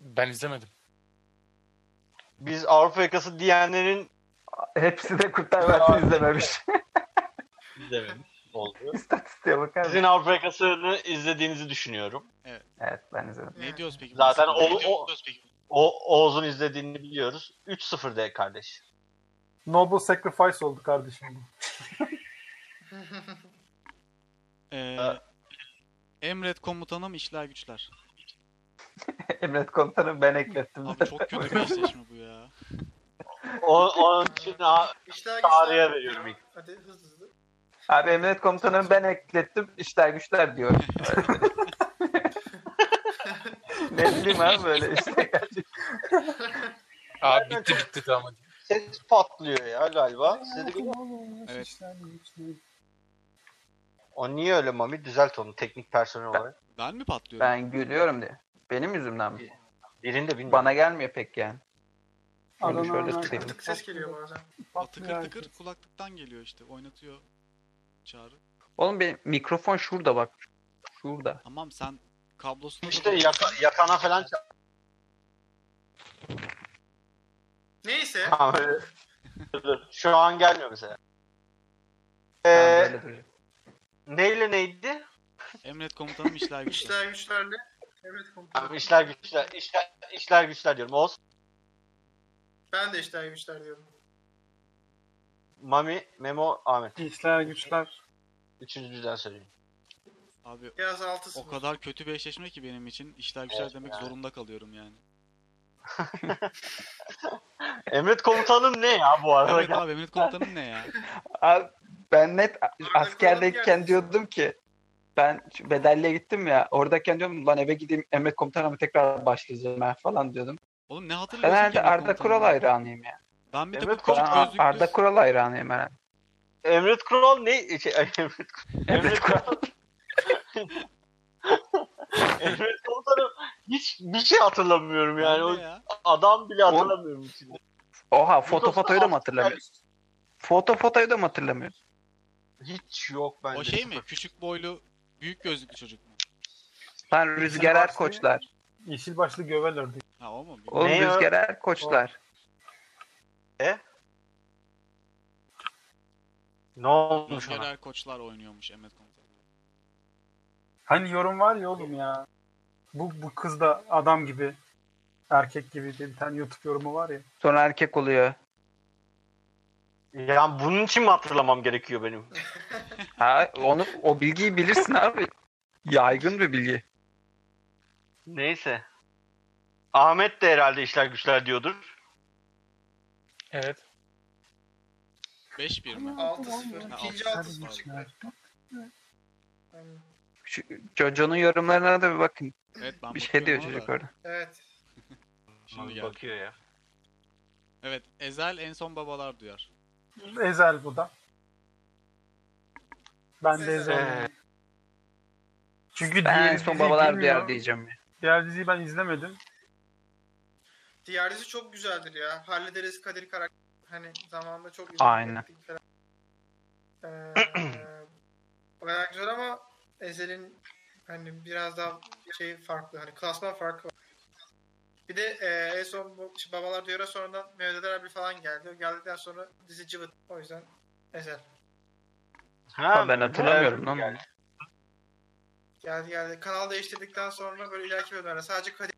Speaker 6: Ben izlemedim.
Speaker 1: Biz Avrupa yakası diyenlerin
Speaker 3: Hepsi de Kurtlar Vadisi izlememiş.
Speaker 1: izlememiş oldu.
Speaker 3: İstatistiğe bakar mısın?
Speaker 1: Sizin Avrupa yakasını izlediğinizi düşünüyorum.
Speaker 3: Evet ben izledim.
Speaker 2: Ne diyoruz peki? bu
Speaker 1: Zaten
Speaker 2: sırada?
Speaker 1: o-
Speaker 2: Ne
Speaker 1: o-
Speaker 2: diyoruz peki?
Speaker 1: O Oğuz'un izlediğini biliyoruz. 3-0 de kardeş.
Speaker 5: Noble Sacrifice oldu kardeşim bu.
Speaker 2: Ee,
Speaker 1: Ha.
Speaker 2: Emret komutanım işler güçler.
Speaker 3: Emret komutanım ben eklettim.
Speaker 2: Abi çok kötü bir eşleşme bu ya.
Speaker 1: O, onun için ha-
Speaker 4: İşler
Speaker 1: Çağrı'ya
Speaker 4: güçler.
Speaker 1: veriyorum ilk.
Speaker 4: Hadi hızlı hızlı.
Speaker 3: Abi Emret komutanım ben eklettim. İşler güçler diyor. ne bileyim abi böyle işte.
Speaker 6: Aa bitti bitti tamam.
Speaker 1: ses patlıyor ya galiba. Size de-
Speaker 2: Evet.
Speaker 1: O niye öyle Mami? Düzelt onu teknik personel olarak.
Speaker 2: Ben mi patlıyorum?
Speaker 3: Ben gülüyorum diye. Benim yüzümden mi?
Speaker 1: Birinde bilmiyorum.
Speaker 3: Bana gelmiyor pek yani. Şunu
Speaker 5: Adana
Speaker 3: şöyle
Speaker 5: Ömer-
Speaker 3: tutayım.
Speaker 4: Tık ses geliyor bazen.
Speaker 2: O tıkır tıkır kulaklıktan geliyor işte. Oynatıyor çağrı.
Speaker 3: Oğlum benim mikrofon şurada bak. Şurada.
Speaker 2: Tamam sen kablosunu da
Speaker 1: İşte
Speaker 2: doğru-
Speaker 1: yaka- yakana falan çağır.
Speaker 4: Neyse.
Speaker 1: Tamam, öyle. Şu an gelmiyor Ee, mesela.
Speaker 3: Ben
Speaker 1: Ee,
Speaker 3: böyle duracağım.
Speaker 1: neyle neydi?
Speaker 2: Emret komutanım işler güçler.
Speaker 4: İşler güçlerle. Evet komutanım.
Speaker 1: Tamam, işler güçler. işler işler güçler diyorum. Oğuz,
Speaker 4: Ben de işler güçler diyorum.
Speaker 1: Mami, Memo, Ahmet.
Speaker 5: İşler güçler.
Speaker 1: Üçüncüden söyleyeyim.
Speaker 2: Abi
Speaker 4: Biraz altı
Speaker 2: o kadar kötü bir eşleşme ki benim için işler güçler
Speaker 1: Evet,
Speaker 2: demek zorunda kalıyorum yani.
Speaker 1: Emret komutanım ne ya bu arada?
Speaker 2: Evet abi Emret komutanım ne ya?
Speaker 3: Abi ben net
Speaker 4: Arada
Speaker 3: askerdeyken
Speaker 4: kalın
Speaker 3: diyordum ki ben şu bedelliye gittim ya oradayken diyorum lan eve gideyim Emret Komutanım'a tekrar başlayacağım ben falan diyordum.
Speaker 2: Oğlum ne
Speaker 3: Ben
Speaker 2: hatırlıyorsun ki
Speaker 3: herhalde
Speaker 2: Emret
Speaker 3: Arda
Speaker 2: komutanım?
Speaker 3: Kural hayranıyım ya.
Speaker 2: Ben bir de bu
Speaker 1: Emret
Speaker 3: Ben
Speaker 2: küçük
Speaker 3: Ar-
Speaker 2: gözlüklü
Speaker 3: Arda Kural hayranıyım herhalde.
Speaker 1: Emret Kural ne? Şey, Emret, Emret Kural. Emret Komutanım hiç bir şey hatırlamıyorum yani.
Speaker 2: Ben
Speaker 1: O
Speaker 2: de ya.
Speaker 1: adam bile hatırlamıyorum şimdi.
Speaker 3: Oha foto
Speaker 1: Mikrofon
Speaker 3: fotoyu da mı
Speaker 1: altı
Speaker 3: hatırlamıyorsun? Foto fotoyu da mı hatırlamıyorsun?
Speaker 1: Hiç yok bende.
Speaker 2: O şey mi? Küçük boylu büyük gözlüklü çocuk mu?
Speaker 3: Lan Rüzgar
Speaker 5: başlı-
Speaker 3: Erkoçlar.
Speaker 5: Yeşil başlı gövel ördek.
Speaker 2: Ha o mu?
Speaker 3: Oğlum
Speaker 1: Ne ya?
Speaker 3: Rüzgar Erkoçlar.
Speaker 1: Ne olmuş ona?
Speaker 2: Rüzgar koçlar oynuyormuş Emret komutanım.
Speaker 5: Hani yorum var ya oğlum ya. Bu, bu kız da adam gibi erkek gibi diye bir tane YouTube yorumu var ya.
Speaker 3: Sonra erkek oluyor.
Speaker 1: Yani bunun için mi hatırlamam gerekiyor benim?
Speaker 3: Ha onu o bilgiyi bilirsin abi. Yaygın bir bilgi.
Speaker 1: Neyse. Ahmet de herhalde işler güçler diyordur.
Speaker 6: Evet.
Speaker 2: 5-1 mi?
Speaker 4: 6-0.
Speaker 2: Ha,
Speaker 4: İkinci
Speaker 2: altı
Speaker 4: 6-0
Speaker 2: sıfır.
Speaker 4: çıktı. Aynen.
Speaker 3: Şu- Jojo'nun yorumlarına da bir bakın.
Speaker 2: Evet, ben
Speaker 3: Bir şey diyor
Speaker 2: bakıyorum ona
Speaker 3: çocuk
Speaker 2: da.
Speaker 3: orada.
Speaker 4: Evet.
Speaker 2: Şimdi geldi.
Speaker 1: bakıyor ya.
Speaker 2: Evet, Ezel en son babalar duyar.
Speaker 5: Ezel bu da. Ben de
Speaker 4: Ezel.
Speaker 5: Ezel.
Speaker 1: Ee,
Speaker 3: Ben
Speaker 5: Çünkü diğer
Speaker 3: en son
Speaker 5: diziyi
Speaker 3: babalar
Speaker 5: bilmiyorum.
Speaker 3: duyar diyeceğim.
Speaker 5: Diğer diziyi ben izlemedim.
Speaker 4: Diğer dizi çok güzeldir ya. Hallederiz Kadir karakter. Hani zamanında çok
Speaker 3: Aynen.
Speaker 4: ettik falan. Ee, o kadar güzel ama Ezel'in hani biraz daha şey farklı. Hani klasman farkı var. Bir de e, en son bu işte babalar diyor'a sonradan Mehmet Ali abi falan geldi. Geldikten sonra dizi cıvıt. O yüzden Ezel.
Speaker 1: ha,
Speaker 3: ben hatırlamıyorum
Speaker 1: evet.
Speaker 3: lan onu.
Speaker 4: Geldi geldi. Kanal değiştirdikten sonra böyle ileriki bölümlerde sadece Kadir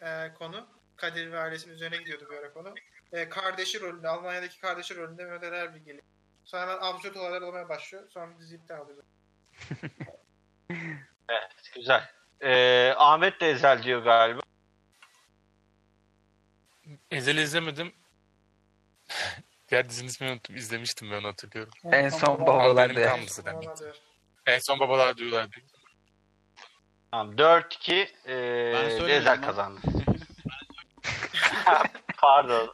Speaker 4: e, konu. Kadir ve ailesinin üzerine gidiyordu böyle konu. E, kardeşi rolünde, Almanya'daki kardeşi rolünde Mehmet Ali Erbil geliyor. Sonra hemen absürt olaylar olmaya başlıyor. Sonra dizi iptal oluyor.
Speaker 1: Güzel. Ee, Ahmet de Ezel diyor galiba.
Speaker 6: Ezel'i izlemedim. Diğer dizinin ismini unuttum. İzlemiştim ben onu hatırlıyorum.
Speaker 3: En son
Speaker 6: Babalar
Speaker 3: babalar
Speaker 6: Duyar.
Speaker 3: duyar.
Speaker 6: Tamam, sıra.
Speaker 4: Babalar diyor.
Speaker 6: En son babalar diyorlar.
Speaker 1: Tamam 4-2
Speaker 2: Ben
Speaker 1: ee,
Speaker 2: söylemedim
Speaker 1: Ezel
Speaker 2: lan.
Speaker 1: kazandı. Pardon.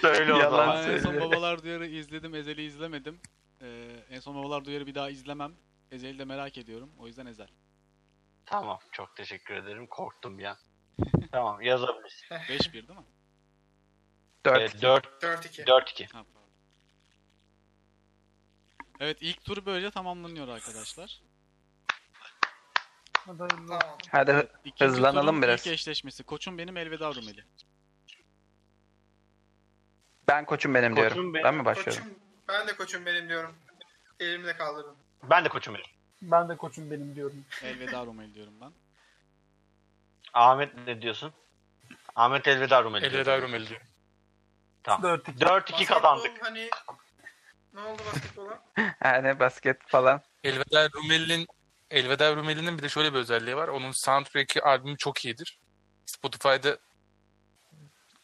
Speaker 1: Söyle o
Speaker 3: Yalan
Speaker 1: zaman.
Speaker 2: Ben en son
Speaker 3: söylüyor.
Speaker 2: babalar duyarı izledim, Ezel'i izlemedim. Ee, en son babalar duyarı bir daha izlemem. Ezel'i de merak ediyorum. O yüzden Ezel.
Speaker 1: Tamam çok teşekkür ederim. Korktum ya. tamam yazabilirsin.
Speaker 2: 5-1 değil mi?
Speaker 1: Ee,
Speaker 3: 4.
Speaker 4: 4-2.
Speaker 1: 4-2.
Speaker 2: Ha, pardon. Evet ilk tur böylece tamamlanıyor arkadaşlar.
Speaker 5: Hadi hayırlı olsun.
Speaker 4: Tamam.
Speaker 3: Hadi
Speaker 2: İkinci
Speaker 3: Hızlanalım
Speaker 2: turun
Speaker 3: biraz.
Speaker 2: İlk eşleşmesi. Koçum benim elveda Rumeli.
Speaker 3: ben koçum benim
Speaker 1: Koçum
Speaker 3: diyorum.
Speaker 1: benim,
Speaker 3: Ben mi başlıyorum?
Speaker 4: Koçum, ben de koçum benim diyorum. Elimle kaldırdım.
Speaker 1: Ben de koçum benim.
Speaker 5: Ben de koçum benim diyorum.
Speaker 2: Elveda Rumeli diyorum ben.
Speaker 1: Ahmet ne diyorsun? Ahmet elveda Rumeli. diyor.
Speaker 6: Elveda Rumeli diyor.
Speaker 1: Tamam.
Speaker 5: 4-2.
Speaker 1: 4-2
Speaker 4: Basketbol
Speaker 1: kazandık.
Speaker 4: Hani... Ne oldu basketbola?
Speaker 3: Yani basket falan.
Speaker 6: Elveda Rumeli'nin Elveda Rumeli'nin bir de şöyle bir özelliği var. Onun soundtrack'i albümü çok iyidir. Spotify'da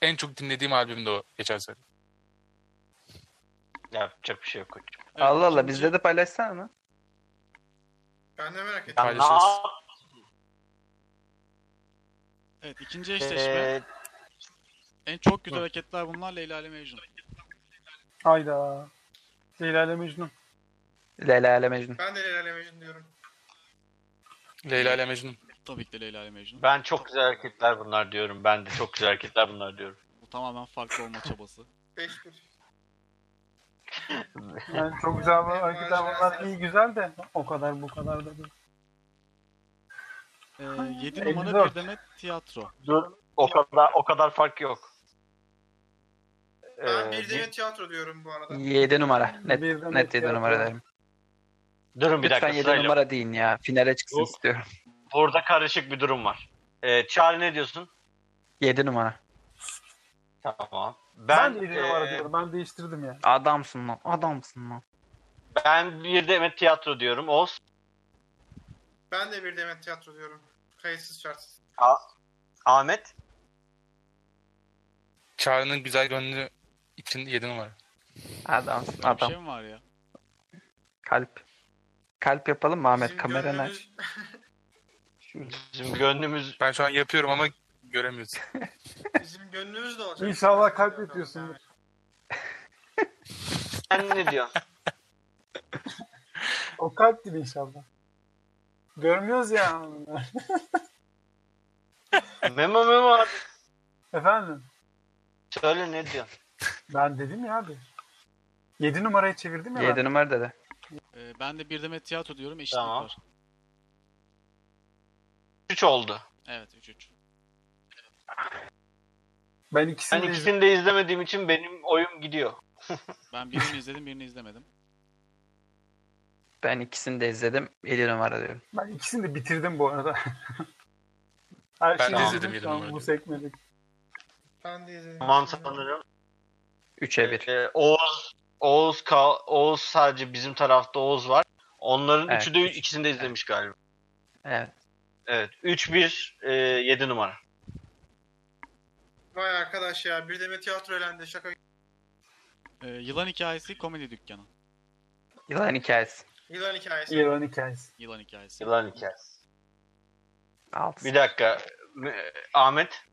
Speaker 6: en çok dinlediğim albüm de o geçen sene.
Speaker 1: Yapacak bir şey yok koçum.
Speaker 2: Evet,
Speaker 3: Allah Allah
Speaker 2: ikinci-
Speaker 3: bizde de paylaşsana lan.
Speaker 4: Ben de merak ettim.
Speaker 1: Ya ne
Speaker 6: Paylaşırız.
Speaker 1: yap-
Speaker 2: Evet ikinci eşleşme.
Speaker 1: Ee,
Speaker 2: En çok güzel hareketler bunlar Leyla ile Mecnun.
Speaker 5: Hayda. Leyla ile Mecnun.
Speaker 3: Leyla ile Mecnun.
Speaker 4: Ben de Leyla ile Mecnun diyorum.
Speaker 6: Leyla ile Mecnun.
Speaker 2: Tabii ki de Leyla ile Mecnun.
Speaker 1: Ben çok güzel hareketler bunlar diyorum. Ben de çok güzel hareketler bunlar diyorum.
Speaker 2: Bu tamamen farklı olma çabası.
Speaker 4: 5-1.
Speaker 5: Yani çok güzel var. Hareketler bunlar iyi güzel de o kadar bu kadar da değil.
Speaker 2: Ee, 7 numara
Speaker 5: 54.
Speaker 2: bir demet tiyatro.
Speaker 1: Dur. O kadar o kadar fark yok.
Speaker 4: Ben
Speaker 1: Ee,
Speaker 4: bir
Speaker 1: bir-
Speaker 4: de tiyatro diyorum bu arada.
Speaker 3: 7 numara. Net,
Speaker 5: Bir de
Speaker 3: net 7 numara
Speaker 5: yapalım.
Speaker 3: derim.
Speaker 1: durun bir
Speaker 3: Lütfen
Speaker 1: dakika
Speaker 3: 7
Speaker 1: sırayla.
Speaker 3: numara deyin ya. Finale çıksın
Speaker 1: Yok.
Speaker 3: istiyorum.
Speaker 1: Burada karışık bir durum var. Ee, Çağrı ne diyorsun?
Speaker 3: 7 numara.
Speaker 1: Tamam.
Speaker 5: Ben,
Speaker 1: Ben,
Speaker 5: de 7
Speaker 1: ee,
Speaker 3: e,
Speaker 5: numara diyorum. Ben değiştirdim ya.
Speaker 3: Adamsın lan. Adamsın lan.
Speaker 1: ben bir de Demet Tiyatro diyorum. Oz.
Speaker 4: Ben de bir Demet Tiyatro diyorum. Kayıtsız şartsız.
Speaker 1: Ahmet.
Speaker 6: Çağrı'nın güzel gönlü için 7 numara.
Speaker 3: Adamsın.
Speaker 2: Böyle bir
Speaker 3: Adam.
Speaker 2: şey mi var ya?
Speaker 3: Kalp. Kalp yapalım mı Ahmet?
Speaker 4: Bizim
Speaker 3: Kameranı aç.
Speaker 4: gönlümüz-
Speaker 1: Bizim gönlümüz
Speaker 6: Ben şu an yapıyorum ama göremiyorsun.
Speaker 4: Bizim gönlümüz de olacak.
Speaker 5: İnşallah kalp yapıyorsundur.
Speaker 1: sen ne diyorsun?
Speaker 5: O kalp değil inşallah. Görmüyoruz ya.
Speaker 1: memo memo abi.
Speaker 5: Efendim?
Speaker 1: Söyle ne diyorsun?
Speaker 5: Ben dedim ya abi. 7 numarayı çevirdim ya
Speaker 3: 7
Speaker 5: ben.
Speaker 3: numara dedi.
Speaker 2: Ee, ben de bir demet tiyatro diyorum eşitlik
Speaker 1: Tamam.
Speaker 2: var.
Speaker 1: 3 oldu.
Speaker 2: Evet 3-3.
Speaker 5: Ben
Speaker 1: Ben
Speaker 5: ikisini de izledim.
Speaker 1: ikisini de izlemediğim için benim oyum gidiyor.
Speaker 2: Ben birini izledim birini izlemedim.
Speaker 3: Ben ikisini de izledim. 7 numara diyorum.
Speaker 5: Ben ikisini de bitirdim bu arada. Her
Speaker 6: Ben
Speaker 5: şeyi
Speaker 6: de
Speaker 5: izledim
Speaker 6: izledim yedi
Speaker 5: şu an
Speaker 6: numarayı.
Speaker 5: Bu sekmedik.
Speaker 4: Ben de izledim.
Speaker 1: Tamam sanırım.
Speaker 3: 3'e 1.
Speaker 1: Ee, Oğuz, Oğuz, Ka- Oğuz sadece bizim tarafta Oğuz var. Onların
Speaker 3: Evet.
Speaker 1: üçü de ikisini de izlemiş galiba.
Speaker 3: Evet.
Speaker 1: Evet. 3-1 e, 7 numara.
Speaker 4: Vay arkadaş ya bir Demet Tiyatro elendi şaka.
Speaker 2: Ee, yılan hikayesi komedi dükkanı.
Speaker 3: Yılan hikayesi.
Speaker 4: Yılan hikayesi.
Speaker 5: Yılan hikayesi.
Speaker 2: Yılan hikayesi.
Speaker 1: Yılan hikayesi.
Speaker 3: Altı.
Speaker 1: Bir dakika. Ee, Ahmet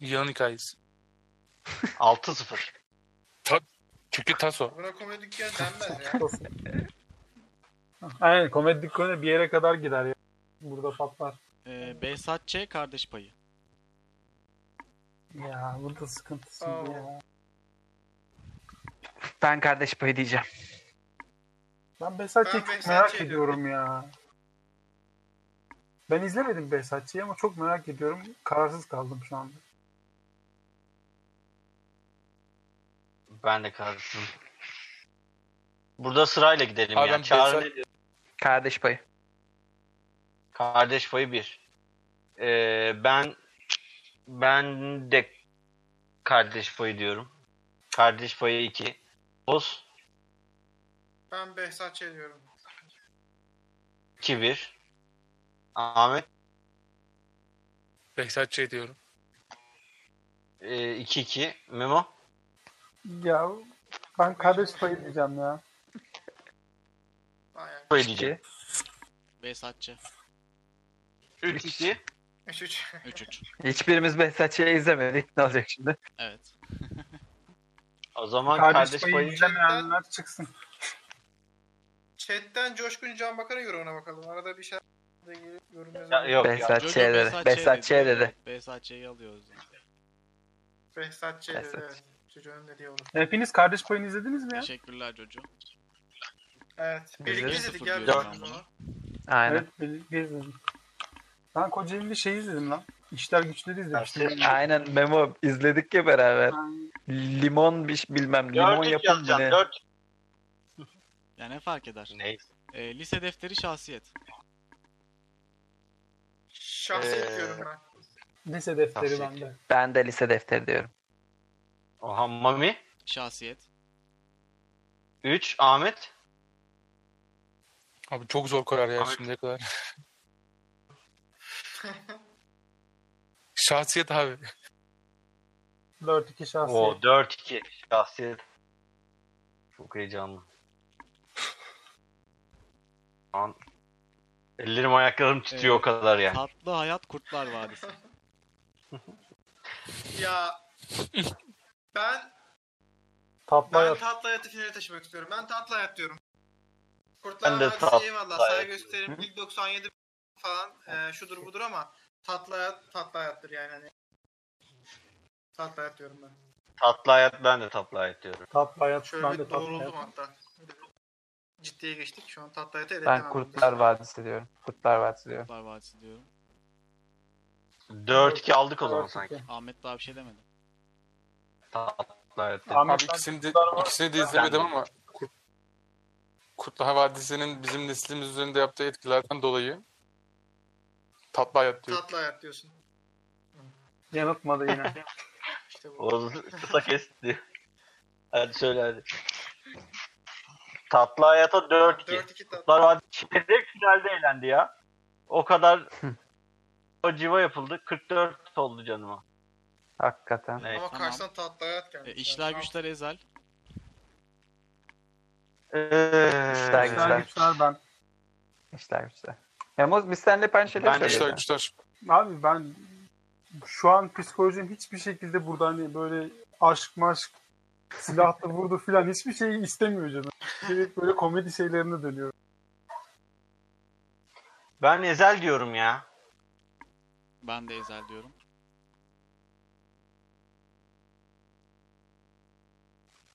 Speaker 6: Yılan hikayesi.
Speaker 1: 6-0.
Speaker 6: Çünkü Taso.
Speaker 4: Buna komedi dükkanı denmez ya.
Speaker 5: Aynen komedi konu bir yere kadar gider ya. Burada patlar.
Speaker 2: Ee, Behzat Ç. Kardeş Payı.
Speaker 5: Ya burada sıkıntısı
Speaker 4: Aa.
Speaker 5: ya.
Speaker 3: Ben kardeş payı diyeceğim.
Speaker 5: Ben Behzatçı'yı
Speaker 4: Ben
Speaker 5: çok
Speaker 4: Behzatçı'yı
Speaker 5: merak
Speaker 4: diyorum.
Speaker 5: ediyorum ya. Ben izlemedim Behzatçı'yı ama çok merak ediyorum. Kararsız kaldım şu anda.
Speaker 1: Ben de karıştım. Burada sırayla gidelim
Speaker 6: Abi
Speaker 1: ya.
Speaker 6: ben
Speaker 1: Çağrı
Speaker 6: Behzat-
Speaker 1: ne diyor?
Speaker 3: Kardeş payı.
Speaker 1: Kardeş payı 1. ben ben de kardeş payı diyorum. Kardeş payı 2. Oz
Speaker 4: Ben Behzatçı diyorum.
Speaker 1: 2-1. Ahmet
Speaker 6: Behzatçı diyorum.
Speaker 1: e, 2-2. Memo
Speaker 5: Ya ben kardeş payı diyeceğim ya.
Speaker 4: Aynen.
Speaker 1: payı diyeceğim.
Speaker 2: Behzat Ç.
Speaker 1: 3-2.
Speaker 4: 3-3.
Speaker 2: 3-3.
Speaker 3: Hiçbirimiz Behzatçı'yı izlemedik. Ne olacak şimdi?
Speaker 2: Evet.
Speaker 1: O zaman
Speaker 5: Kardeş,
Speaker 1: kardeş,
Speaker 5: payı,
Speaker 1: payı
Speaker 5: izlemeyenler çıksın.
Speaker 4: Chatten Coşkun Can Bakar'ın yorumuna bakalım. Arada bir şeyler de geliyor. Yorum
Speaker 1: Ya,
Speaker 4: yazalım.
Speaker 1: yok ya.
Speaker 3: Behzat Ç dedi. Behzat Ç dedi.
Speaker 2: Behzat Ç'yi alıyoruz. yani.
Speaker 4: Behzatçı dedi.
Speaker 3: Behzatçı.
Speaker 4: evet. Çocuğun dediği olur.
Speaker 5: Hepiniz kardeş payını izlediniz mi ya?
Speaker 2: Teşekkürler Cocu.
Speaker 4: Evet. Birlikte
Speaker 3: İzledim.
Speaker 4: izledik ya.
Speaker 2: Sıfır
Speaker 4: biz
Speaker 2: diyorum ben
Speaker 4: bunu.
Speaker 2: buna.
Speaker 3: Aynen.
Speaker 5: Evet bir, bir izledim. Ben Kocaeli'de şey izledim lan. İşler güçleri izlemiştim.
Speaker 3: Aynen Memo izledik ya beraber. Limon bir bilmem limon
Speaker 1: Dördük
Speaker 3: yapın mı ne?
Speaker 1: yazacaksın. Dört.
Speaker 2: Yani ne fark eder?
Speaker 1: Neyse.
Speaker 2: Ee, lise defteri şahsiyet.
Speaker 4: Şahsi
Speaker 1: Ee,
Speaker 4: diyorum ben.
Speaker 5: Lise defteri
Speaker 1: Tavsiye
Speaker 5: bende.
Speaker 3: Ben de lise defteri diyorum.
Speaker 1: Oha Mami.
Speaker 2: Şahsiyet.
Speaker 1: 3. Ahmet.
Speaker 6: Abi çok zor karar ya
Speaker 1: Abi-
Speaker 6: şimdiye kadar. Şahsiyet abi.
Speaker 5: 4-2 şahsi.
Speaker 1: O 4-2. Şahsiyet. Çok heyecanlı. Şu an ellerim ayaklarım titriyor o kadar yani.
Speaker 2: Tatlı Hayat Kurtlar Vadisi.
Speaker 4: Ya ben
Speaker 5: Tatlı
Speaker 4: ben
Speaker 5: hayat.
Speaker 4: tatlı hayatı finale taşımak istiyorum. Ben tatlı hayat diyorum.
Speaker 1: Ben
Speaker 4: Kurtlar
Speaker 1: de
Speaker 4: Vadisi
Speaker 1: tatlı
Speaker 4: eyvallah
Speaker 1: hayat
Speaker 4: saygı
Speaker 1: diyorum.
Speaker 4: gösterim. İlk 97 falan e, şudur budur ama tatlı hayat tatlı hayattır yani. Hani. Tatlı hayat diyorum ben.
Speaker 1: Tatlı hayat ben de tatlı hayat diyorum.
Speaker 5: Tatlı hayat.
Speaker 4: Şöyle
Speaker 5: ben
Speaker 4: bir
Speaker 5: de tatlı hayat.
Speaker 4: doğruldum hatta. Ciddiye geçtik. Şu an tatlı hayatı
Speaker 3: Ben
Speaker 4: edemem.
Speaker 3: Kurtlar Vadisi diyorum. Kurtlar Vadisi diyorum.
Speaker 2: Kurtlar Vadisi diyorum.
Speaker 1: 4-2 aldık o zaman
Speaker 5: 4-2.
Speaker 1: sanki.
Speaker 2: Ahmet daha bir şey demedi.
Speaker 1: Tatlı hayat dedim.
Speaker 5: Ahmet
Speaker 6: Abi
Speaker 5: sen
Speaker 6: ikisini de,
Speaker 5: Kurtlar Vadisi-
Speaker 6: ikisini de izlemedim ama Kurt- Kurtlar Vadisi'nin bizim neslimiz üzerinde yaptığı etkilerden dolayı tatlı hayat diyor.
Speaker 4: Tatlı hayat diyorsun.
Speaker 5: yanıltmadı yine.
Speaker 4: İşte bu.
Speaker 1: Oğuz kısa kesti. hadi söyle hadi. Tatlı hayata 4-2.
Speaker 4: 4-2 tatlı.
Speaker 1: Kurtlar Vadisi çeyrek finalde eğlendi ya. O kadar o civa yapıldı. 44 oldu canıma.
Speaker 3: Hakikaten.
Speaker 1: Neyse.
Speaker 4: Ama
Speaker 2: Tamam.
Speaker 4: karşısına tatlı hayat gelmiş.
Speaker 2: Ee,
Speaker 4: Yani.
Speaker 2: işler
Speaker 4: Tamam.
Speaker 2: Güçler Ezel.
Speaker 1: Eee,
Speaker 3: güçler.
Speaker 5: İşler güçler ben.
Speaker 3: İşler güçler. Memo biz seninle ben şeyler
Speaker 1: Ben de
Speaker 6: Güçler
Speaker 3: söylüyorum.
Speaker 6: güçler.
Speaker 5: Abi ben şu an psikolojim hiçbir şekilde burada hani böyle aşk maşk silahla vurdu filan hiçbir şey istemiyor canım. Direkt böyle komedi şeylerine dönüyorum.
Speaker 1: Ben Ezel diyorum ya.
Speaker 2: Ben de Ezel diyorum.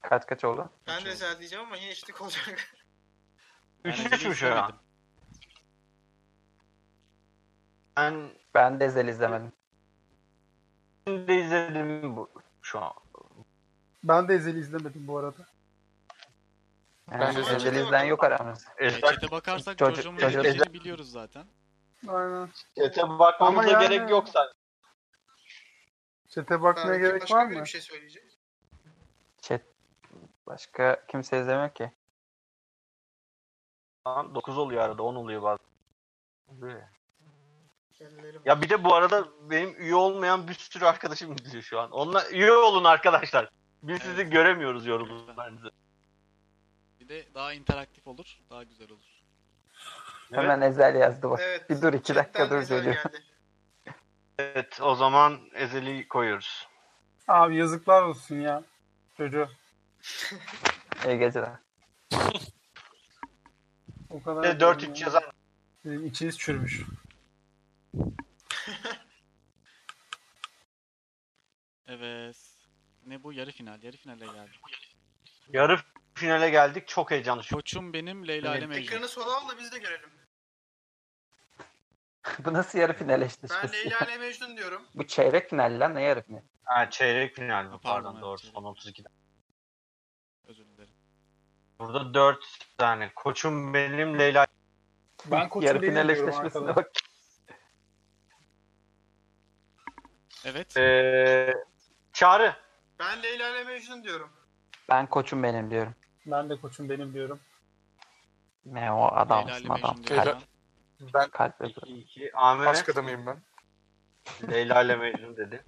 Speaker 3: Kaç kaç oldu?
Speaker 4: Ben de özel diyeceğim ama yine eşitlik olacak.
Speaker 2: Ben
Speaker 1: Üç
Speaker 2: Ezel'i
Speaker 1: üç mü şu an?
Speaker 2: izlemedim.
Speaker 1: Ben
Speaker 3: Ben de Ezel izlemedim.
Speaker 1: de izledim bu şu an.
Speaker 5: Ben de Ezel'i izlemedim bu arada.
Speaker 3: Yani
Speaker 6: Ben de
Speaker 3: Ezel
Speaker 4: izlemedim.
Speaker 3: izleyen yok aramızda.
Speaker 1: Ezel
Speaker 2: Çete bakarsak
Speaker 3: Çocuk-
Speaker 2: Cocu'nun
Speaker 3: çocuk-
Speaker 2: geleceğini biliyoruz zaten.
Speaker 5: Aynen.
Speaker 1: çete
Speaker 5: Ama
Speaker 1: bakmamıza
Speaker 5: yani-
Speaker 1: gerek yok sanki.
Speaker 5: Çete bakmaya
Speaker 4: Belki
Speaker 5: gerek
Speaker 4: başka
Speaker 5: var
Speaker 4: biri
Speaker 5: mı?
Speaker 4: Bir şey söyleyecek.
Speaker 3: Chat başka kimse izlemiyor ki.
Speaker 1: 9 oluyor arada 10 oluyor bazen. Oluyor ya.
Speaker 4: Kendileri
Speaker 1: Ya bir de bu arada benim üye olmayan bir sürü arkadaşım izliyor şu an. Onlar üye olun arkadaşlar. Biz sizi
Speaker 2: Evet.
Speaker 1: göremiyoruz yorumlarınızı.
Speaker 2: Bir Bir de daha interaktif olur. Daha güzel olur.
Speaker 3: Hemen ezel yazdı bak.
Speaker 4: Evet.
Speaker 3: Bir dur iki dakika
Speaker 4: chatten
Speaker 3: dur
Speaker 4: mesaj
Speaker 3: çocuğum.
Speaker 4: geldi.
Speaker 1: Evet o zaman Ezeli koyuyoruz.
Speaker 5: Abi yazıklar olsun ya çocuğa.
Speaker 3: İyi geceler.
Speaker 5: O kadar.
Speaker 1: Bir de 4-3 yazar.
Speaker 5: Bizim içiniz çürümüş.
Speaker 2: Evet. Ne bu? Yarı final. Yarı finale geldik.
Speaker 1: Yarı finale geldik. Çok heyecanlı. Şu
Speaker 2: Koçum benim Leyla ile Mecnun.
Speaker 4: Ekranı sola al da biz de görelim.
Speaker 3: Bu nasıl yarı final
Speaker 4: Ben
Speaker 3: eşleşmesi?
Speaker 4: Leyla ile Mecnun diyorum.
Speaker 3: Bu çeyrek final lan ne yarı final?
Speaker 1: ha, çeyrek final bu.
Speaker 2: Ha,
Speaker 1: Pardon,
Speaker 2: pardon,
Speaker 1: pardon
Speaker 2: evet,
Speaker 1: doğru.
Speaker 2: çeyrek.
Speaker 1: Son 32
Speaker 2: Özür dilerim.
Speaker 1: Burada 4 tane. Koçum benim Leyla.
Speaker 5: Ben koçu
Speaker 3: yarı final
Speaker 5: deliriyorum
Speaker 3: eşleşmesine
Speaker 5: arkadaşlar.
Speaker 3: bak.
Speaker 2: Evet.
Speaker 1: Ee, Çağrı.
Speaker 4: Ben Leyla ile Mecnun diyorum.
Speaker 3: Ben koçum benim diyorum.
Speaker 5: Ben de koçum benim diyorum.
Speaker 3: Ne o
Speaker 2: Leyla ile
Speaker 3: adamsın adam.
Speaker 2: Mecnun
Speaker 3: Kalp,
Speaker 2: diyorum.
Speaker 1: Ben
Speaker 3: kalp öpüyorum.
Speaker 1: 2-2. Ahmet
Speaker 6: Aşk adamıyım ben.
Speaker 1: Leyla ile Mecnun dedi.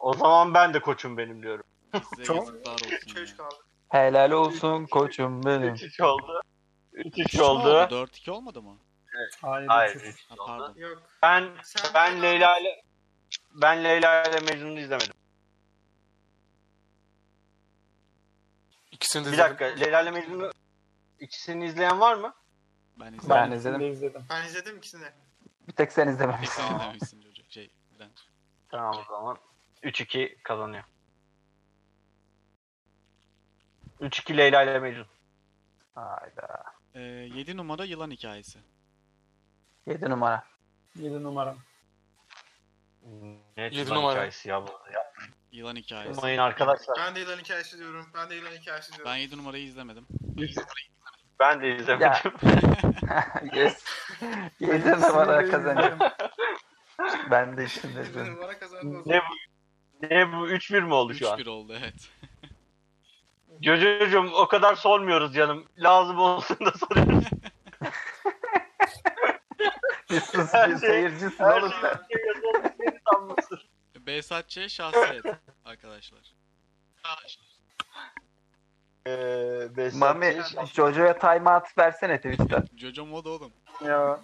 Speaker 1: O zaman ben de koçum benim diyorum.
Speaker 2: Size
Speaker 5: Çok-
Speaker 2: yazıklar olsun. ya.
Speaker 4: Çocuk kaldı.
Speaker 3: Helal olsun koçum benim.
Speaker 1: 3-3 oldu. 3-3
Speaker 2: Ne
Speaker 1: oldu.
Speaker 2: 4-2 olmadı mı?
Speaker 5: Hayır.
Speaker 1: Hayır
Speaker 5: üçüz.
Speaker 1: 3
Speaker 2: Ha,
Speaker 1: oldu.
Speaker 2: pardon.
Speaker 4: Yok.
Speaker 1: Ben
Speaker 4: Sen
Speaker 1: ben
Speaker 4: de-
Speaker 1: Leyla ile ben Leyla ile Mecnun'u izlemedim.
Speaker 6: İkisini de
Speaker 1: Bir
Speaker 6: izledim.
Speaker 1: dakika. Leyla ile Mecnun'u ikisini izleyen var mı?
Speaker 2: Ben izledim.
Speaker 3: Ben
Speaker 5: Ben,
Speaker 3: izledim.
Speaker 5: de izledim.
Speaker 4: Ben izledim ikisini. de.
Speaker 3: Bir tek sen izlememişsin.
Speaker 2: Hepsini izlemişsin çocuk. Şey, ben.
Speaker 1: Tamam o zaman. 3-2 kazanıyor. 3-2 Leyla ile Mecnun.
Speaker 3: Hayda.
Speaker 2: Ee, 7 numara yılan hikayesi.
Speaker 3: 7 numara.
Speaker 5: 7 numaram.
Speaker 1: Ne
Speaker 6: Yedi
Speaker 1: yılan
Speaker 6: numara.
Speaker 1: hikayesi ya bu.
Speaker 2: Yılan hikayesi.
Speaker 1: Yapmayın arkadaşlar.
Speaker 4: Ben de yılan hikayesi diyorum. Ben de yılan hikayesi diyorum.
Speaker 2: Ben 7 numarayı izlemedim.
Speaker 1: Ben de izlemedim.
Speaker 3: yes. 7 numara kazanıyor. Ben de şimdi
Speaker 4: Bir
Speaker 3: izledim.
Speaker 4: numara kazandı o zaman.
Speaker 1: ne bu? Ne bu? 3-1 mi oldu şu an?
Speaker 2: 3-1 oldu evet.
Speaker 1: Çocuğum o kadar sormuyoruz canım. Lazım olsun da soruyoruz.
Speaker 3: Bir sus
Speaker 1: Her
Speaker 3: bir
Speaker 1: şey-
Speaker 3: seyircisin
Speaker 1: Her
Speaker 3: oğlum
Speaker 1: şey
Speaker 3: sen.
Speaker 1: yazılı, seni sanmışsın.
Speaker 2: Behzatçı'ya şahsiyet arkadaşlar.
Speaker 1: Ee,
Speaker 4: şey-
Speaker 1: Behzat
Speaker 3: Mami
Speaker 1: Ç'ye şans-
Speaker 3: çocuğa time out versene Twitch'ten.
Speaker 2: Jojo Moda oğlum.
Speaker 5: Ya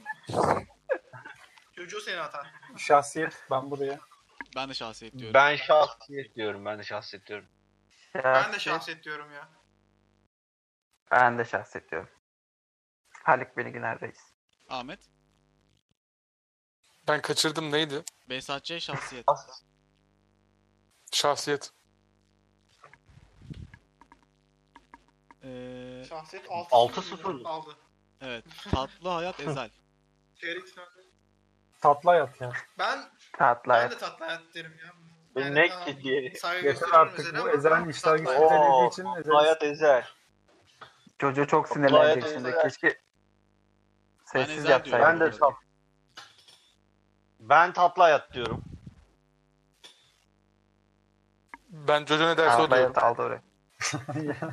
Speaker 4: Çocuğu seni atan.
Speaker 5: şahsiyet ben buraya.
Speaker 2: Ben de şahsiyet diyorum.
Speaker 1: Ben şahsiyet diyorum. Ben de şahsiyet diyorum.
Speaker 4: Ben de şey şahset diyorum ya.
Speaker 3: Ben de şahset diyorum. Haluk Bilginer Reis.
Speaker 2: Ahmet.
Speaker 6: Ben kaçırdım neydi?
Speaker 2: Behzatçı'ya şahsiyet.
Speaker 6: Şahsiyet.
Speaker 2: Ee,
Speaker 1: 6-0
Speaker 4: Şahset 6-0
Speaker 1: mı?
Speaker 4: aldı.
Speaker 2: evet. Tatlı Hayat Ezel.
Speaker 4: Çeyrek final.
Speaker 5: Tatlı hayat ya.
Speaker 4: Ben,
Speaker 3: Tatlı
Speaker 4: ben
Speaker 3: hayat.
Speaker 4: de tatlı hayat derim ya.
Speaker 1: Ben
Speaker 4: Yani
Speaker 1: ne
Speaker 4: tamam,
Speaker 1: ki diye.
Speaker 4: Saygı
Speaker 5: Yeter
Speaker 4: gösteriyorum
Speaker 5: artık
Speaker 4: Ezel'e
Speaker 5: bu
Speaker 4: ama
Speaker 5: Ezel'in işler
Speaker 4: tatlı hayat.
Speaker 5: güçleri
Speaker 1: Oo,
Speaker 5: dediği için Ezel
Speaker 1: Hayat Ezel.
Speaker 3: Çocuğu çok
Speaker 1: Tatlı hayat
Speaker 3: sinirlenecek şimdi.
Speaker 1: güzel.
Speaker 3: Keşke sessiz
Speaker 2: Ezel diyorum.
Speaker 3: yapsaydı.
Speaker 1: Ben de tatlı. Ben tatlı hayat diyorum.
Speaker 6: Ben Jojo ne derse o
Speaker 3: Tatlı
Speaker 6: diyorum.
Speaker 3: hayat aldı oraya.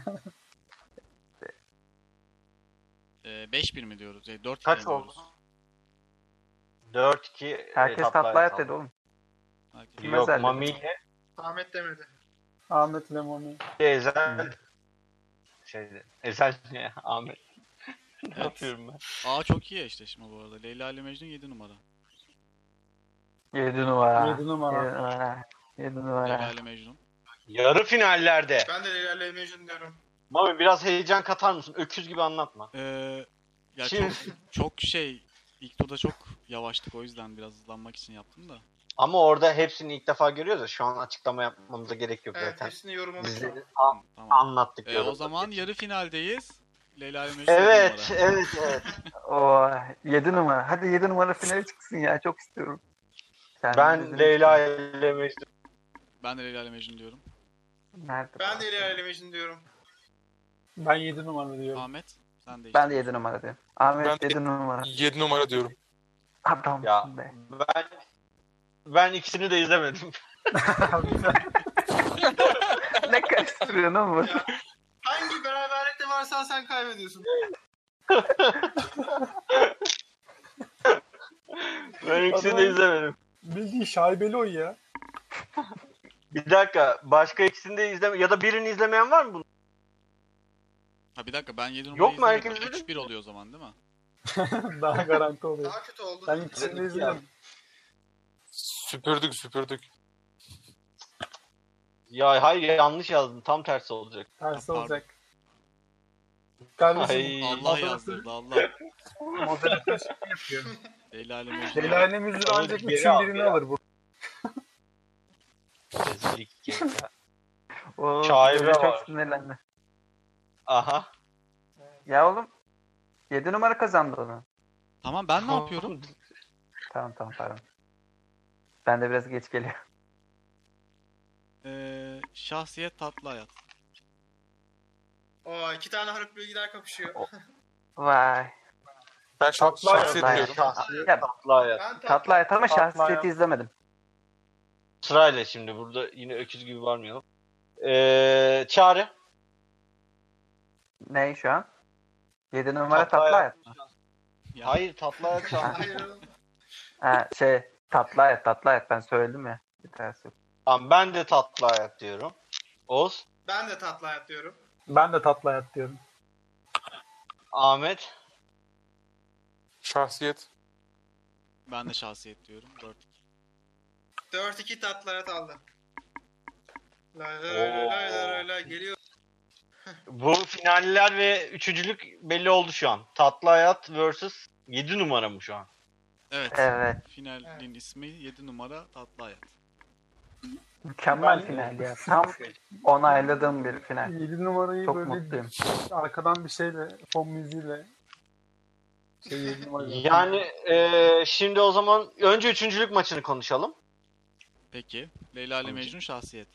Speaker 2: Ee, 5-1 mi diyoruz? Yani 4
Speaker 1: Kaç oldu? e, 4-2
Speaker 3: Herkes tatlı hayat dedi oğlum.
Speaker 2: Herkes.
Speaker 3: Kim
Speaker 1: Yok
Speaker 3: Ezel dedi?
Speaker 1: Mami ile
Speaker 4: Ahmet demedi.
Speaker 5: Ahmet Lemoni.
Speaker 1: Ezel. Şeydi. Ezel ne ya? Ahmet. ne
Speaker 2: Evet.
Speaker 1: yapıyorum ben?
Speaker 2: Aa çok iyi eşleşme bu arada. Leyla ile Mecnun 7 numara.
Speaker 3: 7 numara. 7
Speaker 5: 7 numara.
Speaker 3: numara. 7
Speaker 2: Leyla
Speaker 3: numara.
Speaker 2: ile Mecnun.
Speaker 1: Yarı finallerde.
Speaker 4: Ben de Leyla ile Mecnun diyorum.
Speaker 1: Mami biraz heyecan katar mısın? Öküz gibi anlatma.
Speaker 2: Ee, ya
Speaker 1: Şimdi-
Speaker 2: çok, çok şey ilk turda çok yavaştık o yüzden biraz hızlanmak için yaptım da.
Speaker 1: Ama orada hepsini ilk defa görüyoruz ya. Şu an açıklama yapmamıza gerek yok
Speaker 4: Evet,
Speaker 1: zaten.
Speaker 4: hepsini yorumlamış.
Speaker 1: Bizleri
Speaker 2: Tamam.
Speaker 1: anlattık.
Speaker 2: Ee,
Speaker 1: diyorum.
Speaker 2: o zaman yarı finaldeyiz. Leyla ile Mecnun 7
Speaker 1: Evet,
Speaker 2: numara.
Speaker 1: evet, evet.
Speaker 3: O 7 Oh, numara. Hadi 7 numara finale çıksın ya. Çok istiyorum. Kendimi
Speaker 1: ben
Speaker 3: üzülmüştüm.
Speaker 1: Leyla ile Mecnun.
Speaker 2: Ben de Leyla ile Mecnun diyorum.
Speaker 3: Nerede
Speaker 4: Ben
Speaker 3: bu?
Speaker 4: de Leyla ile Mecnun diyorum.
Speaker 5: Ben 7 numara diyorum.
Speaker 2: Ahmet sen de.
Speaker 3: Ben de 7 numara diyorum. Ahmet
Speaker 6: Ben de-
Speaker 3: 7 numara.
Speaker 6: 7 numara diyorum.
Speaker 3: Adamsın
Speaker 1: Ya.
Speaker 3: be.
Speaker 1: Ben ben ikisini de izlemedim.
Speaker 3: Ne karıştırıyorsun oğlum?
Speaker 4: Hangi beraberlikte varsa sen kaybediyorsun.
Speaker 1: Ben ikisini de izlemedim.
Speaker 5: Bildiğin şaibeli oy ya.
Speaker 1: Bir dakika, başka ikisini de izleme ya da birini izlemeyen var mı bunun?
Speaker 2: Ha, Ya bir dakika ben 7
Speaker 1: Yok
Speaker 2: numarayı
Speaker 1: mu?
Speaker 2: izlemedim.
Speaker 1: Herkes izledi
Speaker 2: 3-1 oluyor o zaman değil mi?
Speaker 5: Daha garanti oluyor.
Speaker 4: Daha kötü oldu.
Speaker 5: Ben ikisini de izledim.
Speaker 6: Süpürdük süpürdük.
Speaker 1: Ya hayır yanlış yazdım. Tam tersi olacak.
Speaker 5: Tersi
Speaker 2: Pardon.
Speaker 5: olacak. Kardeşim
Speaker 1: Ay.
Speaker 2: Allah yazdırdı Allah.
Speaker 5: moderatör şey yapıyor.
Speaker 2: El alem olsun.
Speaker 5: Leyla'nın müziği
Speaker 1: Oğlum,
Speaker 5: ancak
Speaker 1: geri
Speaker 5: üçün
Speaker 1: al,
Speaker 5: birini
Speaker 1: geri al.
Speaker 5: alır bu.
Speaker 1: Rezillik ya.
Speaker 3: Oo,
Speaker 1: Şaibe
Speaker 3: Cemre
Speaker 1: var.
Speaker 3: çok sinirlendi.
Speaker 1: Aha.
Speaker 3: Ya oğlum 7 numara kazandı onu.
Speaker 2: Tamam ben ne yapıyorum?
Speaker 3: Tamam tamam pardon. Ben de biraz geç geliyorum.
Speaker 2: Ee, şahsiyet tatlı hayat.
Speaker 4: Oo, iki tane harf bilgi daha kapışıyor.
Speaker 3: Vay.
Speaker 6: Ben şans,
Speaker 5: Tatlı
Speaker 6: şans
Speaker 3: hayat.
Speaker 6: ediyorum.
Speaker 1: Şahsi,
Speaker 3: Ya,
Speaker 1: tatlı hayat.
Speaker 4: Ben tam-
Speaker 3: tatlı hayat ama
Speaker 5: Tatlı
Speaker 3: şahsiyeti izlemedim.
Speaker 1: Sırayla şimdi burada yine öküz gibi varmayalım. Ee, çağrı.
Speaker 3: Ne şu an? 7 numara
Speaker 1: Tatlı
Speaker 3: tatlı,
Speaker 1: hayat.
Speaker 3: hayat.
Speaker 2: Ya,
Speaker 1: Hayır tatlı hayat şahsi.
Speaker 4: Hayır oğlum.
Speaker 3: Ha, şey tatlı hayat tatlı hayat ben söyledim ya. Bir tersi yok.
Speaker 1: Tamam ben de tatlı hayat diyorum. Oz.
Speaker 4: Ben de tatlı hayat diyorum.
Speaker 5: Ben de tatlı hayat diyorum.
Speaker 1: Ahmet.
Speaker 6: Şahsiyet.
Speaker 2: ben de şahsiyet diyorum. 4
Speaker 4: 4-2 tatlı hayat aldı. Lay lay
Speaker 1: Oo.
Speaker 4: lay lay lay lay geliyor.
Speaker 1: Bu finaller ve üçüncülük belli oldu şu an. Tatlı hayat vs. 7 numara mı şu an?
Speaker 2: Evet.
Speaker 3: Evet.
Speaker 2: Finalin ismi 7 numara tatlı hayat.
Speaker 3: Mükemmel
Speaker 5: Ben-
Speaker 3: final ya. Tam onayladığım bir final.
Speaker 5: 7 numarayı
Speaker 3: Çok
Speaker 5: böyle
Speaker 3: mutluyum.
Speaker 5: arkadan bir şeyle, fon müziğiyle şey 7 numarayı.
Speaker 1: Yani e, şimdi o zaman önce üçüncülük maçını konuşalım.
Speaker 2: Peki. Leyla ile Mecnun şahsiyet.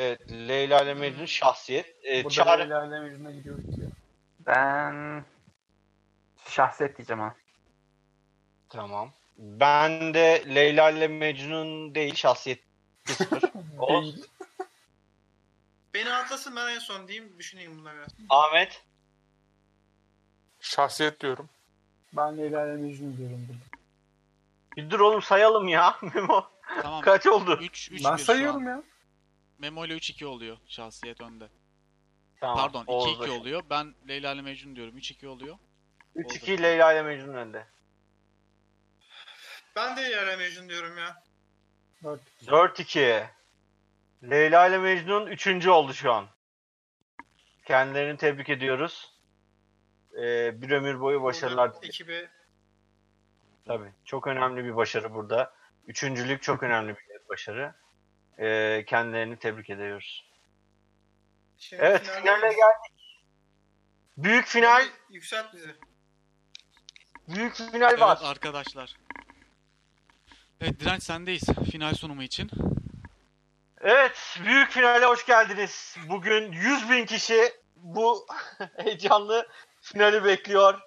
Speaker 1: Evet, Leyla ile Mecnun şahsiyet. E,
Speaker 5: Burada
Speaker 1: Çağrı.
Speaker 5: ilerleme yüzüne gidiyoruz ya.
Speaker 3: Ben şahset diyeceğim ha.
Speaker 1: Tamam. Ben de Leyla ile Mecnun değil şahsiyet. Sıfır. Oğuz,
Speaker 5: Değil.
Speaker 4: Beni atlasın ben en son diyeyim. Düşüneyim bununla biraz.
Speaker 1: Ahmet.
Speaker 6: Şahsiyet diyorum.
Speaker 5: Ben de ilerleme yüzünü diyorum burada.
Speaker 1: Bir dur oğlum sayalım ya Memo.
Speaker 2: Tamam.
Speaker 1: Kaç oldu?
Speaker 2: 3 3
Speaker 5: Ben
Speaker 2: 1
Speaker 5: sayıyorum ya.
Speaker 2: Memo ile 3 2 oluyor şahsiyet önde.
Speaker 1: Tamam,
Speaker 2: Pardon 2
Speaker 1: Oğuz'da
Speaker 2: 2
Speaker 1: şu-
Speaker 2: oluyor. Ben Leyla ile Mecnun diyorum. 3 2 oluyor.
Speaker 1: 3-2 Leyla ile Mecnun önde.
Speaker 4: Ben de Yara Mecnun diyorum ya.
Speaker 5: 4.
Speaker 1: 4-2. Leyla ile Mecnun 3. oldu şu an. Kendilerini tebrik ediyoruz. E, bir ömür boyu başarılar
Speaker 4: Burada Ekibi.
Speaker 1: Tabii. Çok önemli bir başarı burada. Üçüncülük çok önemli bir başarı. Ee, kendilerini tebrik ediyoruz.
Speaker 4: Şimdi
Speaker 1: Evet,
Speaker 4: finalde-
Speaker 1: finale geldik. Büyük final,
Speaker 4: Yükselt bizi.
Speaker 1: büyük final
Speaker 2: Evet
Speaker 1: var.
Speaker 2: arkadaşlar. Evet direnç sendeyiz final sunumu için.
Speaker 1: Evet, büyük finale hoş geldiniz. Bugün 100 bin kişi bu heyecanlı finali bekliyor.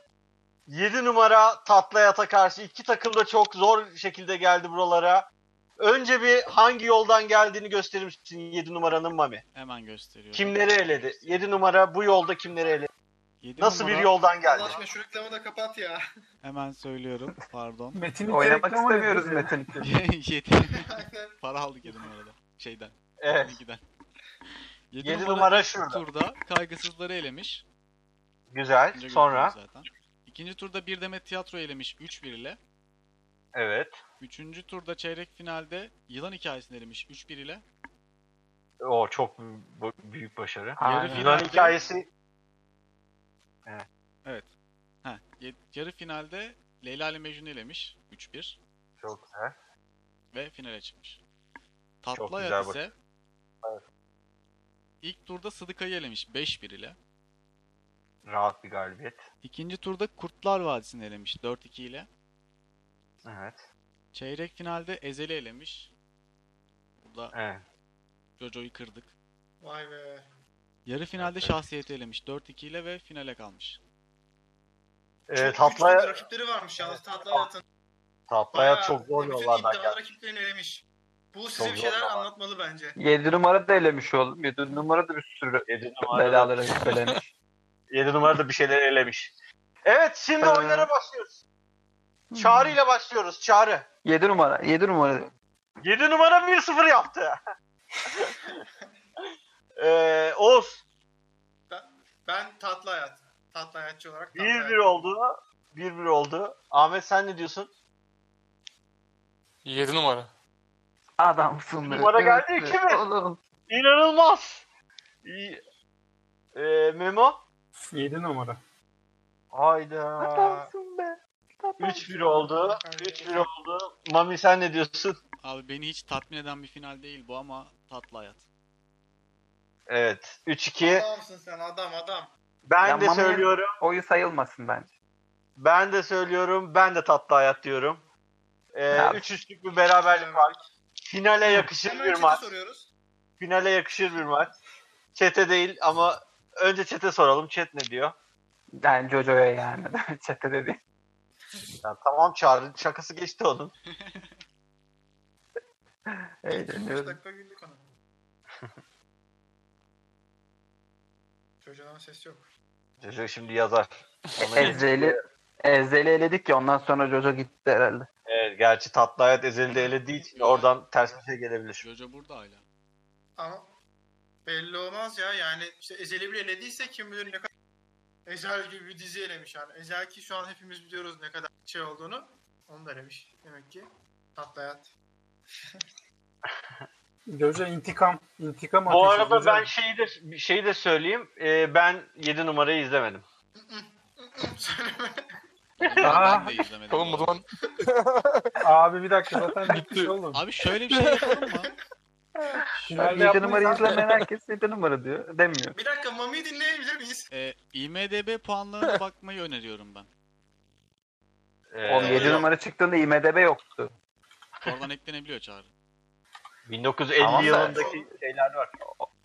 Speaker 1: 7 numara Tatlı Hayat'a karşı iki takım da çok zor şekilde geldi buralara. Önce bir hangi yoldan geldiğini gösterir misin 7 numaranın Mami?
Speaker 2: Hemen gösteriyorum.
Speaker 1: Kimleri eledi? 7 numara bu yolda kimleri eledi?
Speaker 2: Yedi
Speaker 1: Nasıl bir
Speaker 2: numara-
Speaker 1: yoldan
Speaker 4: Allah
Speaker 1: geldi?
Speaker 4: aşkına şu reklamı da kapat ya.
Speaker 2: Hemen söylüyorum. Pardon.
Speaker 5: Metin
Speaker 3: Oynamak istemiyoruz Metin.
Speaker 2: 7
Speaker 4: Aynen.
Speaker 2: para aldık 7 numarada. Şeyden.
Speaker 1: Evet.
Speaker 2: 12'den. 7,
Speaker 1: 7
Speaker 2: numara
Speaker 1: numara şurada.
Speaker 2: turda kaygısızları elemiş.
Speaker 1: Güzel.
Speaker 2: Önce
Speaker 1: Sonra
Speaker 2: gördünüz zaten. İkinci turda bir demet tiyatro elemiş 3-1 ile.
Speaker 1: evet.
Speaker 2: Üçüncü turda çeyrek finalde yılan hikayesini elemiş 3-1 ile.
Speaker 1: O çok bu- büyük başarı.
Speaker 3: Aynen.
Speaker 2: Yarı
Speaker 1: Yunan
Speaker 2: finalde,
Speaker 1: hikayesi
Speaker 2: Evet. Ha, ye- yarı finalde Leyla ile Mecnun'u elemiş 3-1
Speaker 1: çok güzel.
Speaker 2: ve finale çıkmış.
Speaker 1: Çok
Speaker 2: Tatlı
Speaker 1: güzel
Speaker 2: Hayat
Speaker 1: bak-
Speaker 2: ise
Speaker 1: Evet.
Speaker 2: ilk turda Sıdıka'yı elemiş 5-1 ile.
Speaker 1: Rahat bir galibiyet.
Speaker 2: İkinci turda Kurtlar Vadisi'ni elemiş 4-2 ile.
Speaker 1: Evet.
Speaker 2: Çeyrek finalde Ezel'i elemiş. Burada
Speaker 1: Evet.
Speaker 2: Jojo'yu kırdık.
Speaker 4: Vay be.
Speaker 2: Yarı finalde
Speaker 1: Evet, evet.
Speaker 2: şahsiyeti elemiş 4-2 ile ve finale kalmış.
Speaker 1: Ee,
Speaker 4: Çok
Speaker 1: tatlı,
Speaker 4: güçlü rakipleri varmış yalnız Tatlı Hayat'ın.
Speaker 1: tatlı hayat çok zor yollardan
Speaker 4: geldi.
Speaker 1: geldi.
Speaker 4: rakiplerini elemiş. Bu size
Speaker 1: Çok
Speaker 4: bir şeyler
Speaker 1: zor yollar.
Speaker 4: anlatmalı bence.
Speaker 3: 7 numara da elemiş oğlum. 7 numara da bir sürü
Speaker 1: 7 numarada,
Speaker 3: belalara yükselemiş.
Speaker 1: 7 numarada bir şeyler elemiş. Evet şimdi oyunlara başlıyoruz. Çağrı ile başlıyoruz. Çağrı.
Speaker 3: 7 numara. 7 numara.
Speaker 1: 7 numara 1-0 yaptı. ee, Oğuz.
Speaker 4: Ben, Ben tatlı hayat. Tatlı hayatçı olarak tatlı
Speaker 1: 1-1
Speaker 4: hayat.
Speaker 1: oldu. 1-1 oldu. Ahmet sen ne diyorsun?
Speaker 6: 7 numara.
Speaker 3: Adamsın be.
Speaker 1: Numara geldi,
Speaker 3: Yürüsün.
Speaker 1: iki mi?
Speaker 3: Oğlum.
Speaker 1: İnanılmaz. İyi. Ee, Memo?
Speaker 5: 7 numara.
Speaker 1: Hayda.
Speaker 3: Adamsın be.
Speaker 1: 3-1 oldu. 3-1 oldu. Mami sen ne diyorsun?
Speaker 2: Abi beni hiç tatmin eden bir final değil bu ama tatlı hayat.
Speaker 1: Evet. 3-2.
Speaker 4: Adamsın sen adam adam.
Speaker 1: Ben
Speaker 3: Ya
Speaker 1: de
Speaker 3: Mami-
Speaker 1: söylüyorum.
Speaker 3: Oyu sayılmasın bence.
Speaker 1: Ben de söylüyorum. Ben de tatlı hayat diyorum. Ee,
Speaker 3: Ya.
Speaker 1: 3 üçlük bir beraberlik var. Finale yakışır
Speaker 4: Hemen
Speaker 1: bir
Speaker 4: chat'e
Speaker 1: maç.
Speaker 4: soruyoruz.
Speaker 1: Finale yakışır bir maç. Çete değil ama önce çete soralım. Chat ne diyor?
Speaker 3: Yani Jojo'ya yani. Çete dedi.
Speaker 1: Ya tamam Çağrı şakası geçti onun.
Speaker 4: Beş
Speaker 3: Eğleniyorum.
Speaker 4: dakika güldük ona. Çocuğun ama sesi yok.
Speaker 1: Çocuk şimdi yazar. Ona
Speaker 3: Ezeli, Ezeli eledik ya ondan sonra Jojo gitti herhalde.
Speaker 1: Evet, gerçi tatlı hayat ezelde elediği için oradan ters bir şey gelebilir.
Speaker 2: Jojo burada hala.
Speaker 4: Ama belli olmaz ya yani işte Ezel'i bile elediyse kim bilir ne kadar Ezel gibi bir dizi elemiş yani. Ezel ki şu an hepimiz biliyoruz ne kadar şey olduğunu. Onu da elemiş demek ki. Tatlı hayat.
Speaker 5: Göze intikam. intikam
Speaker 1: Bu
Speaker 5: ateşi,
Speaker 1: arada
Speaker 5: güzel.
Speaker 1: ben şeyi de şeyi de söyleyeyim. Ee, ben 7 numarayı izlemedim.
Speaker 4: Söyleme.
Speaker 2: Ben de izlemedim.
Speaker 6: Oğlum o
Speaker 2: bu arada.
Speaker 6: zaman
Speaker 5: Abi bir dakika zaten bitmiş oğlum.
Speaker 2: Abi şöyle bir şey yapalım mı?
Speaker 5: Finalde
Speaker 3: 7
Speaker 5: yapmayız
Speaker 3: numarayı
Speaker 5: abi.
Speaker 3: izlemeyen herkes 7 numara diyor. Demiyor.
Speaker 4: bir dakika Mami'yi dinleyebilir miyiz?
Speaker 2: Ee, IMDB puanlarına bakmayı öneriyorum ben.
Speaker 1: Ee,
Speaker 3: Oğlum 7 numara çıktığında IMDB yoktu.
Speaker 2: Oradan eklenebiliyor çağrı.
Speaker 1: 1950
Speaker 3: Tamam da-
Speaker 1: yılındaki şeyler var.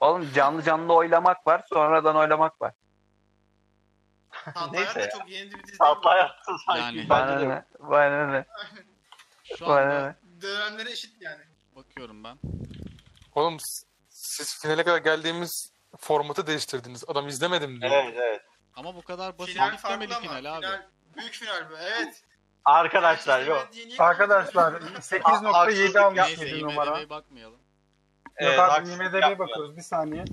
Speaker 3: Oğlum canlı canlı oylamak var sonradan oylamak var.
Speaker 4: Tatlı
Speaker 1: Neyse
Speaker 4: hayat da
Speaker 1: ya.
Speaker 4: çok yeni bir dizi
Speaker 1: Tatlı
Speaker 4: değil.
Speaker 1: hayatı sanki.
Speaker 2: Yani.
Speaker 3: Bana
Speaker 1: Bence de.
Speaker 3: ne? Bana ne?
Speaker 2: Şu
Speaker 3: Bana
Speaker 2: anda
Speaker 3: ne?
Speaker 4: Dönemleri eşit yani.
Speaker 2: bakıyorum ben.
Speaker 6: oğlum s- siz finale kadar geldiğimiz formatı değiştirdiniz. Adam izlemedim diyor.
Speaker 1: Evet evet.
Speaker 2: Ama bu kadar basit
Speaker 4: Final farklı
Speaker 2: bitmemeli final
Speaker 4: ama.
Speaker 2: abi.
Speaker 4: Final, büyük final bu. Evet.
Speaker 1: Arkadaşlar yok.
Speaker 5: Arkadaşlar
Speaker 1: Ha- haksızlık
Speaker 5: 8.7 almış
Speaker 2: Neyse
Speaker 5: 7 numara.
Speaker 2: IMDB'ye bakmayalım.
Speaker 1: Evet,
Speaker 5: Yok abi
Speaker 1: haksızlık
Speaker 5: IMDB'ye
Speaker 1: yapmayalım.
Speaker 5: bakıyoruz bir saniye.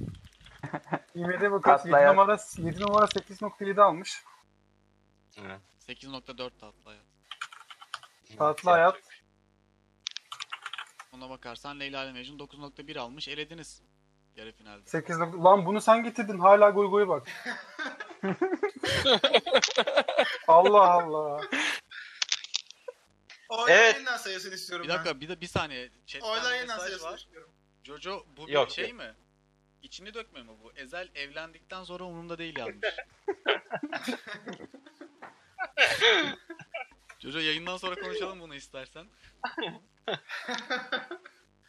Speaker 5: IMDB bakıyoruz 7
Speaker 3: Atlayan.
Speaker 5: numara, 7 numara 8.7 almış.
Speaker 2: 8.4 tatlı hayat.
Speaker 5: Tatlı hayat
Speaker 2: Ona bakarsan Leyla ile Mecnun 9.1 almış elediniz. Yarı finalde.
Speaker 5: 8. Lan bunu sen getirdin hala goy goya bak. Allah Allah.
Speaker 4: Oylar
Speaker 1: Evet.
Speaker 4: yeniden sayısını istiyorum
Speaker 2: Bir dakika bir de bir saniye. Chatten
Speaker 4: ben. Oylar
Speaker 2: mesaj
Speaker 4: yeniden sayısını
Speaker 2: var.
Speaker 4: istiyorum.
Speaker 2: Jojo bu bir
Speaker 1: Yok,
Speaker 2: şey
Speaker 1: yok.
Speaker 2: mi? İçini dökme mi bu? Ezel evlendikten sonra umurumda değil yazmış. Jojo yayından sonra konuşalım bunu istersen.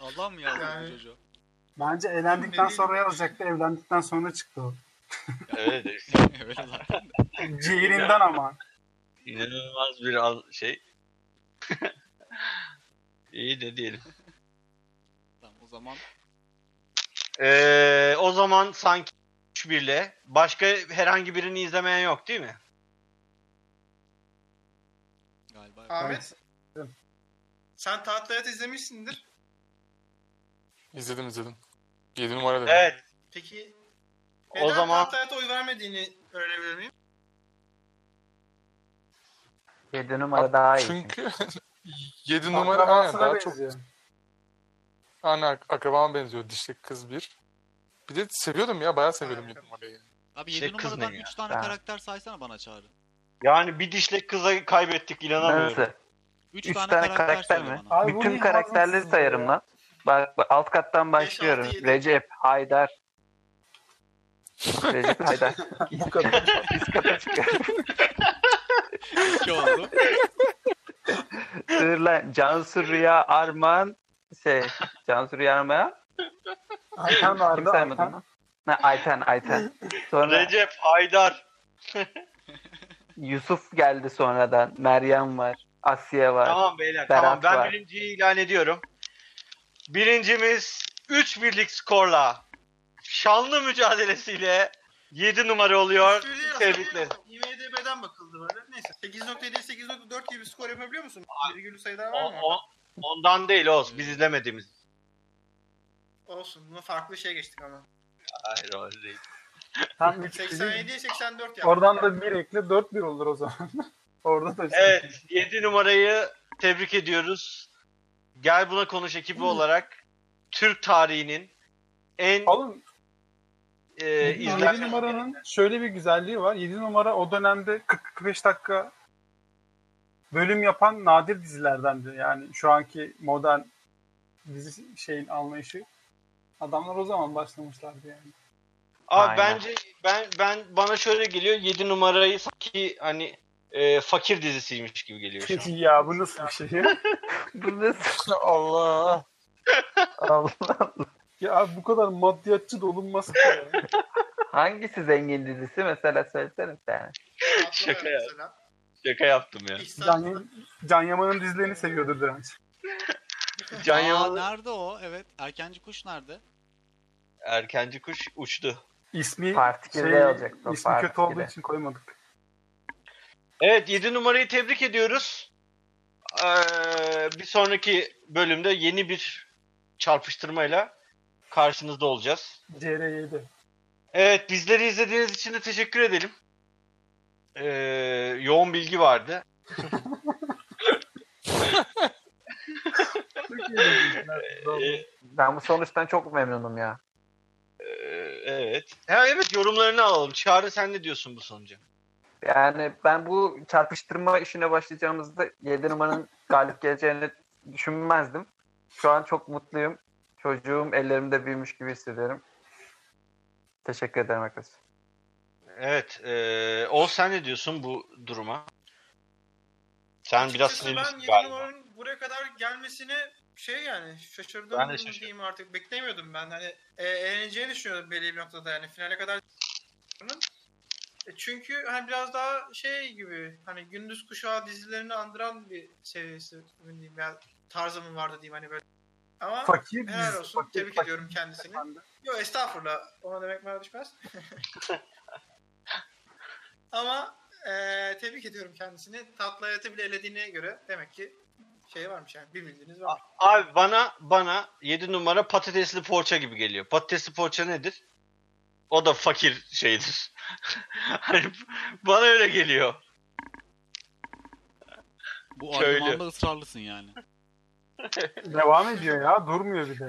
Speaker 2: Allah mı yazdı
Speaker 4: Yani-
Speaker 2: bu Jojo?
Speaker 5: Bence elendikten sonra yazacaktı. Evlendikten sonra çıktı o.
Speaker 1: Evet.
Speaker 2: Öyle zaten.
Speaker 5: Ciğerinden ama.
Speaker 1: İnanılmaz bir an şey. İyi ne diyelim.
Speaker 2: Tamam, o zaman
Speaker 1: Ee, o zaman sanki 3-1'le başka herhangi birini izlemeyen yok değil mi?
Speaker 2: galiba.
Speaker 4: Ahmet. Sen Tatlı Hayat izlemişsindir.
Speaker 6: İzledim izledim. 7 numara dedim.
Speaker 1: Evet.
Speaker 4: Peki
Speaker 1: O
Speaker 4: neden
Speaker 1: zaman
Speaker 4: Tatlı Hayat'a oy vermediğini öğrenebilir miyim?
Speaker 3: 7 numara daha iyi.
Speaker 6: Çünkü 7 numara aynen
Speaker 5: Akrabasına
Speaker 6: daha çok
Speaker 5: benziyor.
Speaker 6: Aynen ak- akrabama benziyor. Dişli kız bir. Bir de seviyordum ya. Bayağı seviyordum
Speaker 4: Aynen.
Speaker 6: 7 numarayı.
Speaker 2: Abi
Speaker 1: Şey,
Speaker 2: 7
Speaker 1: kız
Speaker 2: numaradan
Speaker 1: ne ya?
Speaker 2: 3 tane
Speaker 3: Ha.
Speaker 2: karakter saysana bana çağrı.
Speaker 1: yani bir dişle kıza kaybettik inanamıyorum.
Speaker 3: Neyse.
Speaker 2: 3
Speaker 3: Üç
Speaker 2: tane,
Speaker 3: tane
Speaker 2: karakter,
Speaker 3: karakter
Speaker 2: söyle
Speaker 3: mi?
Speaker 2: bana.
Speaker 5: Abi bu
Speaker 3: Bütün
Speaker 5: ne
Speaker 3: karakterleri
Speaker 5: hazımsızlık
Speaker 3: sayarım
Speaker 5: ya.
Speaker 3: lan. Bak, bak, alt kattan başlıyorum.
Speaker 4: altı, yedi.
Speaker 3: Recep, Haydar. Recep, Haydar.
Speaker 5: Bu kadar.
Speaker 3: Üst kata çıkıyor.
Speaker 2: 2 oldu.
Speaker 3: Sığırla, Cansu, Rüya, Arman. Şey, Cansu, Rüya, Arman.
Speaker 5: Ayten
Speaker 3: Kim
Speaker 5: vardı.
Speaker 3: saymadın
Speaker 5: Ayten.
Speaker 3: lan? Ha, Ayten, Ayten. Sonra
Speaker 1: Recep, Haydar,
Speaker 3: Yusuf geldi sonradan. Meryem var. Asya var.
Speaker 1: Tamam beyler
Speaker 3: Berat
Speaker 1: tamam ben
Speaker 3: var.
Speaker 1: birinciyi ilan ediyorum. Birincimiz 3 birlik skorla şanlı mücadelesiyle 7 numara oluyor.
Speaker 4: Söyleyemezsin.
Speaker 1: Tebrikler.
Speaker 4: IMDB'den bakıldı böyle. Neyse. 8.7, 8.4 gibi bir skor yapabiliyor musun? Virgülü sayılar var
Speaker 1: O-
Speaker 4: mı?
Speaker 1: o- ondan değil Oğuz. Biz izlemediğimiz.
Speaker 4: Olsun. Buna farklı şey geçtik ama.
Speaker 1: Hayır o şey değil.
Speaker 5: Tam 3
Speaker 4: 87'ye 84 yaptı.
Speaker 5: Oradan da 1 ekle 4-1 olur o zaman. Orada da işte.
Speaker 1: Evet 7 numarayı tebrik ediyoruz. Gel buna konuş ekibi olarak Türk tarihinin en
Speaker 5: Oğlum
Speaker 1: e,
Speaker 5: 7
Speaker 1: izlenmesi.
Speaker 5: numaranın şöyle bir güzelliği var. 7 numara o dönemde 40-45 dakika bölüm yapan nadir dizilerdendi. Yani şu anki modern dizi şeyin anlayışı. Adamlar o zaman başlamışlardı yani.
Speaker 1: Abi
Speaker 3: Aynen.
Speaker 1: bence ben ben bana şöyle geliyor 7 numarayı sanki hani e, fakir dizisiymiş gibi geliyor şu an.
Speaker 5: ya bu nasıl bir şey ya?
Speaker 3: Bu nasıl?
Speaker 6: Allah.
Speaker 3: Allah.
Speaker 5: ya abi bu kadar maddiyatçı da olunmaz ki ya.
Speaker 3: Hangisi zengin dizisi mesela söylesene bir tane.
Speaker 4: Aklıma
Speaker 1: Şaka
Speaker 4: geldi
Speaker 1: ya.
Speaker 4: mesela.
Speaker 1: Şaka yaptım ya.
Speaker 4: İhsan
Speaker 5: Can, Can Yaman'ın dizilerini seviyordur Direnç.
Speaker 1: Can
Speaker 2: Aa,
Speaker 1: Yaman
Speaker 2: nerede o? Evet. Erkenci kuş nerede?
Speaker 1: erkenci kuş uçtu.
Speaker 5: İsmi
Speaker 3: Parti
Speaker 5: şey,
Speaker 3: Kirli olacaktı o,
Speaker 5: ismi
Speaker 3: Parti
Speaker 5: kötü olduğu
Speaker 3: Kirli.
Speaker 5: için koymadık.
Speaker 1: Evet 7 numarayı tebrik ediyoruz. Ee, bir sonraki bölümde yeni bir çarpıştırmayla karşınızda olacağız.
Speaker 5: CR7.
Speaker 1: Evet bizleri izlediğiniz için de teşekkür edelim. Ee, yoğun bilgi vardı.
Speaker 5: Çok iyi diziler.
Speaker 1: Ee,
Speaker 3: Ben bu sonuçtan çok memnunum ya.
Speaker 1: Ee, evet. Ha, evet yorumlarını alalım. Çağrı sen ne diyorsun bu sonuca?
Speaker 3: Yani ben bu çarpıştırma işine başlayacağımızda 7 numaranın galip geleceğini düşünmezdim. Şu an çok mutluyum. Çocuğum ellerimde büyümüş gibi hissediyorum. Teşekkür ederim arkadaşlar.
Speaker 1: Evet. Ee, Oğuz sen ne diyorsun bu duruma? Sen biraz
Speaker 4: Açıkçası ben
Speaker 1: sinirlisin
Speaker 4: yedi
Speaker 1: galiba.
Speaker 4: numaranın buraya kadar gelmesine şey yani şaşırdım
Speaker 1: Ben de şaşırdım.
Speaker 4: diyeyim artık. Beklemiyordum ben. Hani e, eğleneceğini düşünüyordum belli bir noktada yani finale kadar. E, Çünkü hani biraz daha şey gibi hani gündüz kuşağı dizilerini andıran bir seviyesi mi diyeyim ya tarzı mı vardı diyeyim hani böyle. Ama
Speaker 5: Fakir
Speaker 4: helal
Speaker 5: dizisi,
Speaker 4: olsun
Speaker 5: fakir,
Speaker 4: tebrik
Speaker 5: fakir.
Speaker 4: ediyorum kendisini.
Speaker 5: Ben de.
Speaker 4: Yok estağfurullah. Ona demek bana düşmez. Ama eee tebrik ediyorum kendisini. Tatlı hayatı bile elediğine göre demek ki şey varmış yani bir bildiğiniz var.
Speaker 1: Abi bana bana 7 numara patatesli poğaça gibi geliyor. Patatesli poğaça nedir? O da fakir şeydir. hani bana öyle geliyor.
Speaker 2: Bu
Speaker 1: Köylü.
Speaker 2: argümanda ısrarlısın yani.
Speaker 5: Devam ediyor ya durmuyor bir de.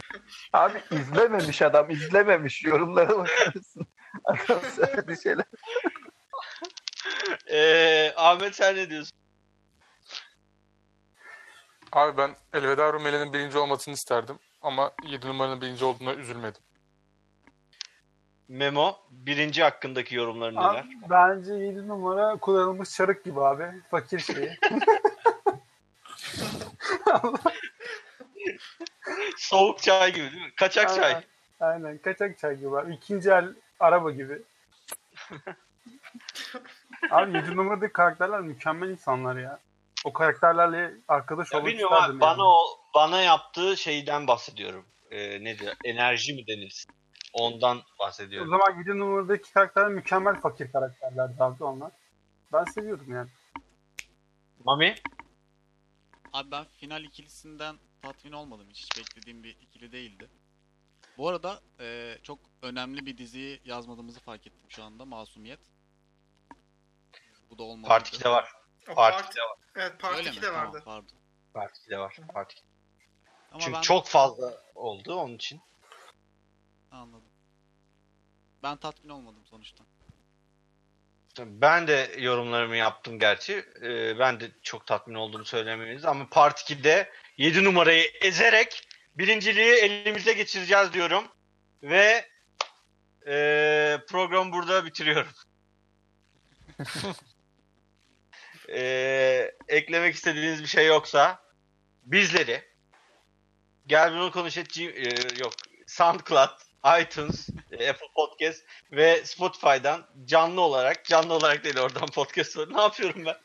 Speaker 3: Abi izlememiş adam, izlememiş. Yorumlara bakar mısın? Adam söyledi şeyler.
Speaker 1: Ee, Ahmet sen ne diyorsun?
Speaker 6: Abi ben Elveda Rumeli'nin birinci olmasını isterdim. Ama 7 numaranın birinci olduğuna üzülmedim.
Speaker 1: Memo birinci hakkındaki yorumların neler?
Speaker 5: Abi, bence 7 numara kullanılmış çarık gibi abi. Fakir şeyi.
Speaker 1: Soğuk çay gibi değil mi? Kaçak çay.
Speaker 5: Aynen. Aynen kaçak çay gibi abi. İkinci el araba gibi. abi 7 numaradaki karakterler mükemmel insanlar ya. O karakterlerle arkadaş
Speaker 1: Ya
Speaker 5: olmak
Speaker 1: bilmiyorum
Speaker 5: isterdim.
Speaker 1: abi bana
Speaker 5: yani.
Speaker 1: o bana yaptığı şeyden bahsediyorum. Ee, nedir? Enerji mi denir? Ondan
Speaker 5: O
Speaker 1: bahsediyorum.
Speaker 5: zaman 7 numaradaki karakterler mükemmel fakir karakterlerdi abi onlar. Ben seviyordum yani.
Speaker 1: Mami?
Speaker 2: Abi ben final ikilisinden tatmin olmadım hiç. Hiç beklediğim bir ikili değildi. Bu arada eee, çok önemli bir diziyi yazmadığımızı fark ettim şu anda. Masumiyet. Bu da olmadı.
Speaker 1: Part 2'de var.
Speaker 4: O
Speaker 1: Part 2'de var.
Speaker 4: evet part 2'de vardı.
Speaker 2: pardon.
Speaker 1: Part 2'de var. Part 2'de.
Speaker 2: Ama
Speaker 1: Çünkü
Speaker 2: ben
Speaker 1: çok fazla oldu onun için.
Speaker 2: anladım. Ben tatmin olmadım sonuçta. E,
Speaker 1: Ben de yorumlarımı yaptım gerçi. Ee, ben de çok tatmin olduğumu söylemeyiz ama Part 2'de 7 numarayı ezerek birinciliği elimize geçireceğiz diyorum. Ve e, programı burada bitiriyorum. E, eklemek istediğiniz bir şey yoksa bizleri gel bunu konuş et G- e, yok SoundCloud, iTunes, e, Apple Podcast ve Spotify'dan canlı olarak canlı olarak değil oradan podcast var. Ne yapıyorum ben?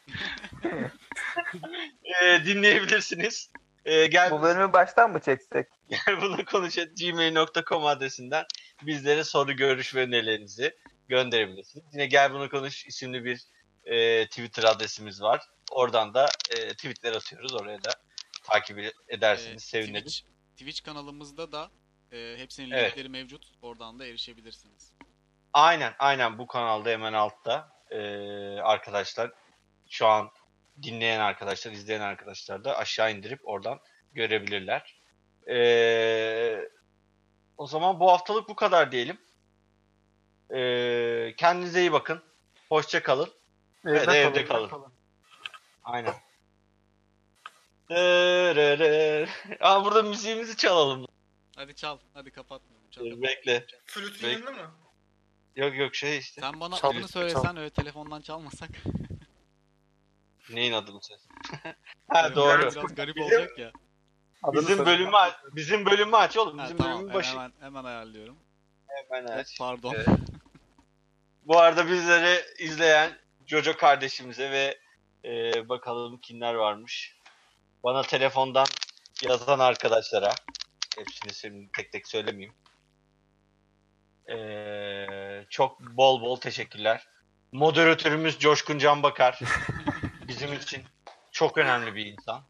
Speaker 1: E, dinleyebilirsiniz. E, gel
Speaker 3: Bu bölümü baştan mı çeksek?
Speaker 1: bunu konuş at gmail.com adresinden bizlere soru, görüş ve önerilerinizi gönderebilirsiniz. Yine Gel Bunu Konuş isimli bir e, Twitter adresimiz var. Oradan da e, tweetler atıyoruz. Oraya da takip edersiniz.
Speaker 2: Eee,
Speaker 1: seviniriz.
Speaker 2: Twitch, Twitch kanalımızda da e, eee, hepsinin
Speaker 1: Evet.
Speaker 2: linkleri mevcut. Oradan da erişebilirsiniz.
Speaker 1: Aynen aynen bu kanalda hemen altta Ee, arkadaşlar şu an dinleyen arkadaşlar izleyen arkadaşlar da aşağı indirip oradan görebilirler. Ee, o zaman bu haftalık bu kadar diyelim. Ee, kendinize iyi bakın. Hoşça kalın.
Speaker 5: Evde,
Speaker 1: Evet, evde kalın. Aynen. Dırırır. Aa, burada müziğimizi çalalım.
Speaker 2: Hadi çal. Hadi kapatmayalım. Çal,
Speaker 1: Dur,
Speaker 2: kapat.
Speaker 1: Bekle.
Speaker 4: Flüt
Speaker 1: Bek-
Speaker 4: yanında mı?
Speaker 1: Yok yok şey işte.
Speaker 2: Sen bana
Speaker 6: Çal,
Speaker 2: adını söylesen öyle telefondan çalmasak.
Speaker 1: Neyin adını sen? ha doğru.
Speaker 2: Biraz garip olacak ya.
Speaker 5: Adını
Speaker 1: Bizim
Speaker 5: söyle.
Speaker 1: bölümü aç. Bizim bölümü aç oğlum.
Speaker 2: Ha,
Speaker 1: Bizim
Speaker 2: tamam,
Speaker 1: bölümün başı.
Speaker 2: Hemen, hemen ayarlıyorum.
Speaker 1: Hemen aç.
Speaker 2: Pardon.
Speaker 1: Evet. Bu arada bizleri izleyen Jojo kardeşimize ve e, bakalım kimler varmış. Bana telefondan yazan arkadaşlara. Hepsini şimdi tek tek söylemeyeyim. E, çok bol bol teşekkürler. Moderatörümüz Coşkun Canbakar. Bizim için çok önemli bir insan.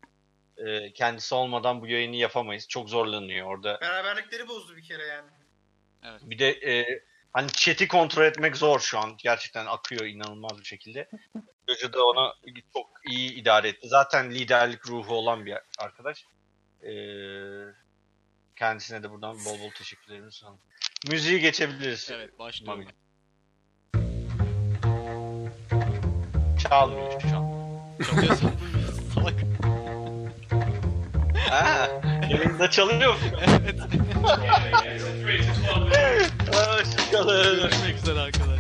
Speaker 1: E, kendisi olmadan bu yayını yapamayız. Çok zorlanıyor orada.
Speaker 4: Beraberlikleri bozdu bir kere yani.
Speaker 1: Bir de e, hani chat'i kontrol etmek zor şu an. Gerçekten akıyor inanılmaz bir şekilde. Jojo da ona çok iyi idare etti. Zaten liderlik ruhu olan bir arkadaş. E, kendisine de buradan bol bol teşekkürlerimi sunalım. Müziği geçebiliriz.
Speaker 2: Evet başlıyorum.
Speaker 1: Mami. Çalmıyor şu an.
Speaker 2: Çalıyorsun. Salak.
Speaker 1: Ha, yayında çalıyor mu?
Speaker 2: Evet.
Speaker 1: Hoşçakalın.
Speaker 2: Görüşmek üzere arkadaşlar.